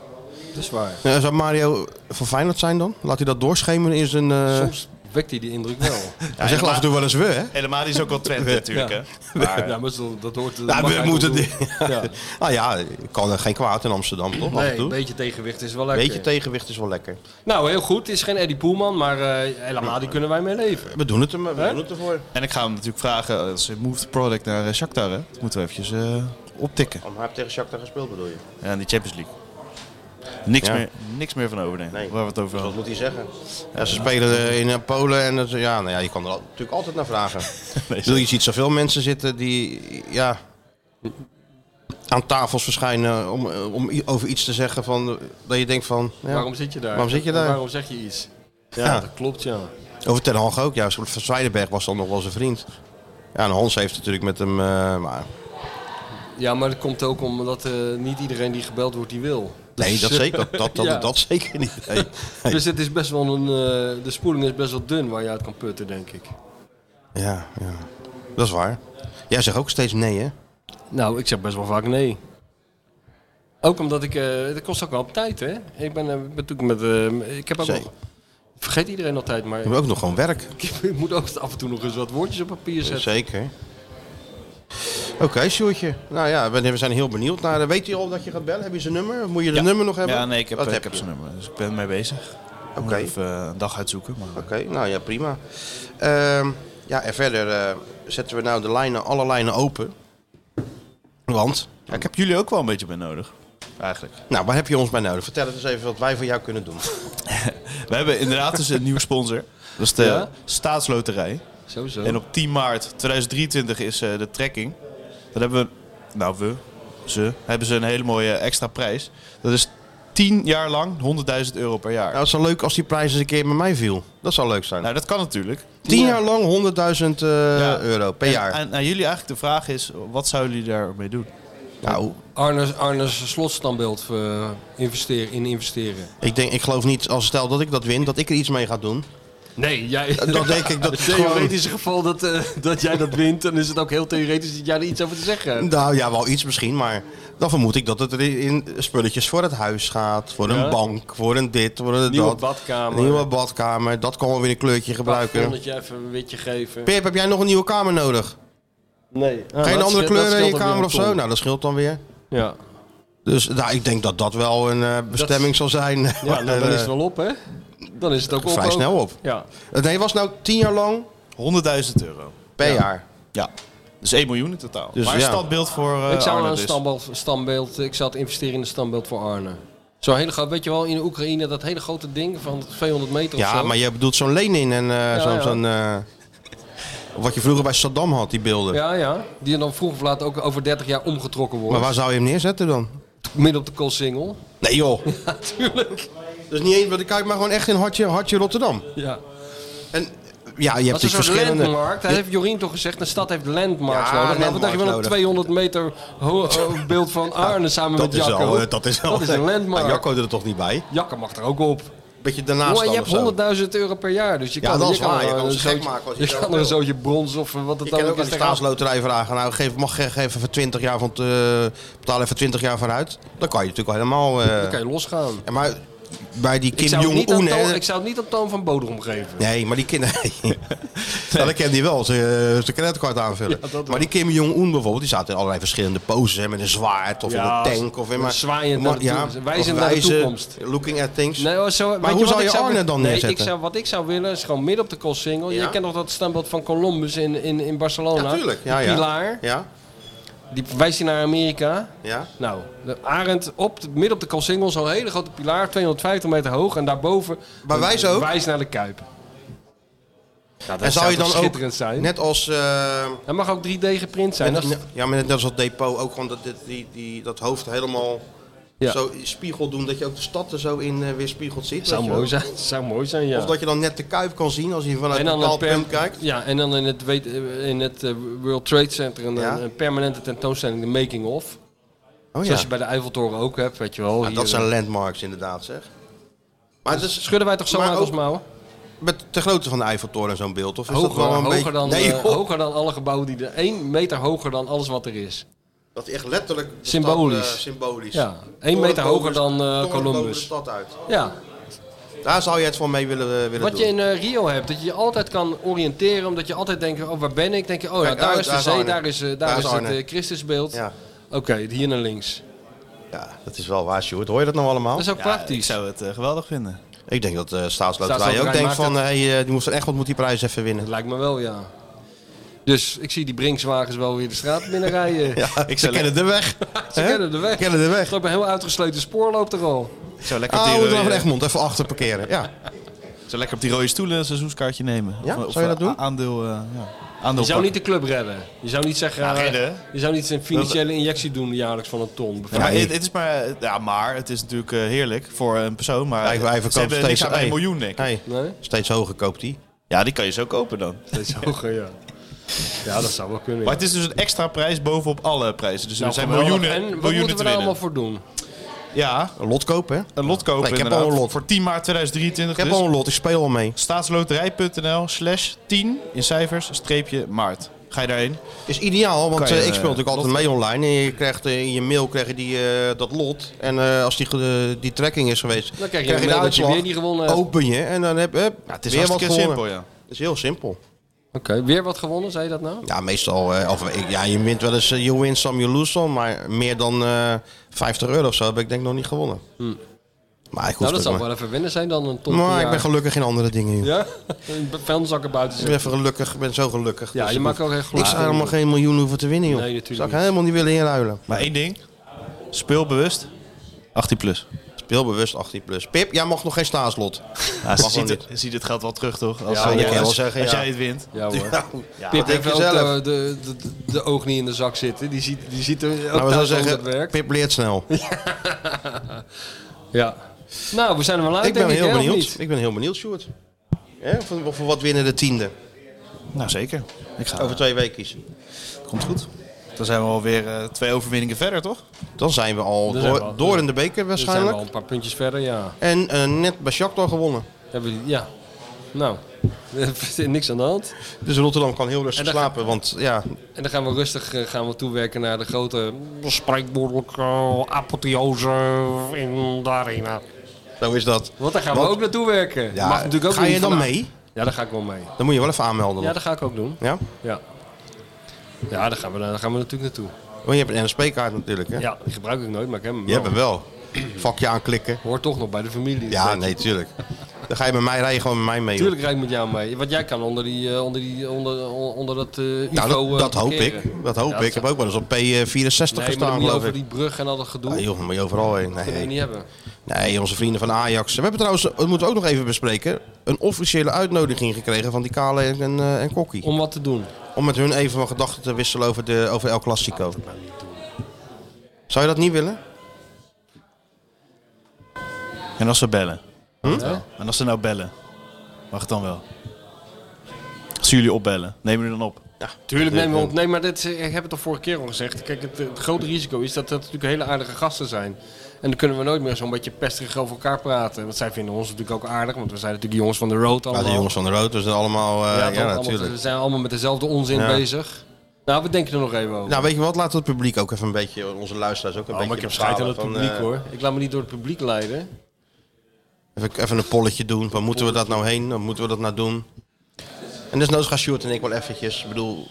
D: Dat is waar.
C: Eh, zou Mario van Feyenoord zijn dan? Laat hij dat doorschemeren in zijn... eh,
D: Soms wekt hij die indruk wel.
C: Hij zegt af en toe wel eens we, hè?
A: Helemaal die is ook wel trend natuurlijk.
D: Ja.
A: Hè? Maar,
D: ja, maar zo- dat hoort... dat
C: Nou,
D: mag
C: we
D: hij
C: moeten...
D: ook doen.
C: Ja. nou ja, kan er geen kwaad in Amsterdam, toch? af en
D: Nee,
C: toe.
D: een beetje tegenwicht is wel lekker.
C: beetje tegenwicht is wel lekker.
D: Nou, heel goed. Het is geen Eddie Poelman, maar eh El Amadi kunnen wij mee leven.
C: We doen het, er, we
D: Hè?
C: doen het ervoor.
A: En ik ga hem natuurlijk vragen, eh, ze moved the product naar eh, Shakhtar. Hè? Dat moeten we eventjes eh, optikken.
C: Om heb tegen Shakhtar gespeeld, bedoel je?
A: Ja, in die Champions League. Niks,
C: Ja.
A: meer, niks meer van over, nee.
C: Nee.
A: Waar we het over
C: Wat
A: hadden.
C: moet hij zeggen? Ja, ze spelen eh, in eh, Polen en... dat- ja, nou ja, je kan er al- natuurlijk altijd naar vragen. Ik bedoel, je ziet zoveel mensen zitten die... Ja, aan tafels verschijnen om, eh, om i- over iets te zeggen van, eh, dat je denkt van... ja.
D: Waarom zit je daar?
C: Waarom zit je daar?
D: En Waarom zeg je iets? Ja,
C: Ja.
D: dat klopt, ja.
C: Over Ten Hag ook, ja. Van Zwijdenberg was dan nog wel zijn vriend. Ja, en Hans heeft natuurlijk met hem... eh, maar,
D: Ja, maar dat komt ook omdat eh, niet iedereen die gebeld wordt, die wil.
C: nee,
D: Dus,
C: dat
D: eh,
C: zeker, dat, dat, dat,
D: Ja.
C: dat zeker niet. Nee. Nee.
D: Dus het is best wel een, eh, de spoeling is best wel dun waar je uit kan putten, denk ik.
C: Ja, ja, dat is waar. Jij zegt ook steeds nee, hè?
D: Nou, ik zeg best wel vaak nee. Ook omdat ik, eh dat kost ook wel tijd, hè. Ik ben, eh, ben natuurlijk met, eh, ik heb ook
C: Zeker.
D: nog, vergeet iedereen altijd, maar
C: Je hebt ook nog gewoon werk.
D: ik, moet ook af en toe nog eens wat woordjes op papier zetten.
C: Zeker. Oké, Sjoerdje. Nou ja, we we zijn heel benieuwd naar... eh, Weet hij al dat je gaat bellen? Heb je zijn nummer? Moet je de
A: Ja.
C: nummer nog hebben?
A: Ja, nee, ik heb,
C: Wat
A: eh, ik
C: heb
A: heb
C: je?
A: zijn nummer. Dus ik ben ermee bezig. Ik moet
C: Oké.
A: even eh, een dag uitzoeken. Maar,
C: Oké, nou ja, prima. Ehm, ja, en verder eh, zetten we nou de lijnen, alle lijnen open. Want,
A: Ja, ik heb jullie ook wel een beetje bij nodig. Eigenlijk.
C: nou, waar heb je ons bij nodig? Vertel het eens even wat wij voor jou kunnen doen.
A: We hebben inderdaad dus een nieuwe sponsor. Dat is de
D: Ja?
A: Staatsloterij.
D: Sowieso.
A: En op 10 maart 2023 is eh, de trekking. Dan hebben we, nou we, ze, hebben ze een hele mooie eh, extra prijs. Dat is 10 jaar lang 100.000 euro per jaar.
C: Nou, het zou leuk als die prijs eens een keer met mij viel. Dat zou leuk zijn.
A: Nou, dat kan natuurlijk.
C: 10 jaar lang 100.000 eh, euro per
A: en,
C: jaar.
A: En aan jullie eigenlijk de vraag is, wat zouden jullie daarmee doen?
C: nou,
D: Arnes, Arnes slotstandbeeld eh, investeer, in investeren.
C: ik, denk, ik geloof niet, als stel dat ik dat win, dat ik er iets mee ga doen.
D: Nee, jij...
C: Dan denk ik dat
D: Het
C: het gewoon...
D: theoretische geval dat, eh, dat jij dat wint, dan is het ook heel theoretisch dat jij er iets over te zeggen hebt.
C: Nou ja, wel iets misschien, maar dan vermoed ik dat het er in spulletjes voor het huis gaat. Voor
D: Ja.
C: een bank, voor een dit, voor een
D: Nieuwe
C: dat.
D: badkamer.
C: Nieuwe badkamer, dat kan wel weer een kleurtje gebruiken.
D: je even een witje geven.
C: Pip, heb jij nog een nieuwe kamer nodig?
D: Nee. Ah,
C: Geen andere kleur in je kamer of zo? Nou, dat scheelt dan weer.
D: Ja,
C: Dus nou, ik denk dat dat wel een eh, bestemming zal zijn.
D: ja nou,
C: En,
D: dan
C: eh,
D: is het wel op, hè? Dan is het ook op.
C: vrij
D: ook.
C: snel op.
D: Ja.
C: Nee, was nou 10 jaar lang
A: 100.000 euro.
C: per jaar.
A: Ja. Dus 1 miljoen in totaal.
C: Dus
A: maar een
C: ja.
A: standbeeld voor eh
D: ik zou
A: Arne
D: een
A: dus.
D: standbeeld, standbeeld, ik zou het investeren in een standbeeld voor Arne. Zo'n hele groot, weet je wel, in de Oekraïne dat hele grote ding van 200 meter of
C: Ja,
D: zo.
C: maar je bedoelt zo'n Lenin en eh, zo'n...
D: ja.
C: zo'n, eh, Wat je vroeger bij Saddam had, die beelden.
D: Ja, ja. Die dan vroeg of laat ook over 30 jaar omgetrokken wordt.
C: Maar waar zou je hem neerzetten dan?
D: Midden op de koolsingel.
C: Nee joh.
D: Natuurlijk.
C: Dus niet eens bij de Kuip, maar gewoon echt in hartje, hartje Rotterdam.
D: Ja.
C: En ja, je hebt
D: Dat is
C: dus
D: een soort
C: verschillende...
D: landmark. Dat heeft Jorien toch gezegd. Een stad heeft landmarks
C: Ja,
D: nodig. Nou, wat dacht je wel een
C: landmark
D: 200 meter ho- eh, beeld van Arne samen
C: dat,
D: met
C: is
D: Jacco?
C: al, eh, dat is al...
D: Dat is een
C: Ja,
D: landmark.
C: Jacco doet er toch niet bij?
D: Jacco mag er ook op.
C: Beetje daarnaast
D: Maar je
C: dan of zo.
D: hebt 100.000 euro per jaar, dus je
C: Ja,
D: kan,
C: dat
D: je
C: is
D: kan
C: waar. Je
D: er
C: kan
D: een
C: ons gek
D: zootje-
C: maken als je
D: je
C: zo
D: kan er
C: wil.
D: een zootje brons of eh, wat het
C: Ik
D: dan
C: kan
D: ook
C: ook aan
D: is.
C: de staatsloterij vragen. Nou, geef, mag je even voor 20 jaar van, te- betaal even 20 jaar vooruit. Dan kan je natuurlijk al helemaal... eh,
D: Dan kan je losgaan.
C: ja, maar bij die
D: Ik
C: Kim
D: zou het niet aan
C: Jong-un...
D: Toon-
C: hè,
D: Ik zou het niet op toon van Bodrum geven.
C: Nee, maar die kinderen. ja, dat kent hij wel, zijn zijn creditcard aanvullen.
D: Ja, dat wel.
C: maar die Kim Jong-un bijvoorbeeld, die zaten in allerlei verschillende poses. Hè, met een zwaard of
D: Ja,
C: in een tank. Of in maar,
D: zwaaiend naar de toekomst. Wijzend
C: of
D: naar de
C: wijzen,
D: toekomst.
C: Looking at things.
D: Nee, hoor, zo, weet
C: hoe
D: wat
C: zou
D: ik
C: je Arne
D: willen?
C: dan
D: nee,
C: neerzetten?
D: Ik zou, wat ik zou willen is gewoon midden op de Koolsingel.
C: Ja.
D: Je kent nog dat standbeeld van Columbus in, in, in Barcelona.
C: Natuurlijk. Ja,
D: Die
C: ja.
D: pilaar.
C: Ja,
D: Die wijst je naar Amerika.
C: ja.
D: Nou, de Arend op, de- midden op de Koolsingel, zo'n hele grote pilaar, 250 meter hoog. En daarboven
C: Maar wijs ook?
D: wijs naar de Kuip. Ja, dat
C: En zou je
D: toch
C: dan ook,
D: schitterend zijn?
C: net als... eh,
D: Dat mag ook 3D geprint zijn.
C: net-
D: Dat is-
C: ja, maar net als dat depot ook gewoon dat, dit- die, die, dat hoofd helemaal
D: Ja.
C: zo in spiegel doen. Dat je ook de stad er zo in eh, weer spiegeld ziet. weet
D: zou
C: je
D: mooi
C: wel.
D: zijn. Zou mooi zijn, ja.
C: Of dat je dan net de kuip kan zien als je vanuit een
D: En dan een
C: bepaald
D: per-
C: punt kijkt.
D: Ja, en dan in het, weet- in het eh, World Trade Center een,
C: Ja.
D: een permanente tentoonstelling, de Making of.
C: Oh,
D: Zoals je bij de Eiffeltoren ook hebt, weet je wel.
C: Ja,
D: hier, eh, Dus
C: dat zijn landmarks inderdaad, zeg. Maar het is
D: Schudden wij toch zo
C: maar
D: uit
C: ook
D: als mouwen?
C: met de grootte van de Eiffeltoren zo'n beeld? Of is
D: Hoger,
C: dat wel een
D: hoger,
C: beetje...
D: dan,
C: nee,
D: eh,
C: joh.
D: hoger dan alle gebouwen die er... 1 meter hoger dan alles wat er is.
C: Dat is echt letterlijk... de
D: Symbolisch.
C: stad, eh, symbolisch.
D: Ja, één meter hoger dan, eh,
C: De
D: Columbus.
C: stad uit.
D: Ja,
C: Daar zou je het van mee willen, eh, willen
D: wat
C: doen.
D: je in eh, Rio hebt, dat je je altijd kan oriënteren. Omdat je altijd denkt, oh waar ben ik? denk je, oh nou,
C: Kijk,
D: daar
C: daar-
D: is de
C: daar is
D: zee,
C: Arnhem.
D: daar is, eh, daar
C: Daar is
D: is, het
C: Arnhem.
D: eh, Christusbeeld.
C: Ja.
D: Oké, hier naar links.
C: ja, dat is wel waar, Sjoerd. Hoor je dat nou allemaal?
D: Dat is ook
A: Ik
D: praktisch.
A: zou het eh, geweldig vinden.
C: Ik denk dat de staatsloterij ook
D: Staatsloterij
C: denkt
D: maakt
C: van... hey, eh, die moest dan echt wat moet die prijs even winnen.
D: Dat lijkt me wel, ja. Dus ik zie die Brinkswagens wel weer de straat binnenrijden.
C: Ja, ik ze
A: zou-
C: kennen de weg.
D: Ze
C: Hè?
D: kennen de weg.
C: kennen de weg.
D: Ik loop een heel uitgesleten spoor loopt er al.
A: Ik zou lekker, op
C: Ah,
A: die,
C: we
A: rode-
D: eh,
C: gaan van Egmond even achter parkeren. Ja.
A: ik zou lekker op die rode stoelen een seizoenskaartje nemen.
C: Ja?
A: Of- of
C: Zou je dat
A: a-
C: doen?
A: Aandeel, eh ja. aandeel
D: Je zou niet de club redden. Je zou niet zeggen... eh,
A: redden?
D: Je zou niet een financiële injectie doen jaarlijks van een ton.
A: Ja, maar het, het is maar, ja, maar het is natuurlijk eh, heerlijk voor een persoon. Maar
C: Wij, wij
A: ze
C: verkopen
A: hebben
C: steeds...
A: niks aan een
C: hey,
A: miljoen, denk ik.
C: hey,
D: Nee?
C: Steeds hoger koopt die.
A: Ja, die kan je zo kopen dan.
D: Steeds hoger, ja. Ja, dat zou wel kunnen.
A: Maar het is dus een extra prijs bovenop alle prijzen. Dus
D: Nou,
A: er zijn
D: geweldig.
A: miljoenen,
D: En wat
A: miljoenen
D: moeten
A: te
D: we daar
A: winnen.
D: allemaal voor doen?
A: Ja,
C: Een lot kopen, hè?
A: een lot kopen
C: Nee, ik heb
A: inderdaad.
C: al een lot.
A: Voor 10 maart 2023
C: Ik heb
A: dus.
C: al een lot, ik speel al mee.
A: Staatsloterij.nl slash 10 in cijfers streepje maart. Ga je daarheen?
C: is ideaal, want
A: Kan je,
C: eh, ik
A: eh,
C: speel natuurlijk altijd mee online. En je krijgt, eh, in je mail krijg je die, eh, dat lot. En eh, als die, ge- die trekking is geweest,
D: Dan krijg je een mail dat je weer niet gewonnen hebt.
C: Open je en dan heb je
A: Ja, het is
C: weer wat
A: hartstikke
C: gewonnen.
A: simpel, ja.
C: Het is heel simpel.
D: Oké, weer wat gewonnen, zei je dat nou?
C: Ja, meestal, eh, of, ik- ja, je wint wel eens, eh, you win some, you lose some. Maar meer dan eh 50 euro of zo heb ik denk ik nog niet gewonnen. Maar ik hoef
D: Hm. Nou, dat
C: het
D: zou
C: maar.
D: wel even winnen zijn dan een ton per
C: Maar ik
D: jaar.
C: ben gelukkig in andere dingen. joh.
D: Ja? Vuilniszakken buiten
C: Ik ben
D: zetten.
C: even gelukkig, ik ben zo gelukkig.
D: Ja,
C: Dus
D: je
C: ik
D: maakt
C: hoef-
D: ook echt
C: Ik
D: gelukkig.
C: zou helemaal geen miljoen hoeven te winnen, joh.
D: Nee, natuurlijk
C: Zou ik
D: niet.
C: helemaal niet willen inruilen.
A: Maar één ding. Speel bewust. 18 plus.
C: Speelbewust 18 plus. Pip, jij mag nog geen staatslot.
A: Ja, ze
C: Mag
A: ziet,
C: wel
A: het, ziet het geld wel terug, toch? Als,
D: Ja, dat
A: als-
D: kan je wel
A: als-
C: zeggen,
A: als
C: ja.
A: jij het wint.
D: Ja hoor.
C: Ja,
D: Pip
C: dat
D: heeft
C: denk je
D: ook
C: zelf.
D: de, de, de, de oog niet in de zak zitten. Die ziet, die ziet er ook
C: Nou, we
D: thuis
C: zouden
D: hoe dat
C: zeggen,
D: werkt.
C: Pip leert snel.
D: Ja. Nou, we zijn er wel uit,
C: ik ben
D: denk
C: heel
D: hè, of
C: benieuwd.
D: niet?
C: Ik ben heel benieuwd, Sjoerd. Hè, voor, voor wat winnen de tiende?
A: Nou, zeker. Ik ga,
C: Over twee weken.
A: Komt goed. Dan zijn we alweer eh twee overwinningen verder, toch?
C: Dan zijn we al door,
D: Dan zijn we al-
C: door in de beker
D: Dan zijn we
C: waarschijnlijk.
D: al een paar puntjes verder, ja.
C: En eh, net bij Shakhtar gewonnen.
D: Hebben we- ja. Nou, er is niks aan de hand.
C: Dus Rotterdam kan heel
D: En
C: rustig
D: dan-
C: slapen. Want ja,
D: En dan gaan we rustig eh, gaan we toewerken naar de grote spreekwoordelijke apotheose in de arena.
C: zo is dat.
D: Want daar gaan we
C: Want-
D: ook naartoe werken.
C: Ja,
D: Mag natuurlijk ook
C: ga
D: niet
C: je dan
D: vanaf-
C: mee?
D: Ja, daar ga ik wel mee.
C: Dan moet je wel even aanmelden.
D: Ja,
C: nog.
D: dat ga ik ook doen.
C: Ja?
D: Ja, ja daar, gaan we, daar gaan we natuurlijk naartoe.
C: Want je hebt een NSP-kaart natuurlijk. Hè?
D: Ja, die gebruik ik nooit, maar ik heb hem
C: Je
D: wel.
C: hebt hem wel. Vakje aanklikken.
D: Hoort toch nog bij de familie.
C: Ja, nee, tuurlijk. Dan ga je met mij rijden, gewoon met mij mee. joh.
D: Tuurlijk rijd ik met jou mee. Want jij kan onder, die, eh, onder, die, onder, onder dat eh
C: Nou, dat,
D: UFO, eh,
C: dat hoop
D: parkeren.
C: ik. Dat hoop
D: Ja,
C: ik. Ik heb ook wel eens op P64
D: Nee, maar dan
C: gestaan,
D: moet je
C: geloof
D: over
C: ik.
D: die brug en al dat gedoe.
C: Ah, joh, dan moet je overal heen.
D: dat kunnen we
C: Nee,
D: niet hebben.
C: nee, onze vrienden van Ajax. We hebben trouwens, dat moeten we ook nog even bespreken, een officiële uitnodiging gekregen van die Kale en, en, eh, en Kokkie.
D: Om wat te doen?
C: Om met hun even van gedachten te wisselen over, de, over El Clasico. Zou je dat niet willen?
A: En als ze bellen?
C: Hm?
A: Ja. En als ze nou bellen? Mag het dan wel? Als jullie opbellen, nemen jullie dan op?
C: Ja,
D: Tuurlijk nemen we op. Nee, maar dit, ik heb het al vorige keer al gezegd. Kijk, het, het grote risico is dat dat natuurlijk hele aardige gasten zijn. En dan kunnen we nooit meer zo'n beetje pesterig over elkaar praten. Want zij vinden ons natuurlijk ook aardig, want we zijn natuurlijk jongens van de road allemaal.
C: Ja, de jongens van de rood, dus allemaal... eh,
D: Ja,
C: ja,
D: toch? Allemaal-
C: natuurlijk.
D: we zijn allemaal met dezelfde onzin
C: Ja.
D: bezig. Nou, we denken er nog even over.
C: Nou, weet je wat? Laten we het publiek ook even een beetje, onze luisteraars ook een beetje
D: Oh, maar ik heb scheid aan het
C: bepalen
D: publiek
C: van, eh,
D: hoor. Ik laat me niet door het publiek leiden.
C: Even, even een polletje doen. Waar moeten we dat nou heen? Waar moeten we dat nou doen? En dus desnoods gaan Sjoerd en ik wel eventjes. Ik bedoel,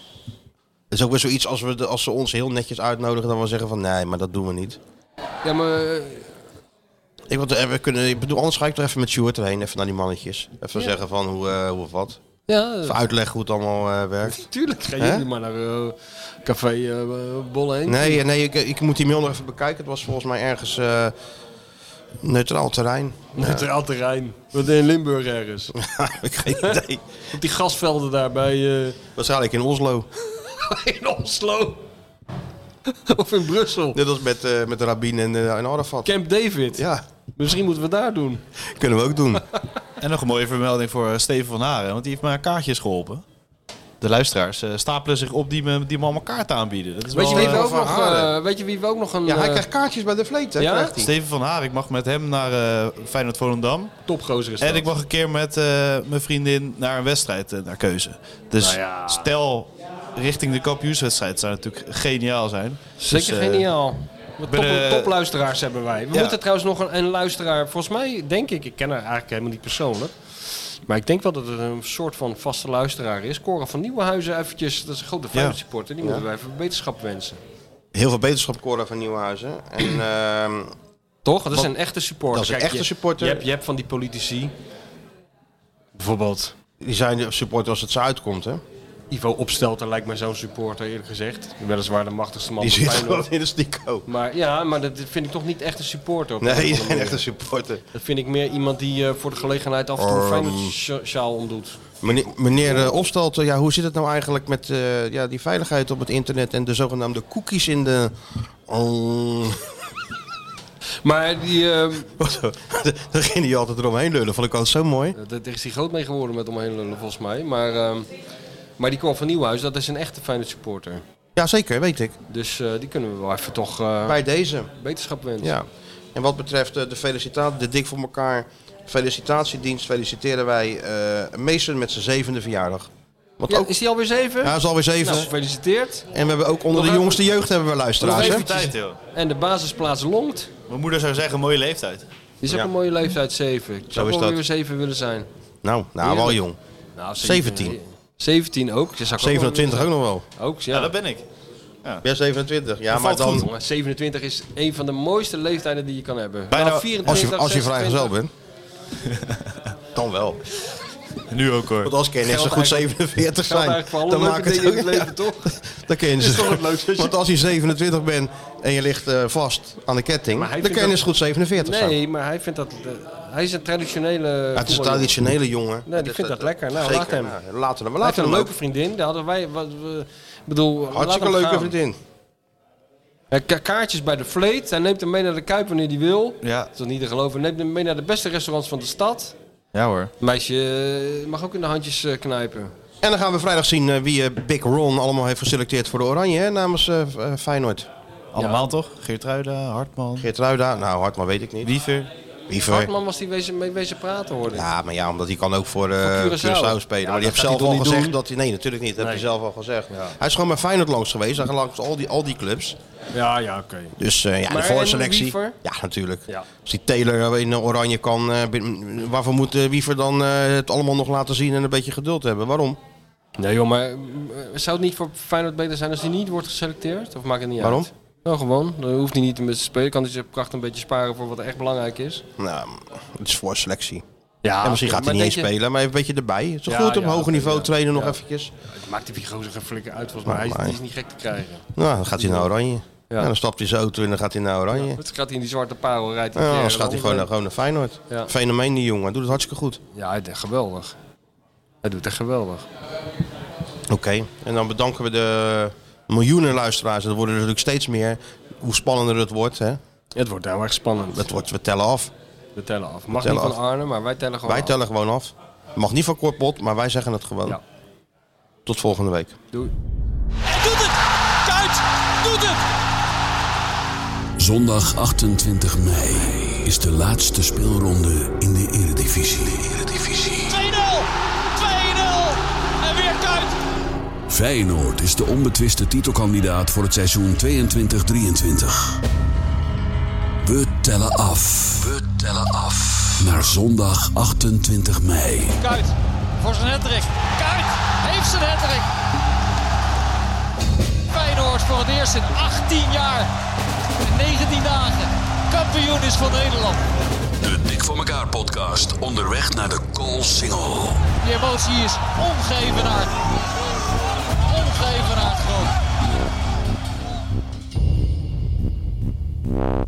C: het is ook weer zoiets als, we de, als ze ons heel netjes uitnodigen. Dan we zeggen van nee, maar dat doen we niet.
D: Ja, maar eh,
C: Ik, wil er- we kunnen, ik bedoel, anders ga ik toch even met Sjoerd erheen. Even naar die mannetjes. Even
D: Ja.
C: zeggen van hoe, eh, hoe of wat.
D: ja,
C: Even uitleggen hoe het allemaal eh, werkt.
D: tuurlijk gaan
C: Hè?
D: jullie maar naar eh, café eh Bolle heen.
C: Nee, eh, nee ik, ik moet die mail nog even bekijken. Het was volgens mij ergens eh, neutraal terrein. eh,
D: Neutraal terrein. Wat in Limburg ergens.
C: Ja, ik heb geen idee.
D: Op die gasvelden daar bij, eh,
C: Waarschijnlijk in Oslo.
D: in Oslo. of in Brussel.
C: Net als met, eh, met Rabin en, eh, en Arafat.
D: Camp David.
C: Ja,
D: Misschien moeten we daar doen.
C: kunnen we ook doen.
A: En nog een mooie vermelding voor eh, Steven van Haren, want die heeft maar kaartjes geholpen. De luisteraars eh, stapelen zich op die me, die me allemaal kaarten aanbieden. Dat is
C: Oh,
D: Weet je,
A: wel,
D: wie
A: eh,
D: we ook
C: Van
D: nog,
C: Haren.
D: eh, weet je wie we ook nog een
C: Ja, hij
D: eh,
C: krijgt kaartjes bij de vleet, hè?
D: Ja?
C: Krijgt hij.
A: eh, Steven van Haren, ik mag met hem naar eh Feyenoord Volendam.
D: topgozer is?
A: En
D: dat?
A: ik mag een keer met eh, mijn vriendin naar een wedstrijd eh, naar keuze. Dus
D: Nou ja.
A: stel, richting de kampioenswedstrijd zou natuurlijk geniaal zijn.
D: Zeker
A: Dus, eh,
D: geniaal. Wat
A: ben,
D: top,
A: eh,
D: topluisteraars hebben wij. We
A: ja.
D: moeten trouwens nog een, een luisteraar, volgens mij denk ik, ik ken haar eigenlijk helemaal niet persoonlijk. Maar ik denk wel dat het een soort van vaste luisteraar is. Cora van Nieuwenhuizen eventjes, dat is een grote Feyenoord supporter. Die moeten wij even beterschap wensen.
C: Heel veel beterschap, Cora van Nieuwenhuizen. En ehm,
D: Toch? Dat is
C: Want-
D: een echte supporter.
C: dat is een
D: Kijk,
C: echte
D: je-
C: supporter.
D: Je hebt, je hebt van die politici. Bijvoorbeeld
C: die zijn de supporter als het ze uitkomt, hè?
D: Ivo Opstelter lijkt mij zo'n supporter eerlijk gezegd. Weliswaar de machtigste man
C: Die
D: van
C: zit
D: Feyenoord.
C: gewoon in de stico.
D: Maar ja, maar dat vind ik toch niet echt een supporter. op een of
C: Nee,
D: andere
C: geen
D: manier.
C: echte supporter.
D: Dat vind ik meer iemand die eh, voor de gelegenheid af en toe een
C: Ehm.
D: Feyenoord sja- sjaal omdoet.
C: Meneer, meneer eh, Opstelten, ja, hoe zit het nou eigenlijk met eh, ja, die veiligheid op het internet en de zogenaamde cookies in de... Oh.
D: Maar die, eh,
C: Daar ging hij altijd eromheen lullen, vond ik altijd zo mooi.
D: dat daar is hij groot mee geworden met omheen lullen volgens mij. Maar, ehm, maar die kwam van Nieuwhuis, dat is een echte Feyenoord supporter.
C: Ja, zeker, weet ik.
D: Dus eh, die kunnen we wel even toch eh,
C: Bij deze.
D: beterschap wensen.
C: Ja. En wat betreft eh, de felicitatie, de Dik voor elkaar felicitatiedienst, feliciteren wij eh Mason met zijn zevende verjaardag. Want
D: Ja,
C: ook,
D: is die alweer zeven?
C: ja, dat is alweer zeven.
D: Nou, gefeliciteerd.
C: En we hebben ook onder de
D: Nog
C: jongste jeugd hebben we
A: Nog
C: luisteraars. hè?
A: even tijd, joh.
D: En de basisplaats longt.
A: Mijn moeder zou zeggen, mooie leeftijd.
D: Die is ook
C: Ja.
D: een mooie leeftijd, zeven. Ik
C: Zo
D: zou
C: is
D: wel
C: dat.
D: weer zeven willen zijn.
C: Nou, nou wel
D: Heerlijk.
C: jong.
D: Nou,
C: 17.
D: 17 ook. Dat zou ik ook wel willen
C: 27 ook nog wel.
D: zijn. Ook, ja.
A: Ja, dat ben ik.
C: Ja, 27. Ja, maar
A: valt
C: dan
D: Jongen, 27 is een van de mooiste leeftijden die je kan hebben.
A: Bijna-
D: Nou,
C: als je, als je
D: 26,
C: vrijgezel bent. dan wel.
A: Nu ook hoor.
C: Want als kun je net zo
D: Geldt
C: goed
D: eigenlijk-
C: 47
D: geldt
C: zijn,
D: eigenlijk voor alle
C: dan
D: leuke
C: maakt het
D: dingen in
C: ook-
D: het leven,
C: ja,
D: toch?
C: Dan kun je dus-
D: is toch het leukste, als je-
C: Want als je 27 bent en je ligt eh, vast aan de ketting,
D: Maar hij
C: dan kun
D: vindt
C: je
D: dat-
C: net zo goed 47 zijn.
D: Nee, maar hij vindt dat... eh, hij is een traditionele...
C: Ja, het is een
D: voetballer.
C: traditionele jongen.
D: Nee, die vindt dat lekker. Nou, laat hem.
C: Nou, laten we hem.
D: Hij
C: Laten
D: heeft een
C: we hem
D: leuke
C: ook.
D: vriendin. Daar hadden wij... Wat, we, ik bedoel, laat
C: Hartstikke
D: hem
C: leuke
D: gaan.
C: vriendin.
D: Hij ka- kaartjes bij de Fleet. Hij neemt hem mee naar de Kuip wanneer hij wil.
A: Ja,
D: Dat is toch niet te geloven. Hij neemt hem mee naar de beste restaurants van de stad.
A: ja hoor.
D: Meisje eh, mag ook in de handjes eh, knijpen.
C: En dan gaan we vrijdag zien eh, wie eh, Big Ron allemaal heeft geselecteerd voor de Oranje hè, namens eh, eh, Feyenoord.
A: Allemaal toch? Geertruida, Hartman,
C: Geert Ruida, nou Hartman weet ik niet.
A: Wiever.
C: Wiever.
D: Hartman was die wezen, mee wezen praten hoor. ik.
C: Ja, maar ja, omdat hij kan ook voor, eh
D: Voor
C: Curaçao.
D: Curaçao.
C: spelen.
D: Ja,
C: maar die
D: dat
C: heeft
D: gaat
C: zelf
D: hij
C: al
D: toch niet
C: gezegd
D: doen?
C: dat hij... Nee, natuurlijk niet. Dat heeft
D: Nee.
C: hij zelf al gezegd. Hij is gewoon bij Feyenoord langs geweest. Hij gaat langs al die, al die clubs.
D: Ja, ja, oké.
C: Dus eh, ja,
D: Maar
C: de
D: en
C: voorselectie.
D: Wiever?
C: Ja, natuurlijk.
D: Ja.
C: Als die Taylor in eh, oranje kan, eh, bin- waarvoor moet eh, Wiever dan eh, het allemaal nog laten zien en een beetje geduld hebben? Waarom?
D: Nee joh, maar eh, zou het niet voor Feyenoord beter zijn als hij niet wordt geselecteerd? Of maakt het niet
C: Waarom?
D: uit? Nou, gewoon. Dan hoeft hij niet te spelen. Kan hij zijn kracht een beetje sparen voor wat echt belangrijk is.
C: Nou, het is voorselectie.
D: Ja,
C: Ja, en misschien
D: Ah,
C: gaat hij
D: oké, maar
C: niet eens
D: denk je-
C: spelen, maar even een beetje erbij. Het is
D: Ja,
C: goed om
D: ja,
C: hoger
D: oké,
C: niveau
D: ja.
C: trainen nog
D: Ja.
C: eventjes.
D: Het maakt die figuur geen flinke uit volgens
C: Maar-
D: mij. Hij is,
C: maar-
D: die is niet gek te krijgen.
C: Nou, dan gaat hij naar Oranje. Ja, dan stapt hij zijn auto en dan gaat hij naar Oranje.
D: Het gaat hij in die zwarte parel rijdt
C: Ja,
D: hij
C: anders gaat hij gewoon naar, gewoon naar Feyenoord.
D: Ja.
C: Fenomeen die jongen, Hij doet het hartstikke goed.
D: Ja, hij deed geweldig. Hij doet echt geweldig.
C: Oké, en dan bedanken we de miljoenen luisteraars. Er worden er natuurlijk steeds meer. Hoe spannender het wordt, hè?
D: Het wordt heel erg spannend.
C: Het wordt, we tellen af.
D: We tellen af. Mag
C: tellen
D: niet van
C: af.
D: Arne, maar wij tellen gewoon
C: wij
D: af.
C: tellen gewoon af. Mag niet van Korpot, maar wij zeggen het gewoon.
D: Ja.
C: Tot volgende week.
D: Doei.
F: Kuit doet het!
E: Zondag 28 mei is de laatste speelronde in de
F: 2-0!
E: Eredivisie.
F: 2-0! En weer Kuit!
E: Feyenoord is de onbetwiste titelkandidaat voor het seizoen 22-23. We tellen af. We tellen af. Naar zondag 28 mei.
F: Kuit voor zijn hattrick. Kuit heeft zijn hattrick. Feyenoord voor het eerst in 18 jaar en 19 dagen kampioen is van Nederland.
E: De Dik voor elkaar podcast onderweg naar de goal single.
F: Die emotie is ongevenaard. Ongevenaard groot.
L: Yeah.